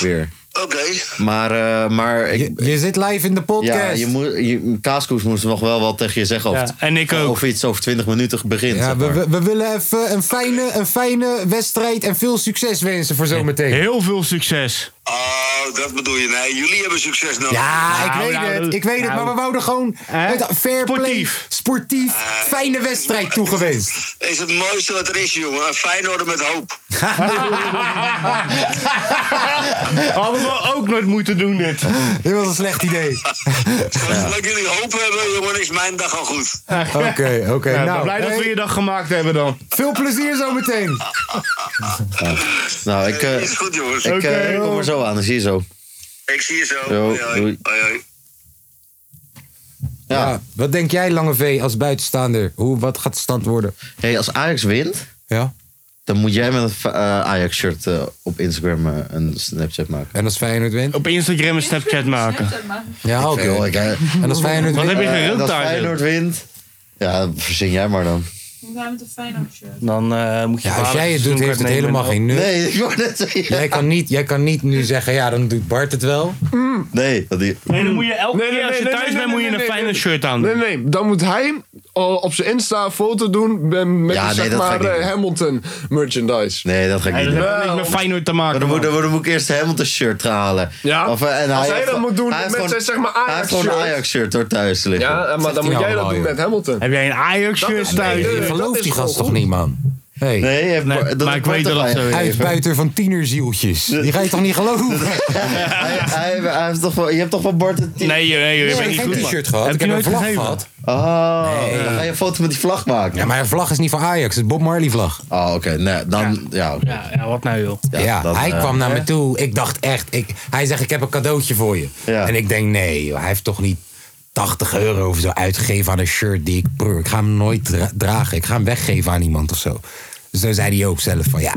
Weer.
Oké.
Maar, eh, maar ik,
Je, je zit live in de podcast.
ja, je moet, je, Kaaskoes moest nog wel wat tegen je zeggen. Of,
Ja, en ik ook.
Of iets over 20 minuten begint.
Ja,
zeg
we,
maar.
we, we willen even een fijne, een fijne wedstrijd en veel succes wensen voor zometeen.
Heel veel succes.
Oh, dat bedoel je. Nee, jullie hebben succes nodig.
Ja, ik
Nou,
weet
nou,
het.
dat-
Ik weet het. Maar
nou.
we wouden gewoon
Hè?
met fair play,
Sportief.
sportief, fijne wedstrijd toegewenst.
Is het mooiste wat er is, jongen. Een Feyenoord met hoop.
Hadden we ook nooit moeten doen dit.
Dit was een slecht idee.
Zolang jullie hoop hebben, jongen, is mijn dag al goed.
Oké, oké.
Ja,
nou,
blij dat
hey,
we je dag gemaakt hebben dan.
veel plezier zometeen.
Nou, ik, eh,
Eh, is goed, jongens.
ik, eh,
Oké,
ik kom
joh.
er zo aan. Dan zie je zo.
Ik zie je zo.
Yo,
Hoi, hoi.
doei.
Hoi, hoi.
Ja.
Ja.
wat denk jij, Lange V, als buitenstaander? Hoe, wat gaat de stand worden?
Hey, als Ajax wint,
Ja.
dan moet jij met een fa- eh, Ajax-shirt eh, op Instagram eh, een Snapchat maken.
En als Feyenoord wint?
Op Instagram een Snapchat maken.
Snapchat maken.
Ja, oké.
Veel, ik, eh,
En als Feyenoord
Wat
wint?
heb je
eh, en
gerund
als
daar? joh?
Feyenoord wint, ja, verzin jij maar dan.
We gaan met een Feyenoord shirt.
Dan eh, moet je
Ja, als
vader
jij het doet,
seizoenkort
heeft het
nemen.
helemaal geen nut.
Nee, ik wou net zeggen.
Jij kan, niet, jij kan niet nu zeggen, ja, dan doet Bart het wel.
Nee, dat die,
Nee, dan moet je elke
Nee, nee,
keer als je
Hmm. nee,
thuis
nee,
bent, moet je
nee,
een
nee,
Feyenoord
nee.
shirt aan
Nee,
doen.
nee, dan moet hij o- op zijn Insta een foto doen met, met
Ja,
die,
nee,
zeg
dat ga ik
maar
niet
eh, Hamilton merchandise.
Nee, dat ga ik
Nee,
niet
dat
doen.
heeft niks met Feyenoord te maken,
Dan moet,
man.
dan, dan moet ik eerst helemaal de shirt gaan halen.
Ja?
Of, eh, en
Als hij
heeft
dat
gewoon-
moet doen
hij heeft
met
gewoon-
zijn, zeg maar,
Hij heeft gewoon een
Ajax-shirt.
Ajax-shirt door thuis te liggen.
Ja, eh, maar dan moet jij dat doen met Hamilton.
Heb jij een Ajax-shirt thuis?
Je gelooft die gast toch niet, man? Hey.
Nee, hij heeft-
Nee, dat maar heeft ik weet Portugal dat dat zo is.
Uitbuiter van tienerzieltjes. Die ga je toch niet geloven?
hij, hij, hij heeft toch wel, je hebt toch wel Bart het team?
Nee, nee, nee, ik ben niet
geen
goed, man.
t-shirt gehad.
Heb
ik
je
heb een
nooit
vlag
gegeven?
gehad.
Oh, dan ga je een foto met die vlag maken.
Ja, maar een vlag is niet van Ajax. Het is Bob Marley vlag.
Oh, oké. Nee, dan... Ja, oké.
Ja, ja, wat nou joh.
Ja, eh, hij
eh,
kwam nou naar me toe. Ik dacht echt, ik, hij zegt: Ik heb een cadeautje voor je. En ik denk: Nee, joh, hij heeft toch niet 80 euro of zo uitgegeven aan een shirt die ik brr, Ik ga hem nooit dra- dragen. Ik ga hem weggeven aan iemand of zo. Dus toen zei hij ook zelf: van ja.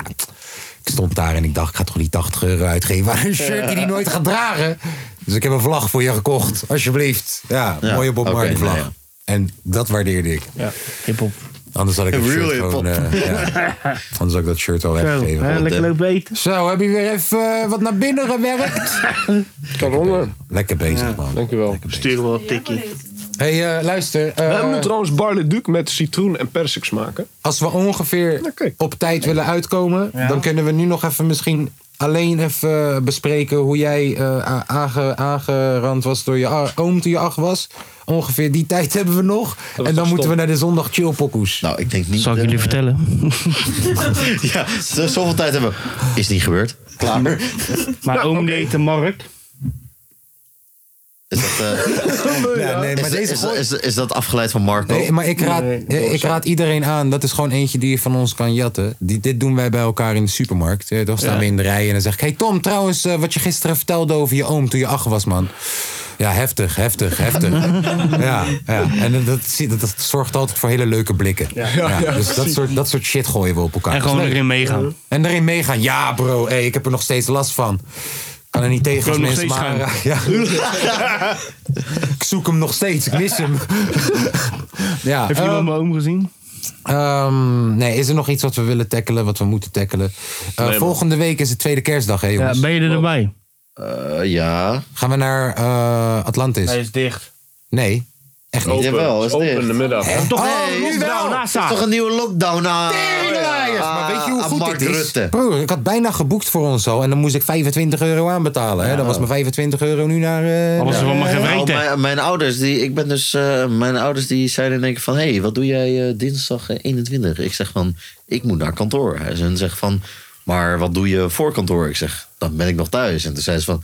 Ik stond daar en ik dacht: Ik ga toch niet 80 euro uitgeven aan een shirt die hij nooit gaat dragen. Dus ik heb een vlag voor je gekocht, alsjeblieft. Ja,
Ja,
mooie Bob
oké,
Marley vlag.
nou ja.
En dat waardeerde ik.
Ja, hip-hop.
Anders had ik, dat
Real
shirt,
hip-hop.
gewoon, eh, ja. Anders had ik dat shirt al
Zo,
weggegeven.
hè, lekker leuk beet.
Zo, heb je weer even eh, wat naar binnen gewerkt?
Karonnen.
Lekker bezig, man.
Dankjewel.
Sturen we wat tikkie.
hey, eh, luister. eh,
We hebben nu trouwens Barle Duc met citroen en persik smaken.
als we ongeveer
Oké.
op tijd willen uitkomen... dan kunnen we nu nog even misschien alleen even bespreken... hoe jij eh, a- aange- aangerand was door je a- oom toen je acht was. Ongeveer die tijd hebben we nog. En dan
toch
moeten we
stom?
naar de zondag chillpokoes.
Nou, ik denk niet...
Zal ik jullie vertellen?
eh, ja, z- zoveel tijd hebben we. Is niet gebeurd. Klaar.
Mijn oom deed de markt.
Is dat, eh,
Ja, nee,
is, is, is, is dat afgeleid van Marco?
Nee, maar ik raad,
Nee,
eh, ik raad iedereen aan. Dat is gewoon eentje die je van ons kan jatten. Die, dit doen wij bij elkaar in de supermarkt. Eh, Dan staan we in de rij en dan zeg ik... Hey Tom, trouwens, eh, wat je gisteren vertelde over je oom toen je acht was, man. Ja, heftig, heftig, heftig. ja, ja, en dat, dat, zie- dat, dat zorgt altijd voor hele leuke blikken. Ja, dus dat soort, dat soort shit gooien we op elkaar.
En
Dat is
gewoon
leuk.
erin meegaan.
En daarin meegaan. Ja, bro, hey, ik heb er nog steeds last van. Ik kan er niet tegen
kan
als mensen
hem nog
maar... Ja. ik zoek hem nog steeds, ik mis hem. ja,
Heeft
ehm,
iemand mijn oom gezien?
ehm, nee, is er nog iets wat we willen tackelen, wat we moeten tackelen? Eh, volgende week is het tweede kerstdag, hè jongens?
Ja, ben je er erbij?
Eh, ja.
Gaan we naar eh, Atlantis?
Hij
Nee.
is dicht.
echt niet.
Open,
Jawel, Oh, is
is open
dicht.
in de middag.
Toch
Oh,
Nee, is
Oh, wel, lockdown,
Dat
NASA.
is toch een nieuwe lockdown ah, aan.
Teringlaaiers, maar weet je hoe goed
Ah, Mark
dit is?
Rutte.
Broer, ik had bijna geboekt voor ons al en dan moest ik 25 euro aanbetalen. Hè? Dan was mijn 25 euro nu naar... eh,
Alles is wel maar
Nou,
geweten.
mijn, mijn ouders, die, ik ben dus, eh, mijn ouders die zeiden in één keer van... hé, hey, wat doe jij eh, dinsdag eh, 21? Ik zeg van, ik moet naar kantoor. Hij ze zegt van, maar wat doe je voor kantoor? Ik zeg, dan ben ik nog thuis. En toen zei ze van,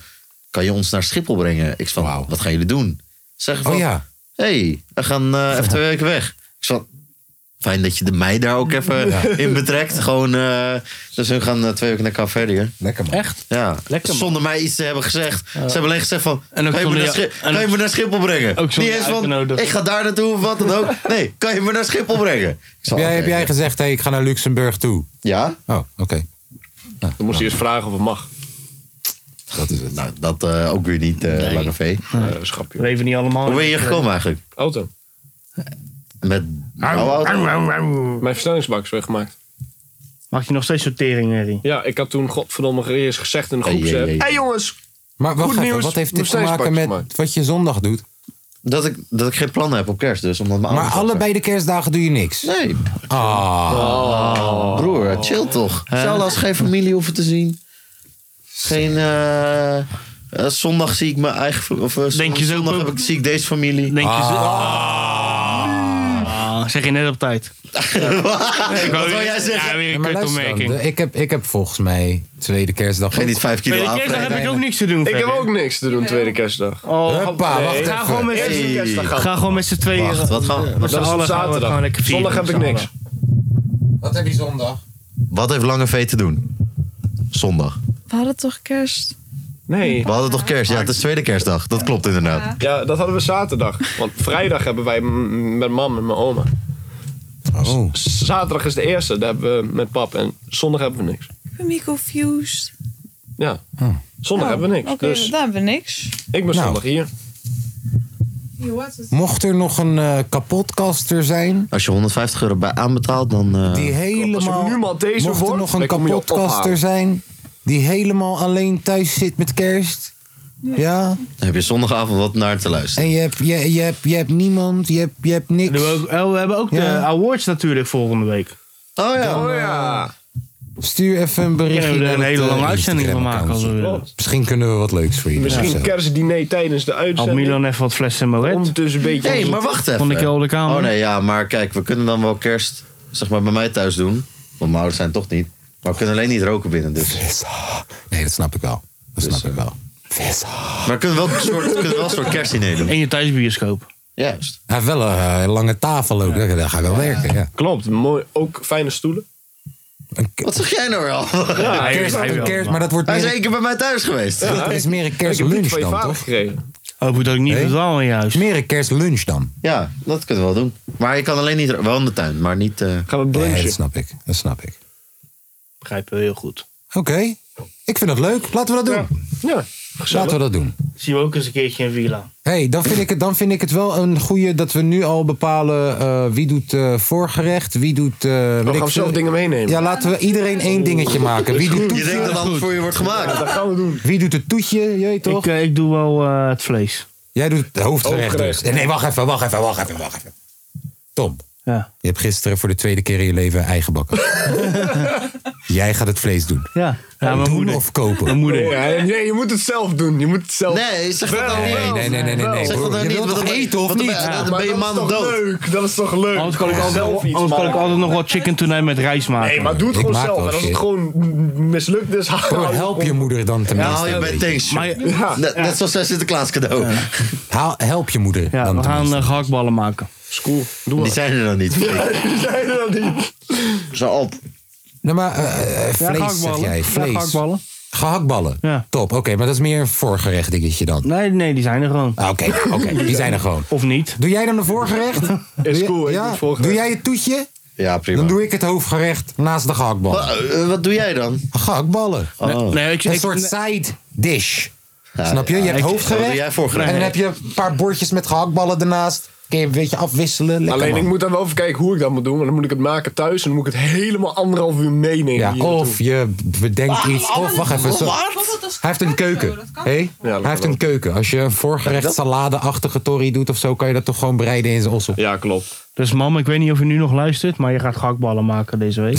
kan je ons naar Schiphol brengen? Ik zeg van, wat gaan jullie doen? Ze Zeggen van,
Oh ja.
hey, we gaan eh, even twee weken weg. Ik zeg van, fijn dat je de mij daar ook even in betrekt. Gewoon, eh, dus we gaan eh, twee weken naar Café
Lekker man.
Echt?
ja,
Lekker, man.
zonder mij iets te hebben
Eh.
gezegd. Ze hebben alleen gezegd van,
En ook
kan je me
zonder
naar,
jou-
Schip-
en
kan je
ook-
me naar Schiphol brengen?
ook zonder
Niet eens
jou
van,
uitnodigen.
ik ga daar naartoe of wat dan ook. Nee, kan je me naar Schiphol brengen? Ik
Heb
zei,
jij, heb
oké.
jij gezegd, hey, ik ga naar Luxemburg toe?
Ja?
Oh, oké.
Dan moest hij eerst vragen of het mag.
Dat is het. Nou, dat eh, ook weer niet, eh Lange V.
Eh, schapje.
We leven niet eh, allemaal.
Hoe ben je hier gekomen eigenlijk?
Auto.
Met jouw auto?
Mijn versnellingsbak is weggemaakt.
Mag je nog steeds sortering, Harry?
Ja, ik had toen godverdomme eerst gezegd in de
Hey,
groepsapp.
hey, hey.
hey, jongens!
Maar wacht
Goed
even,
nieuws,
wat heeft dit te
Mercedes
maken
pakjes
met
gemaakt.
wat je zondag doet?
Dat ik, dat ik geen plannen heb op kerst dus. Omdat mijn
Maar
ouders dat
allebei de kerstdagen doe je niks.
zijn. Nee,
Ah,
Oh. broer, chill toch. Zelfs geen familie hoeven te zien. Geen... eh, eh, zondag zie ik mijn eigen... fa- Of, eh,
Denk je zo,
zondag
Pum?
heb ik, zie ik deze familie.
Denk je zo?
Ah.
Ah, zeg je net op tijd. Ik
Wat wil jij
Ja,
zeggen?
weer
Ja,
een
maar luister dan,
kutopmerking.
de- ik, heb, ik heb volgens mij tweede kerstdag.
Geen
ook-
niet vijf
Bij
kilo
de kerstdag
afbrengen.
heb ik ook niks te doen.
Ik heb
verder.
ook niks te doen tweede kerstdag.
Oh,
Huppa,
nee.
wacht
ga,
even.
gewoon met
Eerste
z'n-
kerstdag gaan.
ga gewoon met z'n tweeën.
Wacht, wat gaan we-
Met z'n
Dat is op
allen gaan we het gewoon
zaterdag.
lekker vieren.
Zondag heb ik
met z'n
niks.
Wat heb je zondag?
Wat heeft Lange V te doen? Zondag.
We hadden toch kerst?
Nee.
We hadden toch kerst? Ja, het is tweede kerstdag. Dat klopt inderdaad.
Ja, dat hadden we zaterdag. Want vrijdag hebben wij m- met mam en mijn oma.
Oh.
Z- Zaterdag is de eerste, daar hebben we met pap. En zondag hebben we niks.
Ik ben me confused.
Ja. Zondag
Oh,
hebben we niks.
Oh, Oké,
Dus
daar hebben we niks.
ik ben
Oh. Nou.
zondag hier.
Je hoort het.
Mocht er nog een eh, kapotkaster zijn.
Als je 150 euro bij aanbetaalt, dan... eh,
Die helemaal.
nu maar deze
mocht er
wordt,
nog een
dan kom je
kapotkaster
ophalen.
zijn. die helemaal alleen thuis zit met kerst. Ja?
Dan heb je zondagavond wat naar te luisteren.
En je hebt, je, je hebt, je hebt niemand, je hebt, je hebt niks.
We hebben ook, eh, we hebben ook
Ja.
de awards natuurlijk volgende week.
Oh ja.
Oh ja. Stuur even een berichtje.
Kunnen we er
naar
een
het,
hele
eh,
lange uitzending van
Instagram-account.
maken als we willen.
Klopt. Misschien kunnen we wat leuks voor jullie
Misschien
doen.
kerstdiner tijdens de
Had
uitzending.
Milan even wat flessen moet.
Ondertussen dus een beetje...
Hé, hey, maar wacht even.
Van de kelder kamer.
Oh nee, ja, maar kijk, we kunnen dan wel kerst zeg maar, bij mij thuis doen. Want mijn ouders zijn toch niet. Maar we kunnen alleen niet roken binnen, dus. eh,
Nee, dat snap ik wel. Dat snap ik wel.
Maar we kunnen wel een soort, we kunnen wel een soort kerstdiner doen.
In je thuisbioscoop.
Juist.
Hij heeft wel een eh, lange tafel ook, daar- daar ga ik wel werken. Ja.
Klopt, mooi, ook fijne stoelen.
Wat zeg jij nou wel?
Ja, hij-
Kerst,
hij
een
wel,
kerst,
maar-
maar dat wordt
Hij is
meer,
één keer bij mij thuis geweest.
dat is meer een
Ik heb niet
kerstlunch
van je
dan,
vader
toch?
gekregen.
Hoop ik Oh, dat ik niet verdwaal in je huis.
Meer een kerstlunch dan.
Ja, dat kunnen we wel doen. Maar je kan alleen niet, wel in de tuin, maar niet... eh,
Gaan we brunchen.
Nee, dat snap ik. Dat snap ik.
Begrijp je heel goed.
Oké. Ik vind dat leuk. Laten we dat doen.
Ja,
Laten we dat doen.
Zien we ook eens een keertje in Villa.
hey, dan, vind ik het- dan vind ik het wel een goede dat we nu al bepalen eh, wie doet eh, voorgerecht, wie doet... eh,
Oh,
weet
we
ik
gaan
veel.
zelf dingen meenemen.
Ja, laten we iedereen één dingetje maken. Wie doet,
je denkt dat alles voor je wordt gemaakt.
Dat gaan we doen.
wie doet het toetje, je weet toch?
Ik, eh, ik doe wel eh, het vlees.
Jij doet het hoofdgerecht dus.
Hoofdgerecht.
Nee, nee, wacht even, wacht even, wacht even, wacht even. Tom,
Ja.
je hebt gisteren voor de tweede keer in je leven eigen bakken. Jij gaat het vlees doen.
Ja. ja mijn
doen
moeder.
of kopen?
Mijn moeder.
Ja, nee, je moet het zelf doen. Je moet het zelf
Nee, zeg dat nou
Nee,
niet.
nee, nee, nee, nee. nee.
Zeg dat
broer.
nou
Je
niet,
wilt
want
toch
dan
eten of
want dan
niet?
ben je- Dan ben je
Maar dat is
maanden
toch
dood.
leuk? Dat is toch leuk?
Anders kan ik
zelf
altijd,
iets
anders kan ik
maken.
altijd nog wat chicken tonight met rijst maken.
Nee, maar doe het
Ik
gewoon
maak
zelf.
wel
En als het
shit.
gewoon mm, mislukt is, haal
Broer, help je moeder dan
Ja,
tenminste.
haal je
een
bij
beetje.
tanks.
Maar je-
Ja.
Net, net zoals zijn Sinterklaas cadeau.
Haal- help je moeder
ja,
dan
we gaan
tenminste.
eh, gehaktballen maken.
School, doe
Die
maar.
zijn er dan niet.
Die zijn er dan niet.
Zo op.
Nee, maar eh, eh, vlees zeg
gehaktballen.
jij.
Ja,
Vlees.
gehaktballen.
Gehaktballen.
Ja.
Top, oké. maar dat is meer een voorgerecht dingetje dan.
Nee, nee, die zijn er gewoon.
Ah, Oké, oké. die zijn er gewoon.
Of niet.
Doe jij dan de voorgerecht? Doe je-
cool, ik doe
ja?
het voorgerecht.
Doe jij het toetje?
Ja, prima.
Dan doe ik het hoofdgerecht naast de gehaktballen.
Wat, eh, wat doe jij dan?
Gehaktballen.
Oh.
Nee, ik,
Een
ik-
soort
nee.
side dish.
Ja,
Snap je?
ja.
Je hebt
ik-
Wat
hoofdgerecht.
doe jij voor
En
gerecht?
dan heb je een paar bordjes met gehaktballen ernaast. Kun je een beetje afwisselen. Lekker,
Alleen
man.
ik moet dan wel even kijken hoe ik dat moet doen. Want dan moet ik het maken thuis en dan moet ik het helemaal anderhalf uur meenemen.
Ja,
hier
of je bedenkt
Ah,
iets. Of wacht even. Zo. Hij
Bijvoorbeeld als
heeft een
carpaccio,
keuken.
dat kan
Hé?
Ja, dat
Hij heeft
kan
een keuken. Als je een voorgerecht saladeachtige torrie doet of zo, kan je dat toch gewoon bereiden in zijn ossel.
naartoe. Ja, klopt.
Dus mam, ik weet niet of je nu nog luistert, maar je gaat gehaktballen maken deze week.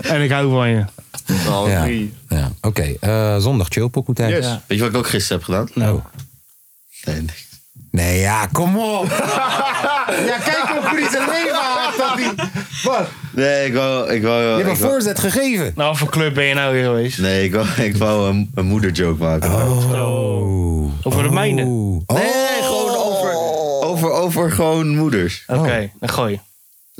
en ik hou van je.
Oh,
Ja.
drie.
Ja. Oké, eh, zondag chillpokoe tijd.
Yes.
Weet je wat ik ook gisteren heb gedaan?
Nou.
Nee, nee.
Nee, ja, kom op. ja, kijk op hoe hij zijn leven haalt. dat hij- Wat?
Nee, ik wou... Ik wou,
Je
ik
hebt een
wou-
voorzet gegeven.
Nou, voor club ben je nou weer geweest?
Nee, ik wou, ik wou een, een moederjoke maken.
Oh.
Over de mijne.
Oh.
Nee, gewoon over, over, over gewoon moeders.
Oké,
Oh.
dan gooi je.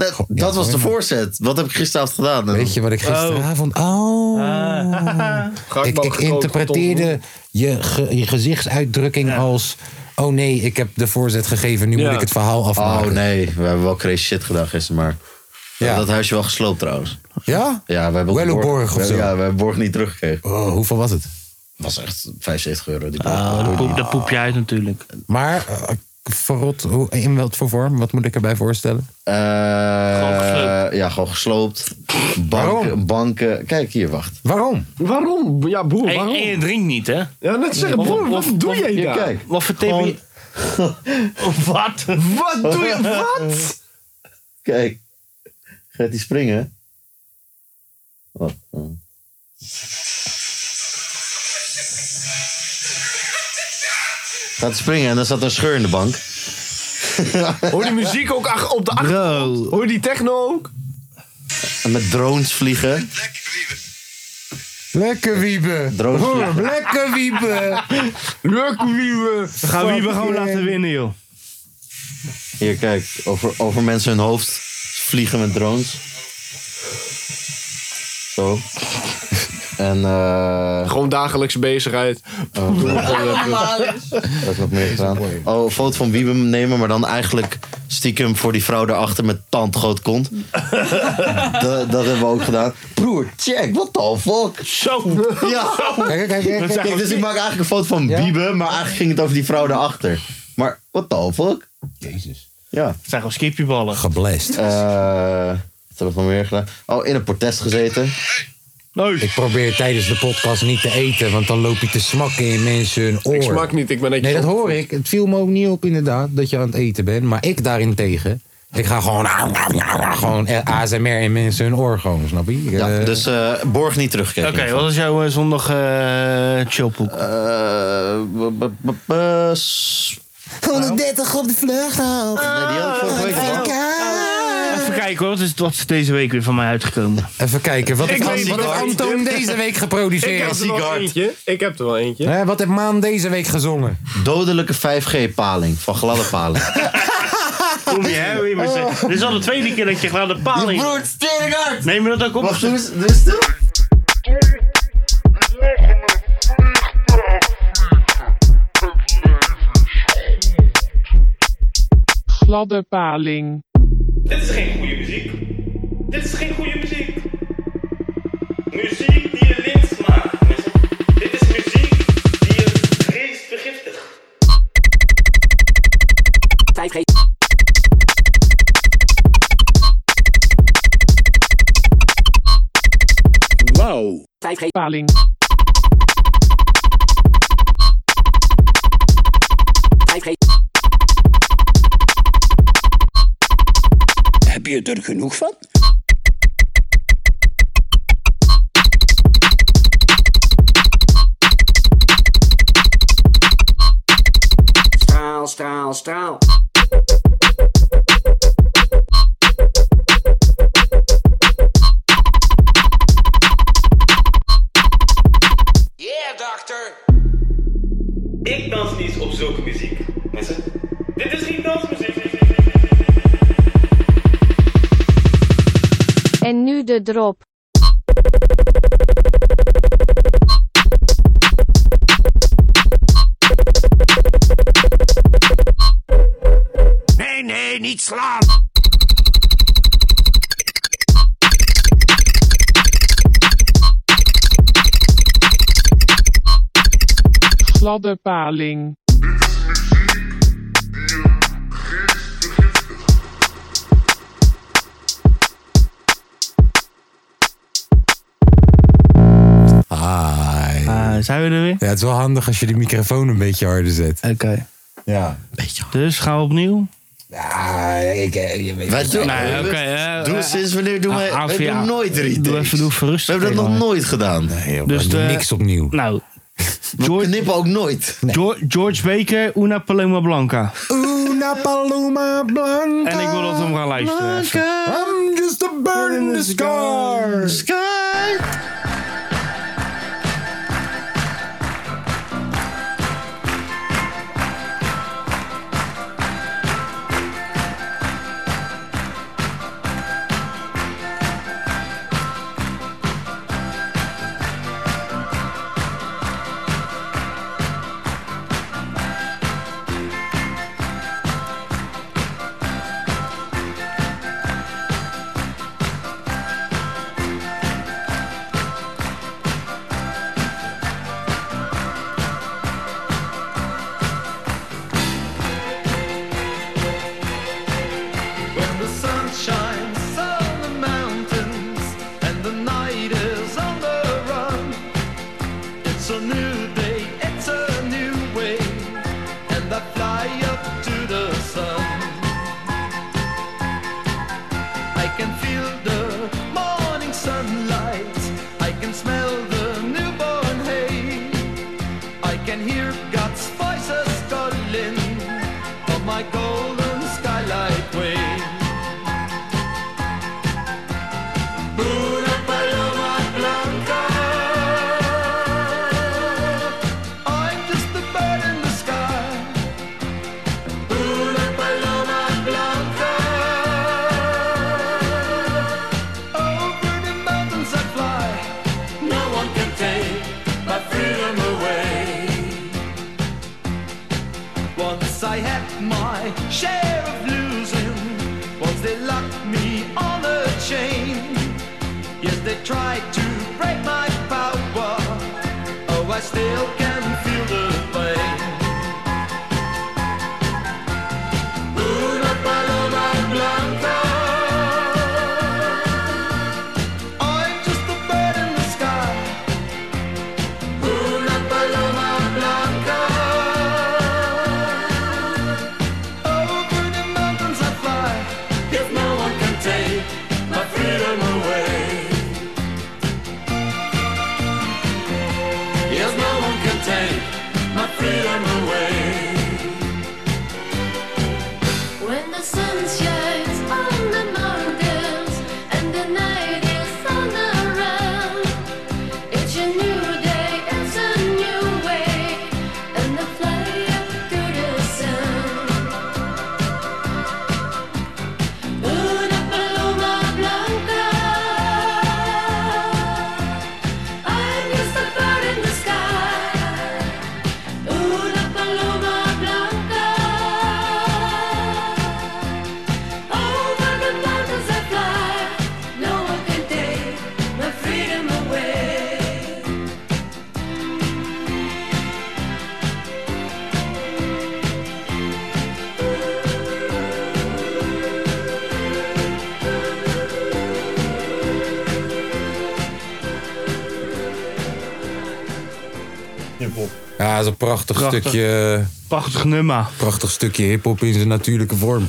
Nee, dat was de voorzet. Wat heb ik gisteravond gedaan?
Weet je wat ik gisteravond... Oh.
Ga
ik,
maar
ik
gekookt,
interpreteerde je, ge- je gezichtsuitdrukking als... Oh nee, ik heb de voorzet gegeven, nu
Ja.
moet ik het verhaal
Oh
afmaken.
nee, we hebben wel crazy shit gedaan gisteren, maar... We
Ja.
hebben dat huisje wel gesloopt trouwens.
Ja?
Ja, we hebben
Wel
borg-
een borg of
we-
zo.
Ja, we hebben borg niet teruggekregen.
Oh, hoeveel was het?
was echt 75 euro. Die
Dat Ah, poep, dat poep je uit natuurlijk.
Maar, eh, verrot, hoe, in wat voor vorm? Wat moet ik erbij voorstellen?
Eh,
Gewoon gesloopt.
Ja, gewoon gesloopt. Banken,
Waarom?
banken. Kijk hier, wacht.
Waarom?
toch? Waarom? Ja, broer,
En, en
waarom?
je drinkt niet, hè?
Ja, net zeggen, broer, wat doe jij
Hier,
daar?
kijk.
Wat voor tip je? Wat?
Wat doe je? Wat?
Eh, Kijk. Gaat die springen? Oh, oh. Gaat die springen en dan zat er een scheur in de bank.
Hoor die muziek ook ach- op de achtergrond? Hoor je die techno ook?
En met drones vliegen.
Lekker wiepen.
Drones
Hoor,
vliegen.
lekker wiepen.
Leuk wieven.
We gaan wie we gewoon laten winnen, joh.
Hier, kijk. Over, over mensen hun hoofd vliegen met drones. Zo. En eh...
Gewoon dagelijkse bezigheid.
allemaal is.
Dat heb ik nog meer gedaan. Oh, een foto van Wiebe nemen, maar dan eigenlijk stiekem voor die vrouw daarachter met tand groot kont. dat, dat hebben we ook gedaan. Broer, check, what the fuck?
Zo!
Ja.
Kijk, kijk, kijk. kijk.
Kijk, dus ik maak eigenlijk een foto van Wiebe, maar eigenlijk ging het over die vrouw daarachter. Maar what the fuck?
Jezus.
Ja.
Het zijn gewoon skippieballen.
Geblest.
Eh, wat heb ik nog meer gedaan? Oh, in een protest gezeten.
Ik probeer tijdens de podcast niet te eten, want dan loop je te smakken in mensen hun oor.
Ik smak niet, ik ben netjes
Nee, dat hoor
opgevoed.
ik. Het viel me ook niet op inderdaad, dat je aan het eten bent. Maar ik daarentegen, ik ga gewoon, gewoon ASMR in mensen hun oor gewoon, snap je?
Ja,
Eh,
dus eh, borg niet terugkijken.
Oké,
wat is jouw eh, zondag eh, chillpoek?
Eh,
Nou.
130 op de vlucht al.
Ah.
Even kijken hoor, wat is, wat is deze week weer van mij uitgekomen?
Even kijken, wat
Ik
heeft
weet
An-
het
wat heeft
niet.
Antoon deze week
Ik heb
geproduceerd?
er wel eentje. Ik heb er wel eentje.
Hè, wat heeft Maan deze week gezongen?
Dodelijke 5G-paling van gladde paling.
Kom je, hè? wil je
Oh.
maar zeggen. Dit is al de tweede keer dat je gewoon de paal in.
Broert, steringhard!
Neem je dat ook op?
Wacht, doe eens, doe eens toe.
Gladde paling.
Dit is geen goede muziek. Dit is geen goede muziek. Muziek die je lint maakt. mensen. Dit is muziek die je geest vergiftigt.
5G.
Wow.
5G.
Paling.
5G.
Heb je er genoeg van?
Straal, straal, straal.
Yeah, dokter! Ik dans niet op zulke muziek, mensen. Dit is geen dansmuziek.
En nu de drop.
Nee, nee, niet slaan!
Gladde paling.
Hi.
Eh, zijn we er weer?
Ja, het is wel handig als je de microfoon een beetje harder zet.
Oké.
Ja.
Dus gaan we opnieuw?
Ah, Ja, ik, eh, je weet
Wij doen,
Nee, oké, eh, hè.
Doe eens sinds wanneer doen wij,
Ah,
wij
via-
doen nooit retakes.
Doe even, doe even rustig
We hebben dat nog
tegen
nooit gedaan.
Dus de-
opnieuw.
Nou.
We knippen ook nooit.
George, George Baker, Una Paloma Blanca.
Una paloma blanca.
En ik wil dat we hem gaan luisteren. even.
I'm just a bird in the sky.
Sky.
When the sun shines on the mountains and the night is on the run, it's a new day, it's a new way, and I fly up to the sun. I can feel the morning sunlight, I can smell the newborn hay, I can hear God's voices calling of my golden skylight way. Una paloma blanca. I'm just a bird in the sky. Una paloma blanca. Over the mountains I fly. No one can take my freedom away. Once I had my share of losing. Once they locked me on a chain. Yes, they tried to break my power. Oh, I still can feel the pain. Una paloma blanca. I'm just a bird in the sky.
be underway.
When the sun shines on the mountains and the night is all around, it's a new day, it's a new way, and the fly up to the sound. Una paloma blanca, I'm just a bird in the sky. Una paloma blanca. Over the mountains I fly, no one can take my freedom away.
Ja, dat is een prachtig,
Prachtig.
stukje. eh,
Prachtig nummer.
Prachtig stukje hip-hop in zijn natuurlijke vorm.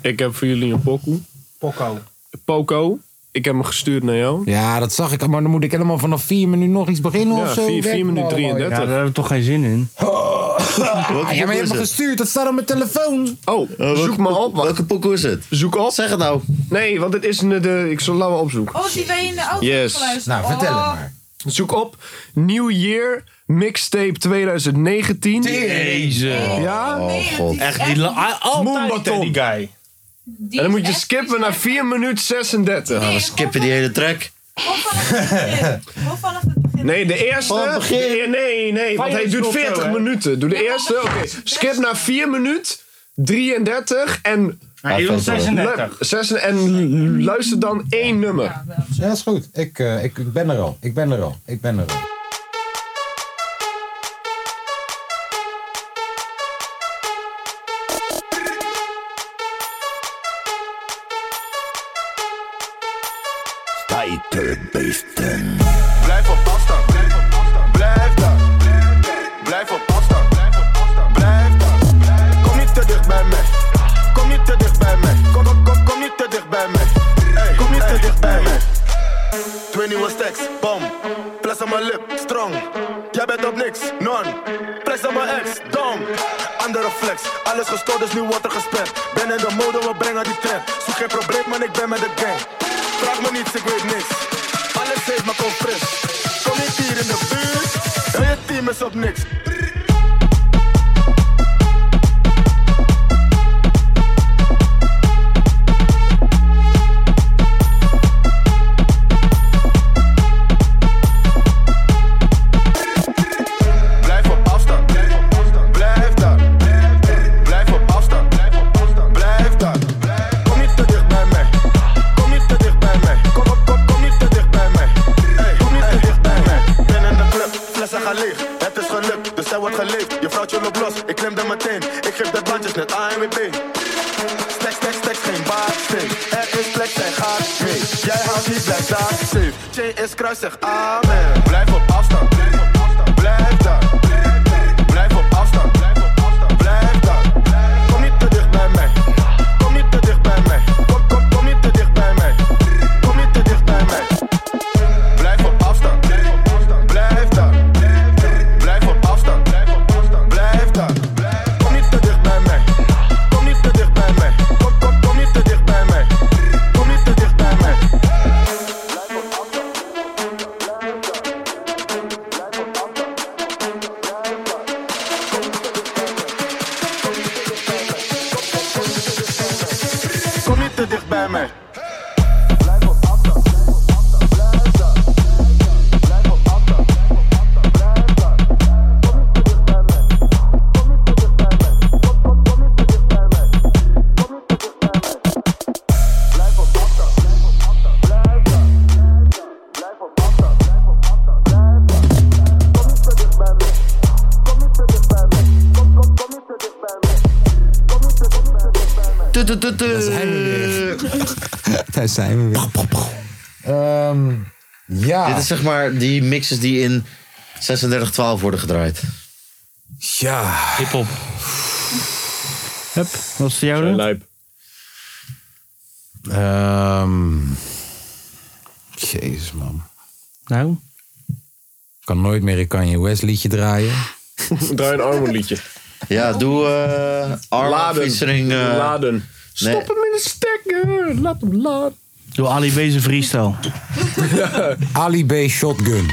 Ik heb voor jullie een pokoe.
Poco.
Poco. Ik heb hem gestuurd naar jou.
Ja, Ah, dat zag ik, maar dan moet ik helemaal vanaf 4 minuten nog iets beginnen
Ja,
of zo. nou?
4 4 minuten 33.
Ja, daar hebben we toch geen zin in.
Ah, ja, maar je hebt me gestuurd, dat staat op mijn telefoon.
Oh, zoek maar op. Welke
pokoe is het?
Zoek op. Zeg het nou. Nee, want het is een... De, ik zal het langer opzoeken.
Oh, die ben je in de auto geluisterd.
Nou,
Nou,
Oh.
Zoek op New Year Mixtape 2019.
Deze.
Ja?
Oh, god. Echt die la- a- altijd die guy.
en dan moet je skippen naar 4 minuten 36.
we skippen die hele track.
Nee, de eerste.
Van het begin.
de eer- nee, nee, want hij
Feyenoord
doet
speelt
40
zo, hè?
minuten. Doe de eerste. Oké, skip naar 4 minuut 33 en.
Hij
Ah,
doet
Lu-
36.
zes- en luister dan één nummer.
Ja, is goed. Ik, eh, ik, ik ben er al. Ik ben er al. Ik ben er al.
Sta je te beesten. Blijf op pasta. Blijf op pasta. Blijf daar. Blijf op pasta. Blijf op pasta. Blijf daar. Kom niet te dicht bij mij. Kom niet te dicht bij mij. Kom, kom, kom, kom niet te dicht bij mij. Hey, kom niet te dicht bij mij. Twee nieuwe stacks, bom. Fles aan mijn lip, strong. Jij bent op niks, non. Flex aan mijn ex, dom. Andere flex, alles gestoord, dus nu wordt er gespend. Ben in de mode, we brengen die trend. Zoek geen probleem, man, ik ben met de gang. Vraag me niets, ik weet niks. Alles heeft maar kom fris. Kom niet hier in de buurt, en je team is op niks. Blijf op afstand. Blijf op afstand. Blijf daar. Blijf op afstand. Blijf op afstand. Blijf daar. Kom niet te dicht bij mij. Kom niet te dicht bij mij. Kom op, kom, kom niet te dicht bij mij. Hey, kom niet te dicht bij mij. Ben in de club, flessen gaan leeg. Het is gelukt, dus zij wordt geleefd. Je vrouwtje loopt los, ik klem er meteen. Ik geef de bandjes net AMWB. Stek, stek, stek, geen baardsteen. Er is plek, zij gaat mee. Jij haalt niet, blijf daar safe. Chain is kruis, zeg amen. Blijf op afstand. Blijf op afstand. Blijf daar. Blijf op afstand. Blijf op afstand. Blijf daar. Kom niet te dicht bij mij. Kom niet te dicht bij mij. Kom, kom, kom niet te dicht bij mij. Kom niet te dicht bij mij. Blijf op afstand. Blijf op afstand. Blijf daar. Blijf op afstand. Blijf op afstand. Blijf daar. Kom niet te dicht bij mij. Kom niet te dicht bij mij. Kom, kom, kom niet te dicht bij mij. Kom niet te dicht bij mij. Kom niet te dicht bij mij.
Daar zijn we weer. Daar zijn we weer. Ehm, ja.
Dit is zeg maar die mixes die in 3612 worden gedraaid.
Ja.
Hip-hop. Hup, wat is jouw
Lijp.
Ehm, jezus, man.
Nou?
Ik kan nooit meer een Kanye West liedje draaien.
Draai een armenliedje.
Ja, doe eh Arma
Laden.
featuring, eh,
Laden.
nee.
Stop hem in de stekker. Laat hem laden.
Doe Ali B zijn freestyle.
Ali B Shotgun.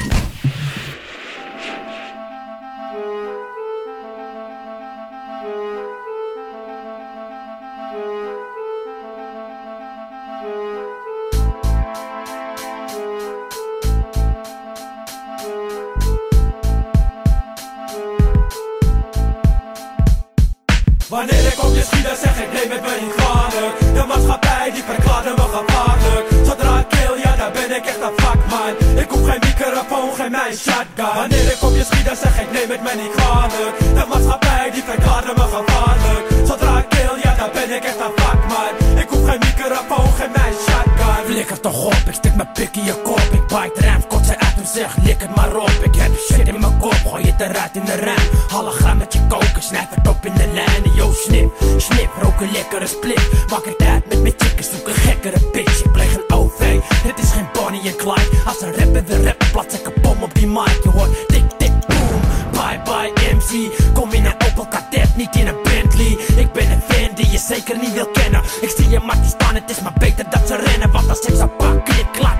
Wanneer ik op je schiet, dan zeg ik nee, met ben niet kwalijk De maatschappij die verklaarde me gevaarlijk Zodra ik kill, ja dan ben ik echt een vakman Ik hoef geen microfoon, geen mijn shotgun Wanneer ik op je schiet, dan zeg ik nee, met ben niet kwalijk De maatschappij die verklaarde me gevaarlijk Zodra ik kill, ja dan ben ik echt een vakman Ik hoef geen microfoon, geen mijn shotgun Flikker toch op, ik stik mijn pik in je kop Ik bite rem, kot ze uit en zeg lik het maar op Ik heb shit in mijn kop, gooi het eruit in de ruim Hologram met je koken, snijd het op in de lijnen Yo snip, snip, rook een lekkere split Maak het uit met mijn chickens, zoek een gekkere bitch Ik pleeg een OV, dit is geen Bonnie en Clyde Als een rapper de rapper plaats ik een bom op die mic Je hoort tik tik boom, bye bye MC Kom in een Opel Kadett, niet in een Bentley Ik ben een fan die je zeker niet wil kennen Ik zie je mattie staan, het is maar beter dat ze rennen Want als ik ze pak, klik, klak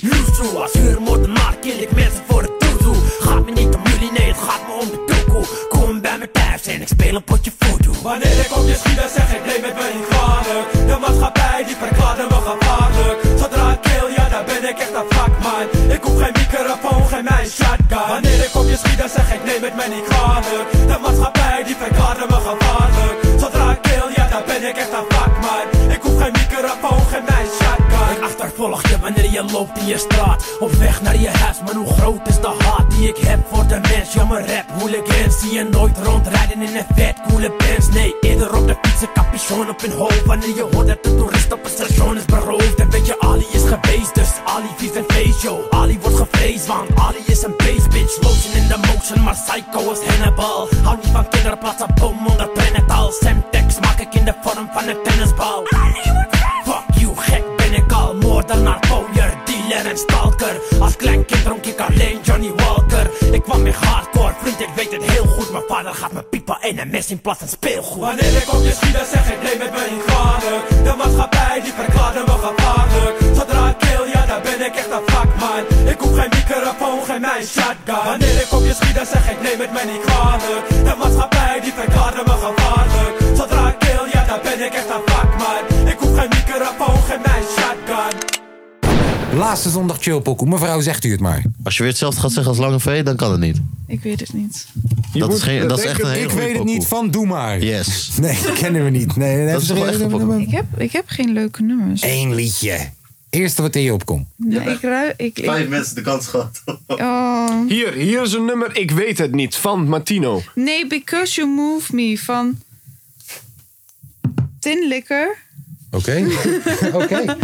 Loesoe, als huurmoordenaar kill ik mensen voor het toedoe Gaat me niet om jullie, nee het gaat me om de toekoe Kom bij me thuis en ik speel een potje voodoo Wanneer ik op je schiet dan zeg ik nee met me niet kwalijk De maatschappij die verklaarde me gevaarlijk Zodra ik kill, ja dan ben ik echt een vakman Ik hoef geen microfoon, geen mijn shotgun Wanneer ik op je schiet dan zeg ik nee met me niet kwalijk De maatschappij die verklaarde me gevaarlijk Zodra ik kill, ja dan ben ik echt een vakman Ik hoef geen microfoon, geen mijn shotgun Ik achtervolg je wanneer je loopt in je straat Op weg naar je huis, maar hoe groot is de haat die ik heb voor de mens Ja mijn rap, hooligans, zie je nooit rondrijden in een vet coole pens Nee, eerder op de fiets, een capuchon op een hoofd Wanneer je hoort dat de toerist op een station is beroofd Dan weet je, Ali is geweest, dus Ali vies een feest, yo Ali wordt gevreesd, want Ali is een beest, bitch Lotion in de motion, maar psycho als Hannibal Hou niet van kinderen, plaats een bom onder prenatal Semtex maak ik in de vorm van een tennisbal Fuck you, gek ben ik al Moordenaar, pooier, dealer en stalker Als klein kind dronk ik alleen Johnny Walker Ik kwam in hardcore, vriend ik weet het heel goed Mijn vader gaat me piepen en een mes in plaats van speelgoed Wanneer ik op je schiet dan zeg ik nee met me niet kwalijk De maatschappij die verklaarde me gevaarlijk Zodra ik kill, ja dan ben ik echt een vakman Ik hoef geen microfoon, geen mijn shotgun Wanneer ik op je schiet dan zeg ik nee met me niet kwalijk De maatschappij die verklaarde me gevaarlijk Zodra ik kill, ja dan ben ik echt een vakman Ik hoef geen microfoon, geen mijn shotgun
Laatste zondag chillpokoe. Mevrouw, zegt u het maar.
Als je weer hetzelfde gaat zeggen als Lange V, dan kan het niet.
Ik weet het niet.
Dat is, geen, dat is echt een hele
Ik
goede
weet het
pokoe.
niet van Doe Maar.
Yes.
Nee, dat kennen we niet. Nee, dat,
is toch wel echt een
Ik heb, ik heb geen leuke nummers.
Eén liedje. Eerste wat in je opkomt.
Nee, ik ruik... Ik, ik-
mensen de kans gehad.
Oh.
Hier, hier is een nummer, ik weet het niet, van Martino.
Nee, Because You Move Me van Tin Licker.
Oké. Oké.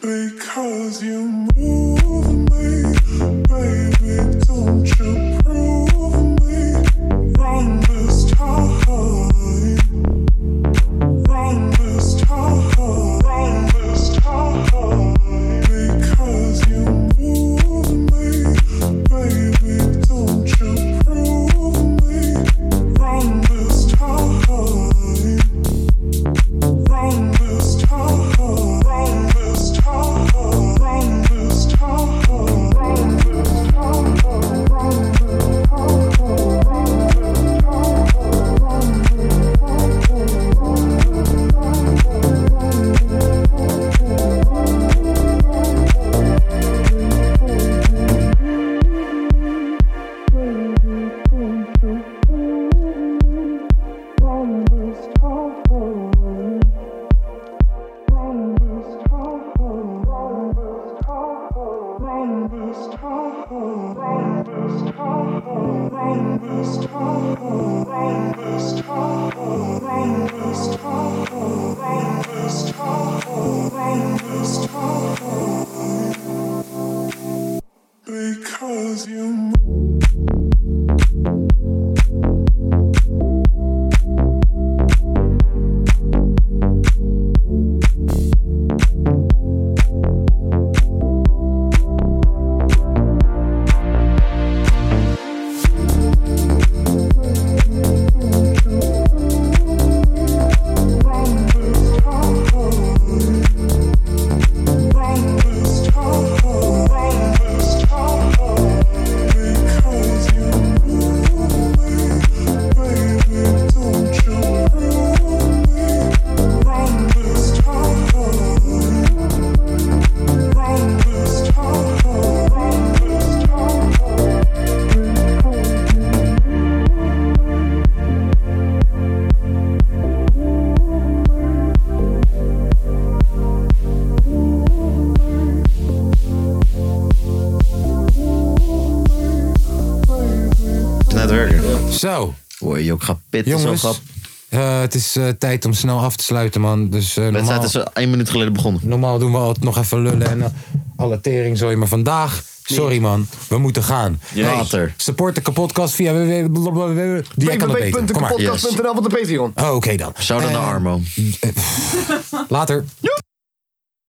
Because you move me, baby, don't you prove me wrong this time, wrong this time, wrong this time. Because you move me, baby, don't you prove me wrong this time, wrong this time, wrong this time, wrong this
Because you
Net werken.
Zo.
Hoor je ook gaat pitten,
Jongens,
zo grap.
eh, het is eh, tijd om snel af te sluiten, man. Dus, eh normaal,
wedstrijd is eh, één minuut geleden begonnen.
normaal doen we altijd nog even lullen en eh, alle tering zo. Maar vandaag, sorry man, we moeten gaan.
Later.
Support de kapotkast via www. Die kan het beter. Kom maar.
www.kapodcast.nl van de Patreon.
Oh, oké dan.
Shout-out naar Armo.
Later.